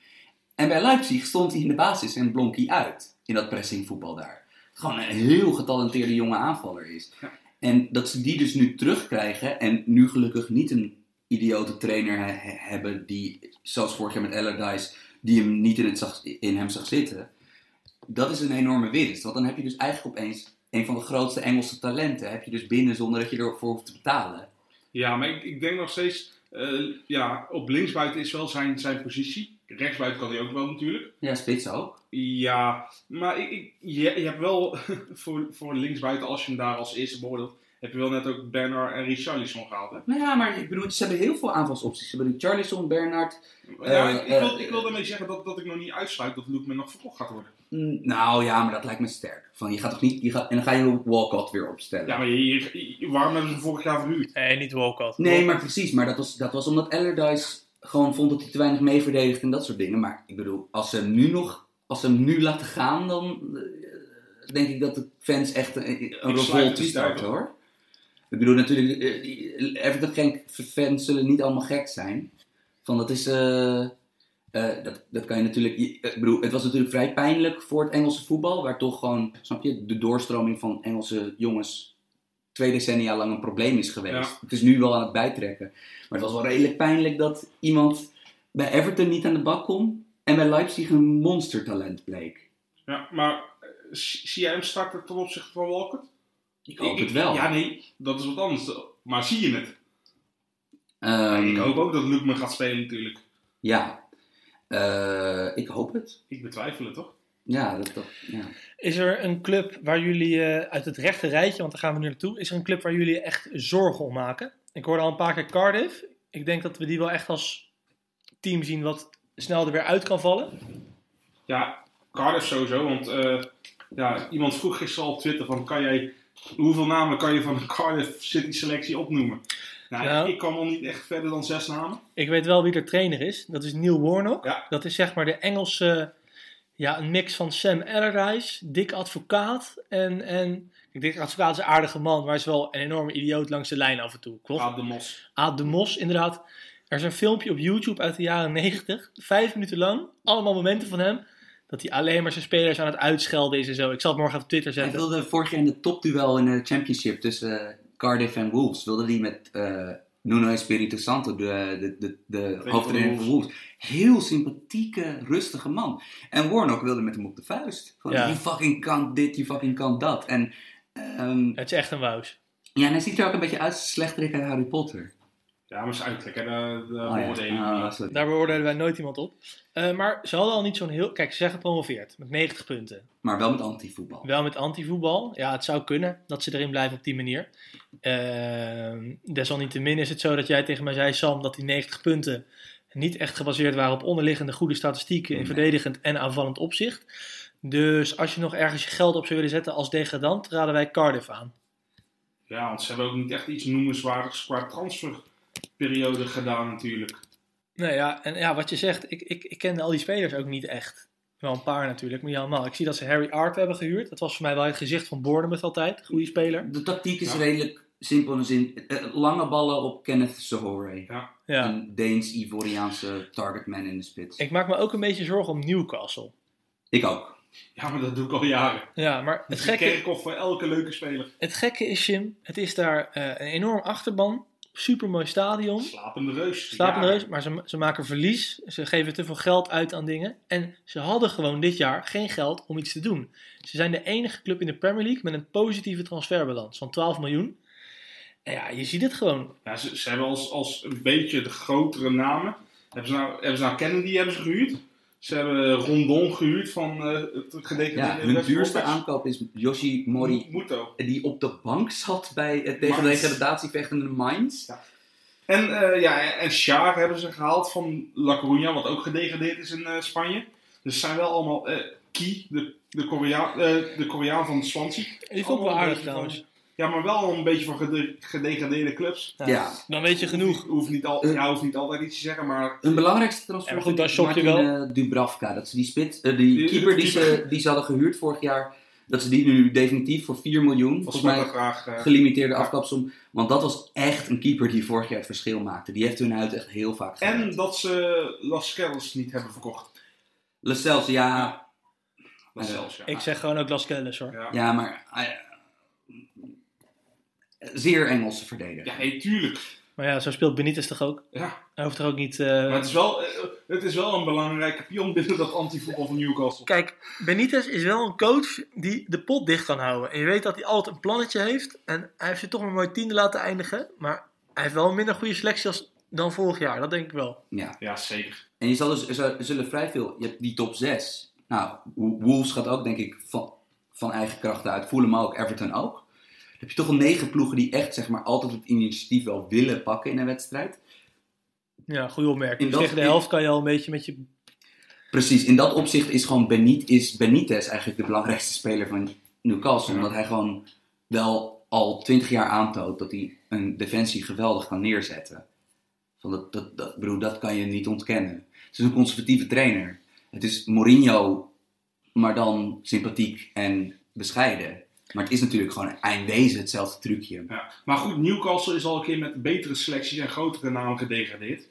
C: En bij Leipzig stond hij in de basis en blonk hij uit in dat pressingvoetbal daar. Gewoon een heel getalenteerde jonge aanvaller is. En dat ze die dus nu terugkrijgen en nu gelukkig niet een idiote trainer he- he- hebben die, zoals vorig jaar met Allardyce, die hem niet in, het zag, in hem zag zitten. Dat is een enorme winst, want dan heb je dus eigenlijk opeens een van de grootste Engelse talenten heb je dus binnen zonder dat je ervoor hoeft te betalen.
B: Ja, maar ik, ik denk nog steeds, eh, ja, op linksbuiten is wel zijn, zijn positie. Rechtsbuiten kan hij ook wel natuurlijk.
C: Ja, spits ook.
B: Ja, maar ik, ik- je, je hebt wel voor, voor linksbuiten, als je hem daar als eerste beoordeelt, heb je wel net ook Bernard en Richarlison gehaald. Hè?
C: Nou ja, maar ik bedoel, ze hebben heel veel aanvalsopties. Ze hebben de Charlison, Bernard.
B: ja,
C: Eh,
B: ik, ik wil,
C: eh,
B: ik wil daarmee zeggen dat, dat ik nog niet uitsluit dat Loekman nog verkocht gaat worden.
C: Mm, Nou ja, maar dat lijkt me sterk. Van, je gaat toch niet, je gaat, en dan ga je Walcott weer opstellen.
B: Ja, maar je, je- je- waarom hebben ze hem vorig jaar verhuurd?
A: Nee, niet Walcott.
C: Nee, maar precies. Maar dat was, dat was omdat Allardyce gewoon vond dat hij te weinig mee verdedigt en dat soort dingen. Maar ik bedoel, als ze hem nu nog, als ze hem nu laten gaan, dan eh, denk ik dat de fans echt een, een
B: Ik sluit het
C: revolte
B: niet
C: starten
B: uit,
C: hoor. Ik bedoel natuurlijk, eh, die Everton Genk fans zullen niet allemaal gek zijn. Van dat is, eh, eh, dat, dat kan je natuurlijk, je- ik bedoel, het was natuurlijk vrij pijnlijk voor het Engelse voetbal. Waar toch gewoon, snap je, de doorstroming van Engelse jongens twee decennia lang een probleem is geweest.
B: Ja.
C: Het is nu wel aan het bijtrekken. Maar het was wel redelijk pijnlijk dat iemand bij Everton niet aan de bak kon en bij Leipzig een monstertalent bleek.
B: Ja, maar eh, zie zie jij hem starten ten opzichte van Walcott?
C: Ik hoop het wel.
B: Ja, nee, dat is wat anders. Maar zie je het?
C: Ehm,
B: Ik hoop ook dat Loekman gaat spelen natuurlijk.
C: Ja, Eh, ik hoop het.
B: Ik betwijfel het, toch?
C: Ja, dat, dat, ja.
A: Is er een club waar jullie eh, uit het rechte rijtje, want daar gaan we nu naartoe, is er een club waar jullie echt zorgen om maken? Ik hoorde al een paar keer Cardiff. Ik denk dat we die wel echt als team zien wat snel er weer uit kan vallen.
B: Ja, Cardiff sowieso. Want eh, ja, iemand vroeg gisteren al op Twitter van kan jij, hoeveel namen kan je van de Cardiff City selectie opnoemen? Nou,
A: Ja.
B: ik kwam al niet echt verder dan zes namen.
A: Ik weet wel wie er trainer is. Dat is Neil Warnock.
B: Ja.
A: Dat is zeg maar de Engelse, ja, een mix van Sam Allardyce, Dick Advocaat en, en ik denk Advocaat is een aardige man, maar is wel een enorme idioot langs de lijn af en toe. Klopt?
B: Aad de Mos.
A: Aad de Mos, inderdaad. Er is een filmpje op YouTube uit de jaren 90, vijf minuten lang, allemaal momenten van hem, dat hij alleen maar zijn spelers aan het uitschelden is en zo. Ik zal het morgen op Twitter
C: Hij
A: zetten.
C: wilde vorig jaar in de topduel in de championship tussen eh, Cardiff en Wolves. Wilde die met eh, Nuno Espirito Santo, de, de, de, de hoofdtrainer van Wolves. Heel sympathieke, rustige man. En Warnock wilde met hem op de vuist. Van,
A: Ja.
C: je fucking kan dit, je fucking kan dat. En, ehm,
A: Het is echt een wous.
C: ja, en hij ziet er ook een beetje uit als een slechterik uit Harry Potter.
B: Ja, maar ze uittrekken, de, de
C: Oh ja.
B: beoordeling.
C: Ah, sorry.
A: Daar beoordelen wij nooit iemand op. Eh, maar ze hadden al niet zo'n heel... Kijk, ze zijn gepromoveerd met 90 punten.
C: Maar wel met antivoetbal.
A: Wel met antivoetbal. Ja, het zou kunnen dat ze erin blijven op die manier. Ehm, desalniettemin is het zo dat jij tegen mij zei, Sam, dat die 90 punten niet echt gebaseerd waren op onderliggende goede statistieken in
C: Nee.
A: verdedigend en aanvallend opzicht. Dus als je nog ergens je geld op zou willen zetten als degradant, raden wij Cardiff aan.
B: Ja, want ze hebben ook niet echt iets noemenswaardigs qua transferperiode gedaan natuurlijk.
A: Nou ja, en ja, wat je zegt, ik, ik, ik kende al die spelers ook niet echt. Wel een paar natuurlijk, maar niet allemaal. Ik zie dat ze Harry Art hebben gehuurd. Dat was voor mij wel het gezicht van Bournemouth altijd. Goede speler.
C: De tactiek is
B: Ja.
C: redelijk simpel in de zin. eh, lange ballen op Kenneth Sahore.
A: Ja.
C: Een Deens-Ivoriaanse targetman in de spits.
A: Ik maak me ook een beetje zorgen om Newcastle.
C: ik ook.
B: Ja, maar dat doe ik al jaren.
A: Ja, maar het
B: Het is een
A: gekke,
B: kerkhof voor elke leuke speler.
A: het gekke is, Jim, het is daar eh, een enorm achterban. Supermooi stadion.
E: Slapende reus.
A: Slapende
E: Ja.
A: reus, maar ze, ze maken verlies. Ze geven te veel geld uit aan dingen. En ze hadden gewoon dit jaar geen geld om iets te doen. Ze zijn de enige club in de Premier League met een positieve transferbalans van 12 miljoen. En ja, je ziet het gewoon.
B: Ja, ze, ze hebben als, als een beetje de grotere namen. Hebben ze nou, hebben ze nou Kennedy hebben ze gehuurd? Ze hebben Rondon gehuurd van eh het
C: Ja,
B: gedegradeerde
C: hun
B: West
C: duurste
B: Bromwich.
C: aankoop is Yoshi Mori,
B: Muto.
C: die op de bank zat bij het tegen de
B: Mainz.
C: degradatie vechtende Mainz.
B: En, eh ja, en- en Schaar hebben ze gehaald van La Coruña, wat ook gedegradeerd is in eh, Spanje. Dus ze zijn wel allemaal eh Key, de, de, Korea, eh, de Koreaan van Swansea.
A: Die vond ik wel
B: Allemaal
A: aardig
B: een beetje
A: trouwens.
B: van- Ja, maar wel een beetje van gede- gedegradeerde clubs.
A: Nou,
C: Ja,
A: Dan weet je genoeg.
B: Hoeft, hoeft niet al,
C: Eh.
B: ja, hoeft niet altijd iets te zeggen, maar
C: Hun belangrijkste transfer
A: Ja, maar goed, daar
C: vind
A: shock je
C: ik Martin, eh, Dubravka. Dat ze die, spits, eh, die
B: Die-
C: keeper die
B: die-
C: ze, die ze hadden gehuurd vorig jaar, dat ze die nu definitief voor 4 miljoen,
B: volgens
C: volgens
B: mij
C: mij
B: graag. eh,
C: gelimiteerde afkapsom. Want dat was echt een keeper die vorig jaar het verschil maakte. Die heeft hun uit echt heel vaak gered.
B: en dat ze Las Kells niet hebben verkocht.
C: Lascelles, ja,
B: Las Kells, ja.
A: Ik zeg gewoon ook Las Kellis hoor.
B: Ja.
C: ja, maar... eh, zeer Engelse verdediger.
B: Ja, hey, tuurlijk.
A: Maar ja, zo speelt Benitez toch ook?
B: Ja.
A: Hij hoeft er ook niet... eh,
B: Maar het is wel, eh, het is wel een belangrijke pion binnen dat antivoetbal van Newcastle.
A: Kijk, Benitez is wel een coach die de pot dicht kan houden. En je weet dat hij altijd een plannetje heeft. En hij heeft ze toch maar mooi tiende laten eindigen. Maar hij heeft wel een minder goede selectie als dan vorig jaar. Dat denk ik wel.
C: Ja.
B: Ja, zeker.
C: En je zal dus, er zullen- er zullen vrij veel... Je hebt die top 6. Nou, Wo- Wolves gaat ook, denk ik, van, van eigen krachten uit. Fulham ook, Everton ook. Dan heb je toch al negen ploegen die echt, zeg maar, altijd het initiatief wel willen pakken in een wedstrijd.
A: Ja, goede opmerking.
C: In
A: Dus
C: dat-
A: tegen de helft kan je al een beetje met je...
C: Precies, in dat opzicht is gewoon Benit, is Benitez eigenlijk de belangrijkste speler van Newcastle.
B: Ja.
C: Omdat hij gewoon wel al twintig jaar aantoont dat hij een defensie geweldig kan neerzetten. Van dat, dat, dat, ik bedoel, dat kan je niet ontkennen. Het is een conservatieve trainer. Het is Mourinho, maar dan sympathiek en bescheiden. Maar het is natuurlijk gewoon eindwezen hetzelfde trucje.
B: Ja. Maar goed, Newcastle is al een keer met betere selecties en grotere namen gedegradeerd.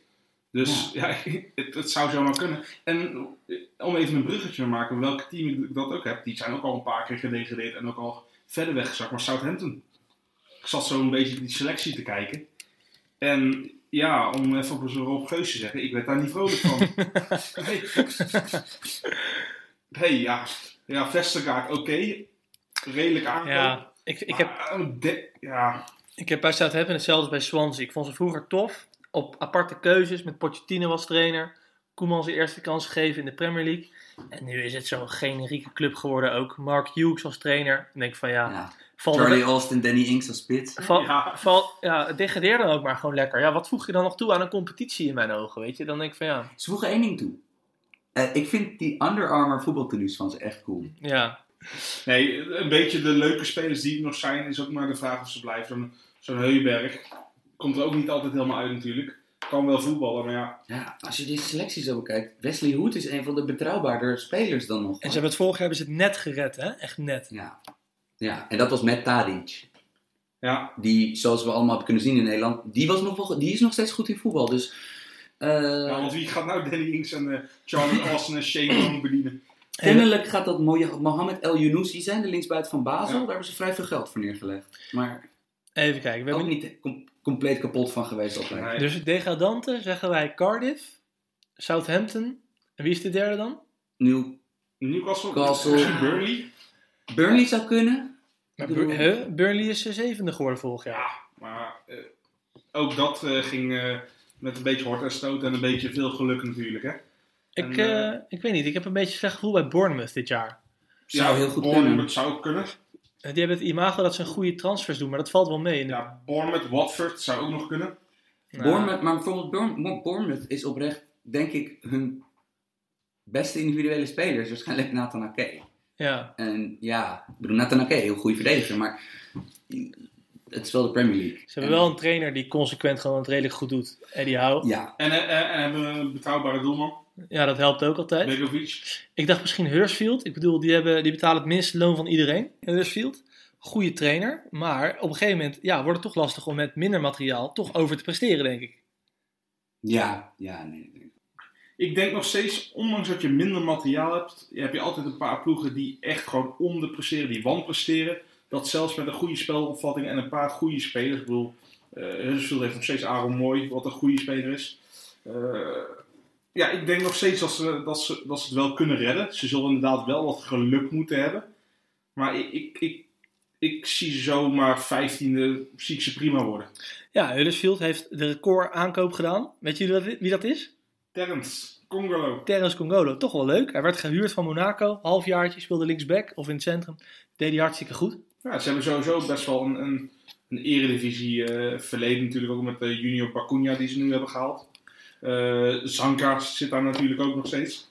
B: Dus ja, het, het zou zomaar kunnen. En eh, om even een bruggetje te maken, welk team ik dat ook heb, die zijn ook al een paar keer gedegradeerd en ook al verder weggezakt. Maar Southampton. Ik zat zo een beetje die selectie te kijken. En ja, om even op zo'n Rob Geus te zeggen, ik werd daar niet vrolijk van. nee. nee, ja. Ja, Vestergaard, oké. Redelijk aankoop.
A: Ja, ik, ik, heb,
B: Maar, eh, de- ja,
A: ik heb bij Southampton hetzelfde als bij Swansea. Ik vond ze vroeger tof. Op aparte keuzes met Pochettino als trainer. Koeman zijn eerste kans gegeven in de Premier League. En nu is het zo'n generieke club geworden ook. Mark Hughes als trainer. Ik denk van ja,
C: Ja.
A: valt er
C: Charlie Austin, Danny Inks als spits.
A: Val,
B: Ja.
A: val- ja, degradeer dan ook maar gewoon lekker. Ja, wat voeg je dan nog toe aan een competitie in mijn ogen, weet je? Dan denk ik van ja,
C: Ze voegen één ding toe. Eh, ik vind die Under Armour voetbaltenues van ze echt cool.
A: ja.
B: Nee, een beetje de leuke spelers die er nog zijn, is ook maar de vraag of ze blijven. Zo'n zo'n Heuberg komt er ook niet altijd helemaal uit natuurlijk. Kan wel voetballen, maar ja.
C: Ja, als je deze selectie zo bekijkt, Wesley Hood is een van de betrouwbaarder spelers dan nog.
A: En ze hebben het vorig jaar hebben ze het net gered, hè? Echt net.
C: Ja. ja, en dat was met Tadic.
B: Ja,
C: Die, zoals we allemaal hebben kunnen zien in Nederland, die, was nog wel, die is nog steeds goed in voetbal. Dus, eh,
B: ja, want wie gaat nou Danny Ings en eh, Charlie Austin en Shane Long bedienen?
C: kennelijk gaat dat mooie Mohamed El Younoussi die zijn de linksbuiten van Basel.
B: Ja.
C: Daar hebben ze vrij veel geld voor neergelegd. Maar
A: Even kijken. We
C: ook
A: hebben
C: niet com- compleet kapot van geweest altijd.
B: Nee.
A: Dus degradanten zeggen wij Cardiff, Southampton. En wie is de derde dan?
C: Nu,
B: Newcastle?
C: Castle.
B: Misschien Burnley?
C: Burnley zou kunnen.
A: Maar
C: Ik bedoel-
A: Bur- huh? Burnley is de zevende geworden vorig jaar.
B: Ja, maar eh, ook dat eh, ging eh, met een beetje hort en stoot en een beetje veel geluk natuurlijk, hè.
A: ik,
B: en,
A: eh, ik weet niet, ik heb een beetje een slecht gevoel bij Bournemouth dit jaar.
C: Zou heel goed
B: Bournemouth
C: kunnen.
B: zou ook kunnen.
A: Eh, Die hebben het imago dat ze een goede transfers doen, maar dat valt wel mee. In de-
B: Ja, Bournemouth, Watford zou ook nog kunnen.
A: Nou,
C: Bournemouth, maar bijvoorbeeld Bournemouth, Bournemouth is oprecht, denk ik, hun beste individuele speler is waarschijnlijk Nathan Ake.
A: Ja,
C: En ja, ik bedoel, Nathan Ake, heel goede verdediger, maar het is wel de Premier League.
A: ze hebben wel een trainer die consequent gewoon het redelijk goed doet. Eddie Howe.
C: Ja,
B: En, eh, eh, en hebben we een betrouwbare doelman,
A: Ja, dat helpt ook altijd.
B: Begovic.
A: Ik dacht misschien Hursfield. Ik bedoel, die, hebben, die betalen het minste loon van iedereen. Hursfield, goede trainer. Maar op een gegeven moment ja, wordt het toch lastig om met minder materiaal toch over te presteren, denk ik.
C: ja, ja, nee. nee.
B: Ik denk nog steeds, ondanks dat je minder materiaal hebt, heb je altijd een paar ploegen die echt gewoon om de presteren, die wanpresteren. Dat zelfs met een goede spelopvatting en een paar goede spelers, ik bedoel, Eh Huddersfield heeft nog steeds Aaron Mooi, wat een goede speler is. Eh, ja, ik denk nog steeds dat ze, dat, ze, dat ze het wel kunnen redden. Ze zullen inderdaad wel wat geluk moeten hebben. Maar ik, ik, ik, ik zie zomaar 15e, zie ik ze prima worden.
A: Ja, Huddersfield heeft de record aankoop gedaan. Weet jullie wat- wie dat is?
B: Terrence, Congolo.
A: Terence Congolo. Toch wel leuk. Hij werd gehuurd van Monaco. Halfjaartje speelde linksback of in het centrum. Deed hij hartstikke goed.
B: Ja, ze hebben sowieso best wel een, een, een eredivisie eh, verleden natuurlijk. Ook met de junior Pacunia die ze nu hebben gehaald. Eh Zanka zit daar natuurlijk ook nog steeds.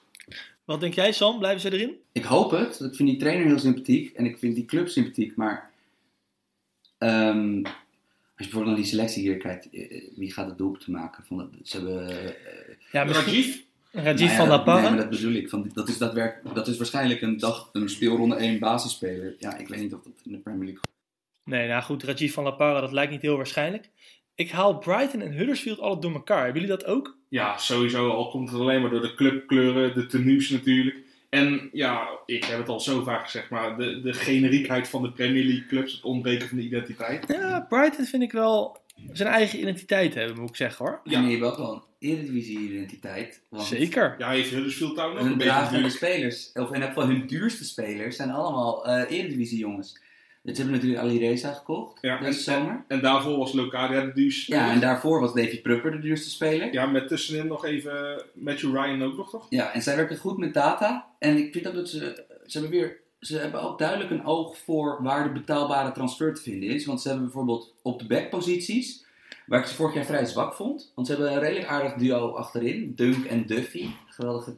A: Wat denk jij, Sam? Blijven ze erin?
C: Ik hoop het. Ik vind die trainer heel sympathiek en ik vind die club sympathiek. Maar ehm, als je bijvoorbeeld naar die selectie hier kijkt, eh, eh, wie gaat het doelpunt maken? Van, dat- ze hebben eh,
A: Ja,
B: Rajiv,
A: Rajiv
C: nou ja,
A: van La
C: dat-
A: Parra.
C: Nee, maar dat bedoel ik. Van, dat, is dat, werk, dat is waarschijnlijk een, dag, een speelronde 1 basisspeler. Ja, ik weet niet of dat in de Premier League...
A: Nee, nou goed, Rajiv van La Parra, dat lijkt niet heel waarschijnlijk. Ik haal Brighton en Huddersfield altijd door elkaar. Hebben jullie dat ook?
B: ja, sowieso. Al komt het alleen maar door de clubkleuren, de tenues natuurlijk. En ja, ik heb het al zo vaak gezegd, maar de, de generiekheid van de Premier League clubs, het ontbreken van de identiteit.
A: Ja, Brighton vind ik wel zijn eigen identiteit hebben, moet ik zeggen hoor.
B: Ja.
C: Ja. En je hebt ook wel een eredivisie-identiteit. want
A: Zeker.
B: Ja, heeft Huddersfield Town ook
C: Hun
B: een beetje
C: dragende
B: natuurlijk.
C: spelers, of in ieder geval hun duurste spelers, zijn allemaal eh eredivisie jongens. Ze hebben natuurlijk Alireza gekocht
B: Ja, en-
C: deze zomer.
B: En daarvoor was Locadia de duurste.
C: Ja, en daarvoor was David Prupper de duurste speler. Ja.
B: Ja, met tussenin nog even Matthew Ryan ook nog, toch?
C: en zij werken goed met data. En ik vind ook dat ze, ze hebben weer, ze hebben ook duidelijk een oog voor waar de betaalbare transfer te vinden is. Want ze hebben bijvoorbeeld op de backposities, waar ik ze vorig jaar vrij zwak vond. Want ze hebben een redelijk aardig duo achterin, Dunk en Duffy. Geweldige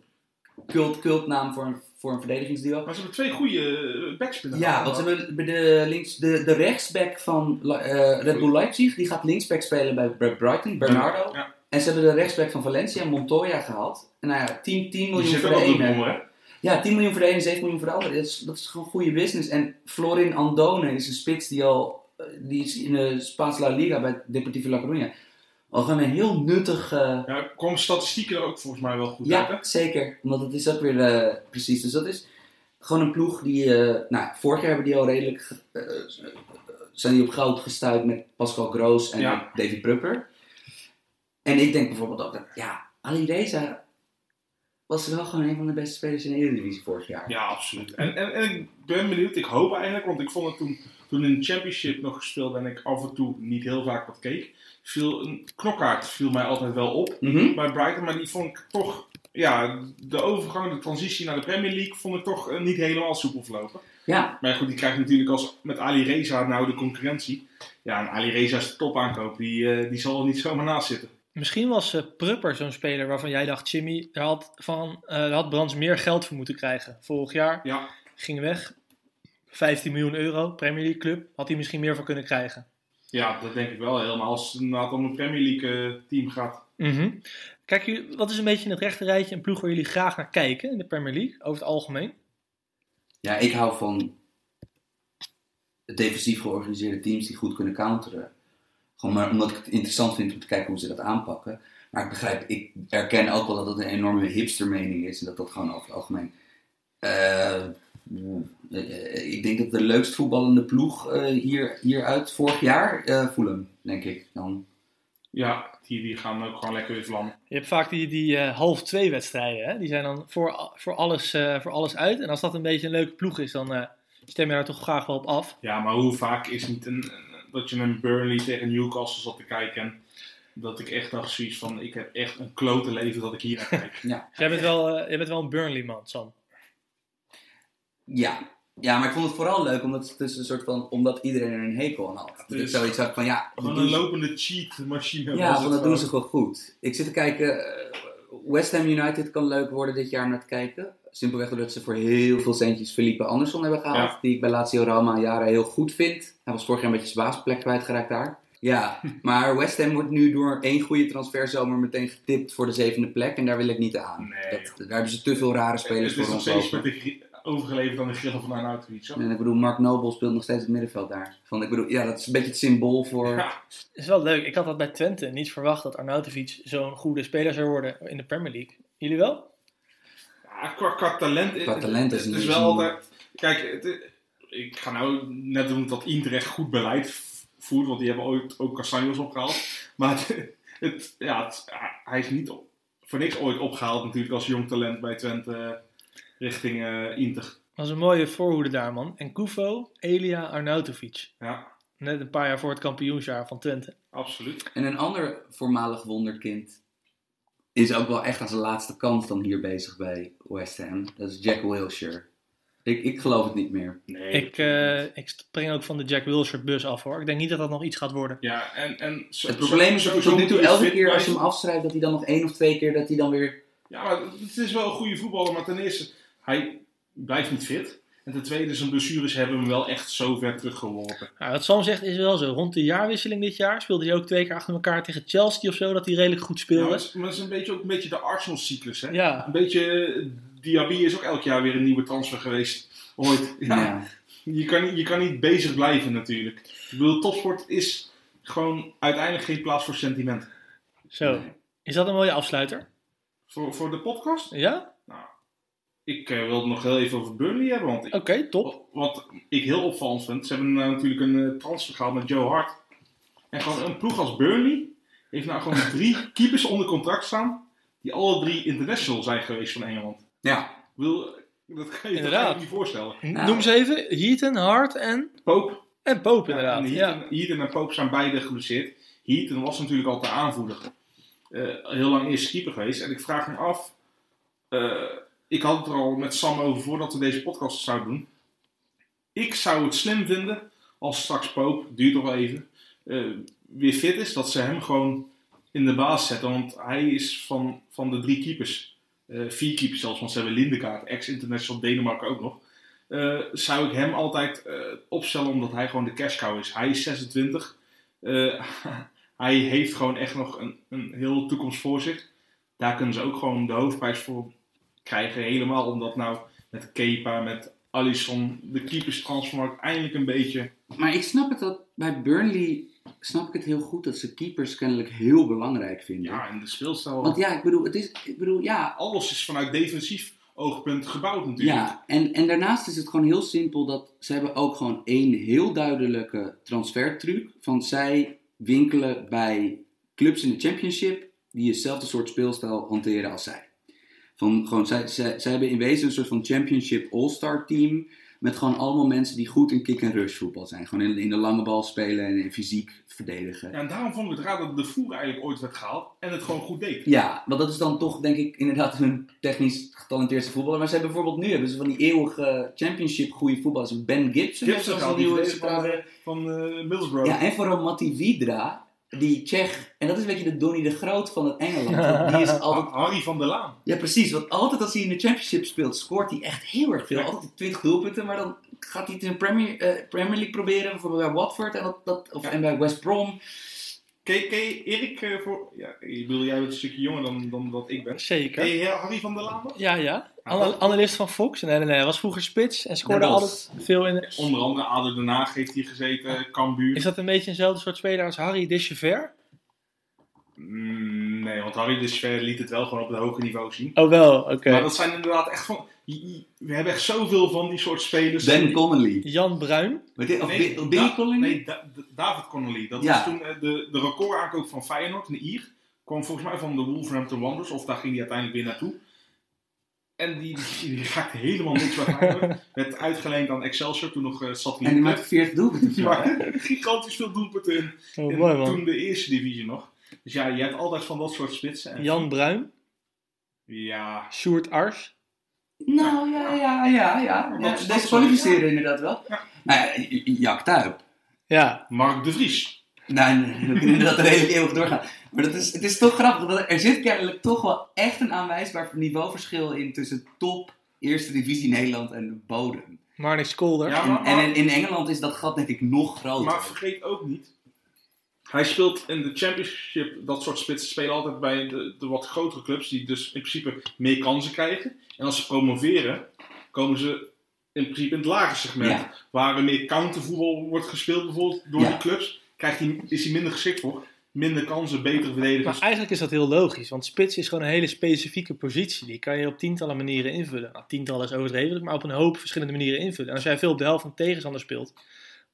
C: cult, cultnaam voor een, voor een verdedigingsduo.
B: Maar ze hebben twee goede eh, backspinners.
C: Ja,
B: wat
C: want ze hebben bij de, links, de, de rechtsback van La- eh, Red Bull Leipzig, die gaat linksback spelen bij Bre- Brighton, Bernardo.
B: Ja.
C: En ze hebben de rechtsback van Valencia, Montoya, gehaald. En nou ja, 10, 10
B: Die
C: miljoen voor
B: zitten
C: de
B: ook op de
C: ene.
B: bom, hè?
C: Ja, 10 miljoen voor de ene, 7 miljoen voor de andere. Dat is, dat is gewoon goede business. En Florin Andone is een spits die al, eh, die is in de Spaanse La Liga bij Deportivo La Coruña. Al gewoon een heel nuttig... eh,
B: Ja, kwam statistieken er ook volgens mij wel goed uit, hè?
C: ja, zeker. Want dat is ook weer eh, precies. Dus dat is gewoon een ploeg die... eh, nou, vorig jaar hebben die al redelijk... ge- eh, zijn die op goud gestuurd met Pascal Groos en
B: Ja.
C: David Prupper. En ik denk bijvoorbeeld ook dat... Ja, Ali Reza was wel gewoon een van de beste spelers in de Eredivisie vorig jaar.
B: Ja, absoluut. En, en, en ik ben benieuwd, ik hoop eigenlijk, want ik vond het toen, toen in de Championship nog gespeeld en ik af en toe niet heel vaak wat keek. Viel, een knokkaart viel mij altijd wel op
C: Mhm.
B: bij Brighton, maar die vond ik toch, ja, de overgang, de transitie naar de Premier League vond ik toch eh, niet helemaal soepel verlopen.
C: Ja,
B: Maar goed, die krijgt natuurlijk als met Ali Reza nou de concurrentie. Ja, en Ali Reza is de topaankoop, die, eh, die zal er niet zomaar naast zitten.
A: Misschien was eh, Prupper zo'n speler waarvan jij dacht, Jimmy, daar had, van, eh, daar had Brands meer geld voor moeten krijgen. Vorig jaar
B: Ja,
A: ging weg. 15 miljoen euro, Premier League club. Had hij misschien meer van kunnen krijgen.
B: ja dat denk ik wel helemaal. Als het inderdaad om een Premier League eh, team gaat.
A: Mhm. Kijk, jullie- wat is een beetje in het rechte rijtje een ploeg waar jullie graag naar kijken in de Premier League, over het algemeen?
C: ja ik hou van defensief georganiseerde teams die goed kunnen counteren. Gewoon maar omdat ik het interessant vind om te kijken hoe ze dat aanpakken. Maar ik begrijp, ik erken ook wel dat dat een enorme hipstermening is. En dat dat gewoon over het algemeen... eh, eh, ik denk dat de leukst voetballende ploeg eh, hier, hieruit vorig jaar... eh Fulham, denk ik. Dan.
B: Ja, die, die gaan ook gewoon lekker weer vlammen.
A: Je hebt vaak die, die eh, half twee wedstrijden. Hè? Die zijn dan voor, a- voor, alles, eh, voor alles uit. En als dat een beetje een leuke ploeg is, dan eh, stem je daar toch graag wel op af.
B: Ja, maar hoe vaak is niet een, een- dat je een Burnley tegen Newcastle zat te kijken en dat ik echt dacht zoiets van, ik heb echt een klote leven dat ik hier naar kijk.
A: Dus jij bent wel, eh, jij bent wel een Burnley-man, Sam.
C: Ja. ja, maar ik vond het vooral leuk omdat, het dus een soort van, omdat iedereen er een hekel aan had. Dat ik
B: Dus-
C: zoiets had van ja...
B: Gewoon
C: die-
B: een lopende cheat machine.
C: Ja,
B: was het
C: want dat doen
B: gewoon.
C: ze gewoon goed. Ik zit te kijken. eh, West Ham United kan leuk worden dit jaar om naar te kijken. Simpelweg doordat ze voor heel veel centjes Felipe Anderson hebben gehaald. Die ik bij Lazio Roma jaren heel goed vind. Hij was vorig jaar een beetje zijn baasplek kwijtgeraakt daar. Ja, maar West Ham wordt nu door één goede transferzomer meteen getipt voor de zevende plek. En daar wil ik niet aan.
B: Nee,
C: dat, daar hebben ze te veel rare spelers
B: Het is
C: voor
B: nog
C: ons
B: steeds
C: over.
B: met de gri- overgeleverd aan de grillen van Arnautovic. hoor.
C: En ik bedoel, Mark Noble speelt nog steeds het middenveld daar. Van, ik bedoel, ja, dat is een beetje het symbool voor...
B: Ja,
A: Is wel leuk. Ik had dat bij Twente niet verwacht dat Arnautovic zo'n goede speler zou worden in de Premier League. Jullie wel?
B: ja, qua, qua talent,
C: Qua
B: het-
C: talent is
B: het
C: niet
B: is wel
C: zo-
B: altijd... Kijk, het- ik ga nou net doen dat Inter echt goed beleid voert, want die hebben ooit ook Castanjos opgehaald. Maar het, het- ja, het- hij is niet op- voor niks ooit opgehaald natuurlijk als jong talent bij Twente richting eh, Inter.
A: Dat is een mooie voorhoede daar, man. En Kufo, Elia Arnautovic.
B: Ja,
A: Net een paar jaar voor het kampioensjaar van Twente.
B: absoluut.
C: En een ander voormalig wonderkind is ook wel echt aan zijn laatste kans dan hier bezig bij West Ham. Dat is Jack Wilshere. Ik, ik geloof het niet meer.
B: Nee.
A: Ik, eh, ik spring ook van de Jack Wilshire bus af hoor. Ik denk niet dat dat nog iets gaat worden.
B: Ja, en, en zo-
C: Het probleem is
B: zo-
C: dat hij
B: zo
C: tot nu
B: moet
C: toe
B: hij
C: elke
B: fit
C: keer als je
B: blijven.
C: hem afschrijft, dat hij dan nog één of twee keer dat hij dan weer...
B: Ja, maar het is wel een goede voetballer, maar ten eerste, hij blijft niet fit. En ten tweede, zijn blessures hebben hem wel echt zo ver teruggeworpen.
A: Nou, wat Sam zegt is wel zo. Rond de jaarwisseling dit jaar speelde hij ook twee keer achter elkaar tegen Chelsea of zo. Dat hij redelijk goed
B: Ja, maar
A: speelde.
B: het is- maar het is een beetje, ook een beetje de Arsenal-cyclus, hè?
A: Ja,
B: Een beetje, eh, Diaby is ook elk jaar weer een nieuwe transfer geweest. Ooit. Ja.
C: Ja.
B: Je, kan, niet- je kan niet bezig blijven natuurlijk. Ik bedoel, topsport is gewoon uiteindelijk geen plaats voor sentiment.
A: zo. Is dat een mooie afsluiter?
B: Voor, voor de podcast?
A: Ja?
B: Ik eh, wil het nog heel even over Burnley hebben, want ik,
A: Oké, top.
B: wat ik heel opvallend vind, ze hebben eh, natuurlijk een eh, transfer gehaald met Joe Hart. En gewoon een ploeg als Burnley heeft nou gewoon drie keepers onder contract staan, die alle drie international zijn geweest van Engeland.
C: ja.
B: Ik bedoel, dat kan je
A: Inderdaad.
B: toch niet voorstellen.
C: Nou.
A: Noem ze even. Heaton, Hart en,
B: Pope
A: en Pope
B: En
A: inderdaad.
B: Heaton,
A: Ja.
B: Heaton en Pope zijn beide geblesseerd. Heaton was natuurlijk al de aanvoerder. Eh, heel lang eerste keeper geweest. En ik vraag me af... eh, ik had het er al met Sam over voordat we deze podcast zouden doen. Ik zou het slim vinden als straks Pope, duurt nog wel even, eh, weer fit is. Dat ze hem gewoon in de baas zetten. Want hij is van, van de drie keepers. eh, vier keepers zelfs, want ze hebben Lindegaard, ex-international Denemarken ook nog eh, zou ik hem altijd eh, opstellen omdat hij gewoon de cash cow is. Hij is 26. Eh, hij heeft gewoon echt nog een, een hele toekomst voor zich. Daar kunnen ze ook gewoon de hoofdprijs voor krijgen. Helemaal omdat nou met Kepa, met Alisson, de keepers transfermarkt eindelijk een beetje...
C: Maar ik snap het dat bij Burnley, snap ik het heel goed dat ze keepers kennelijk heel belangrijk vinden.
B: Ja, in de speelstijl.
C: Want ja, ik bedoel, het is, ik bedoel ja,
B: Alles is vanuit defensief oogpunt gebouwd natuurlijk.
C: Ja, en, en daarnaast is het gewoon heel simpel dat ze hebben ook gewoon één heel duidelijke transfertruc. Van zij winkelen bij clubs in de championship die hetzelfde soort speelstijl hanteren als zij. Van gewoon, zij, zij, zij hebben in wezen een soort van championship all-star team. Met gewoon allemaal mensen die goed in kick-and-rush voetbal zijn. Gewoon in, in de lange bal spelen en in fysiek verdedigen.
B: Ja, en daarom vond ik het raar dat de voer eigenlijk ooit werd gehaald en het gewoon goed deed.
C: Ja, want dat is dan toch denk ik inderdaad hun technisch getalenteerdste voetballer. Maar ze hebben bijvoorbeeld nu hebben ze van die eeuwige championship goede voetballers. Ben Gibson.
B: Gibson
C: heeft zo'n
B: gehaald, die
C: nieuwe
B: verdediger van,
C: centrale-
B: Van eh, Middlesbrough.
C: Ja, en vooral Matti Vidra, die Tsjech. En dat is een beetje de Donny de Groot van het Engeland. want Die is altijd...
B: Harry van der Laan.
C: Ja, precies. Want altijd als hij in de championship speelt, scoort hij echt heel erg veel.
B: Ja.
C: Altijd 20 doelpunten, maar dan gaat hij het in de Premier, eh, Premier League proberen. Bijvoorbeeld bij Watford en, dat, dat, of,
B: Ja.
C: en bij West Brom.
B: Ken je, ken je Erik eh, voor... Ja, ik bedoel, jij bent een stukje jonger dan, dan wat ik ben. Ken
A: Zeker.
B: je Harry van der Laan nog?
A: Ja, ja. Ana- analist van Fox. Nee, nee, nee. Hij was vroeger spits en scoorde
C: En was-
A: altijd veel in... de-
B: Onder andere Ader Den Haag heeft hij gezeten, Cambuur.
A: Is dat een beetje eenzelfde soort speler als Harry Deschever?
B: Mm, nee, want Harry de Sfer liet het wel gewoon op het hoge niveau zien.
A: Oh wel, oké.
B: Maar dat zijn inderdaad echt van... je- je- We hebben echt zoveel van die soort spelers.
C: Ben Connolly.
A: Jan Bruin.
C: Weet je- Of
B: Nee,
C: Billy
B: Da-
C: Connolly?
B: nee, Da- Da- David Connolly. Dat
C: Ja.
B: was toen eh, de, de record aankoop van Feyenoord, een Ier. Kwam volgens mij van de Wolverhampton Wanderers, of daar ging hij uiteindelijk weer naartoe. En die, die raakte helemaal niks bij Feyenoord. Werd uitgeleend aan Excelsior, toen nog eh, zat hij
C: En die
B: in
C: maakt 40 doelpunten.
B: de club. Maar gigantisch veel doelpunten in,
A: Oh,
B: in
A: mooi man.
B: toen de eerste divisie nog. Dus ja, je hebt altijd van dat soort spitsen. En,
A: Jan Bruin.
B: Ja,
A: Sjoerd Ars.
C: Nou ja, ja, ja, ja.
B: Dat
C: ja
B: is- dat
C: deze
B: is wel-
C: kwalificeren inderdaad wel. Nou, ja, J- J- Jack Tuip.
A: Ja,
B: Mark de Vries.
C: Nou, we kunnen dat redelijk eeuwig doorgaan. Maar dat is, het is toch grappig. Dat er, er zit kennelijk toch wel echt een aanwijsbaar niveauverschil in tussen top, eerste divisie Nederland en de bodem.
A: Marnix Kolder.
B: Ja,
C: En,
B: maar,
C: en
B: maar,
C: in, in Engeland is dat gat denk ik nog groter.
B: maar vergeet ook niet. Hij speelt in de championship, dat soort spitsen spelen altijd bij de, de wat grotere clubs. Die dus in principe meer kansen krijgen. En als ze promoveren, komen ze in principe in het lage segment.
C: Ja.
B: Waar er meer countervoetbal wordt gespeeld bijvoorbeeld door
C: Ja.
B: die clubs. Krijgt hij, is hij minder geschikt voor. Minder kansen, betere verdedigers.
A: Maar eigenlijk is dat heel logisch, want spits is gewoon een hele specifieke positie. Die kan je op tientallen manieren invullen. Nou, tientallen is overdreven, maar op een hoop verschillende manieren invullen. En als jij veel op de helft van de tegenstander speelt,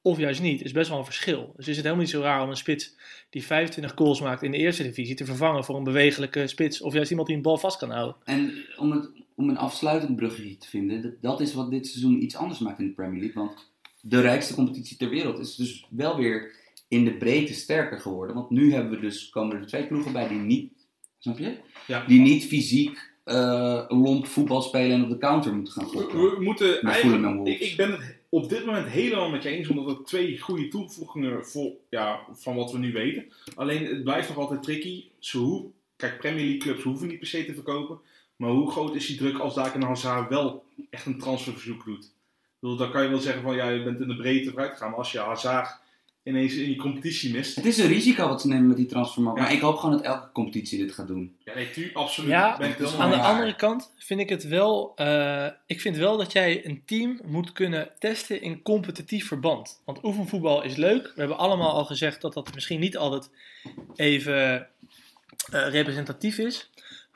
A: of juist niet, is best wel een verschil. Dus is het helemaal niet zo raar om een spits die 25 goals maakt in de eerste divisie te vervangen voor een bewegelijke spits of juist iemand die een bal vast kan houden.
C: En om, het, om een afsluitend bruggetje te vinden, dat, dat is wat dit seizoen iets anders maakt in de Premier League. Want de rijkste competitie ter wereld is dus wel weer in de breedte sterker geworden. Want nu hebben we dus, komen er twee ploegen bij die niet, snap je?
B: Ja.
C: Die niet fysiek eh, lomp voetbal spelen en op de counter moeten gaan
B: We,
C: gokken.
B: we moeten
C: Met Fulham en
B: eigenlijk...
C: Wolves.
B: Ik, ik ben het op dit moment helemaal met je eens, omdat het twee goede toevoegingen voor, ja, van wat we nu weten. Alleen het blijft nog altijd tricky. Ze hoe, kijk, Premier League clubs hoeven niet per se te verkopen. Maar hoe groot is die druk als Daken Hazard wel echt een transferverzoek doet? Ik bedoel, dan kan je wel zeggen van ja, je bent in de breedte vooruit gegaan. Maar als je Hazard ineens in je competitie mist.
C: Het is een risico wat ze nemen met die transfermarkt.
B: Ja.
C: Maar ik hoop gewoon dat elke competitie dit gaat doen.
B: Ja, nee, tu, absoluut.
A: Ja, Dus
B: ben ik het helemaal
A: Aan de
B: mee.
C: Ja.
A: andere kant vind ik het wel. eh, ik vind wel dat jij een team moet kunnen testen in competitief verband. Want oefenvoetbal is leuk. We hebben allemaal al gezegd dat dat misschien niet altijd even eh, representatief is.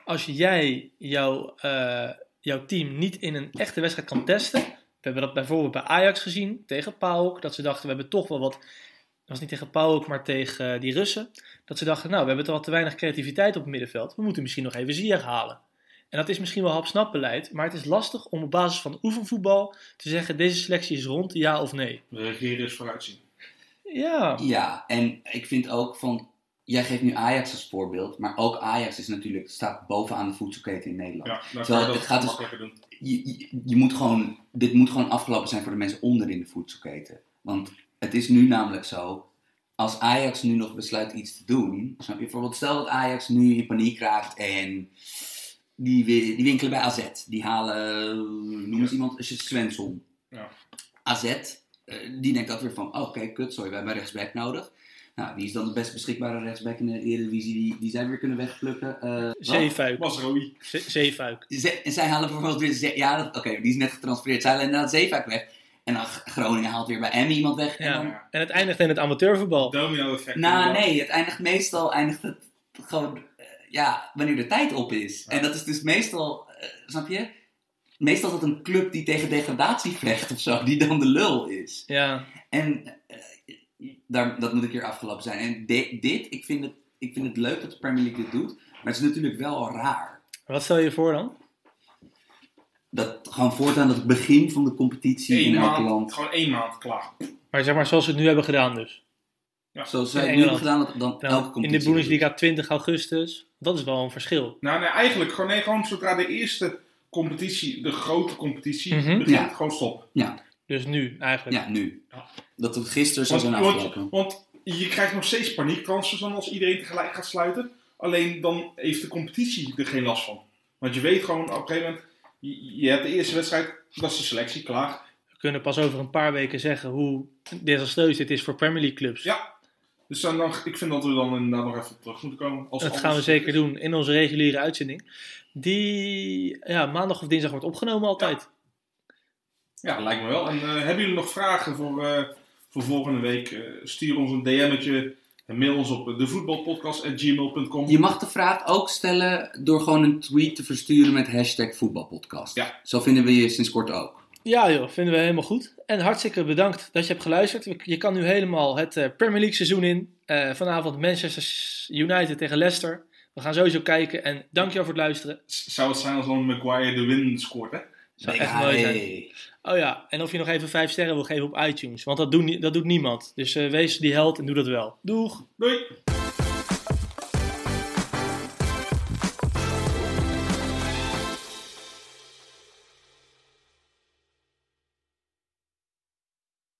A: Als jij jouw, eh, jouw team niet in een echte wedstrijd kan testen. We hebben dat bijvoorbeeld bij Ajax gezien tegen PAOK. Dat ze dachten, we hebben toch wel wat. Dat was niet tegen PAOK, maar tegen eh, die Russen. Dat ze dachten, nou, we hebben toch wat te weinig creativiteit op het middenveld. We moeten misschien nog even Ziyech halen. En dat is misschien wel hapsnap beleid, maar het is lastig om op basis van oefenvoetbal te zeggen deze selectie is rond, ja of nee.
B: Regeren is vooruitzien.
A: Ja,
C: Ja, en ik vind ook van. Jij geeft nu Ajax als voorbeeld, maar ook Ajax is natuurlijk, staat bovenaan de voedselketen in Nederland.
B: Ja, dan kan
C: Terwijl
B: je dat
C: het gaat dus-
B: makkelijker doen.
C: je, je- je moet gewoon, dit moet gewoon afgelopen zijn voor de mensen onderin de voedselketen. Want het is nu namelijk zo, als Ajax nu nog besluit iets te doen, snap je? Bijvoorbeeld, stel dat Ajax nu in paniek raakt en die, wi- die winkelen bij AZ. Die halen, eh, noem eens iemand, als je Svensson.
B: Ja.
C: AZ, eh, die denkt dat weer van, oh, oké, kut, sorry, we hebben een rechtsback nodig. Nou, die is dan de best beschikbare rechtsback in de Eredivisie. Die, die zij weer kunnen wegplukken. Eh, wat?
A: zeefuik.
B: Was Roy.
A: Ze- zeefuik.
C: Ze- en zij halen bijvoorbeeld weer... Ze- ja, dat- oké, die is net getransfereerd. Zij halen inderdaad Zeevaak weg. En dan G- Groningen haalt weer bij Emmy iemand weg. En
A: Ja.
C: dan,
A: En het eindigt in het amateurvoetbal.
B: Domino effect.
C: nou nee, het eindigt meestal... Eindigt het gewoon... eh, ja, wanneer de tijd op is. En dat is dus meestal... eh, snap je? Meestal is dat een club die tegen degradatie vecht of zo. Die dan de lul is.
A: Ja,
C: En eh, daar, dat moet ik hier afgelopen zijn. En di- dit, ik vind, het, ik vind het leuk dat de Premier League dit doet. Maar het is natuurlijk wel raar.
A: wat stel je voor dan?
C: Dat gewoon voortaan dat het begin van de competitie
B: Eén
C: in elk
B: maand,
C: land.
B: Gewoon één maand klaar.
A: maar zeg maar zoals we het nu hebben gedaan dus.
C: Zoals
A: In
C: zij het nu
A: Engeland.
C: hebben gedaan, dat
A: Dan
C: dan elke
A: in de
C: competitie. dus.
A: Bundesliga 20 augustus, dat is wel een verschil.
B: Nou, nee, eigenlijk gewoon, nee, gewoon zodra de eerste competitie, de grote competitie,
A: Mhm.
B: begint,
C: Ja.
B: gewoon stop.
A: Dus nu eigenlijk.
C: Ja, nu.
B: Ja.
C: Dat het gisteren zou
B: Want,
C: zijn
B: want,
C: afgelopen.
B: want je krijgt nog steeds paniektransfers dan als iedereen tegelijk gaat sluiten. Alleen dan heeft de competitie er geen last van. Want je weet gewoon op een gegeven moment, je, je hebt de eerste wedstrijd, dat is de selectie, klaar.
A: We kunnen pas over een paar weken zeggen hoe desastreus dit is voor Premier League clubs.
B: Ja, Dus dan, dan, ik vind dat we dan inderdaad nog even op terug moeten komen. Als
A: Dat
B: alles
A: gaan we
B: goed
A: zeker
B: is.
A: doen in onze reguliere uitzending. Die ja, maandag of dinsdag wordt opgenomen altijd.
B: Ja, lijkt me wel. En eh, hebben jullie nog vragen voor, eh, voor volgende week? Eh, stuur ons een DM'tje en mail ons op eh, devoetbalpodcast.gmail.com.
C: Je mag de vraag ook stellen door gewoon een tweet te versturen met hashtag voetbalpodcast.
B: Ja.
C: Zo vinden we je sinds kort ook.
A: Ja joh, vinden we helemaal goed. En hartstikke bedankt dat je hebt geluisterd. We- Je kan nu helemaal het eh, Premier League seizoen in. Eh, vanavond Manchester United tegen Leicester. We gaan sowieso kijken en dankjewel voor het luisteren.
B: S- Zou het zijn als dan Maguire de win scoort, hè?
A: Zou
C: Big
A: echt mooi zijn.
C: hey.
A: Oh ja, en of je nog even 5 sterren wil geven op iTunes. Want dat, doen, ni- dat doet niemand. Dus eh, wees die held en doe dat wel. Doeg!
B: Doei!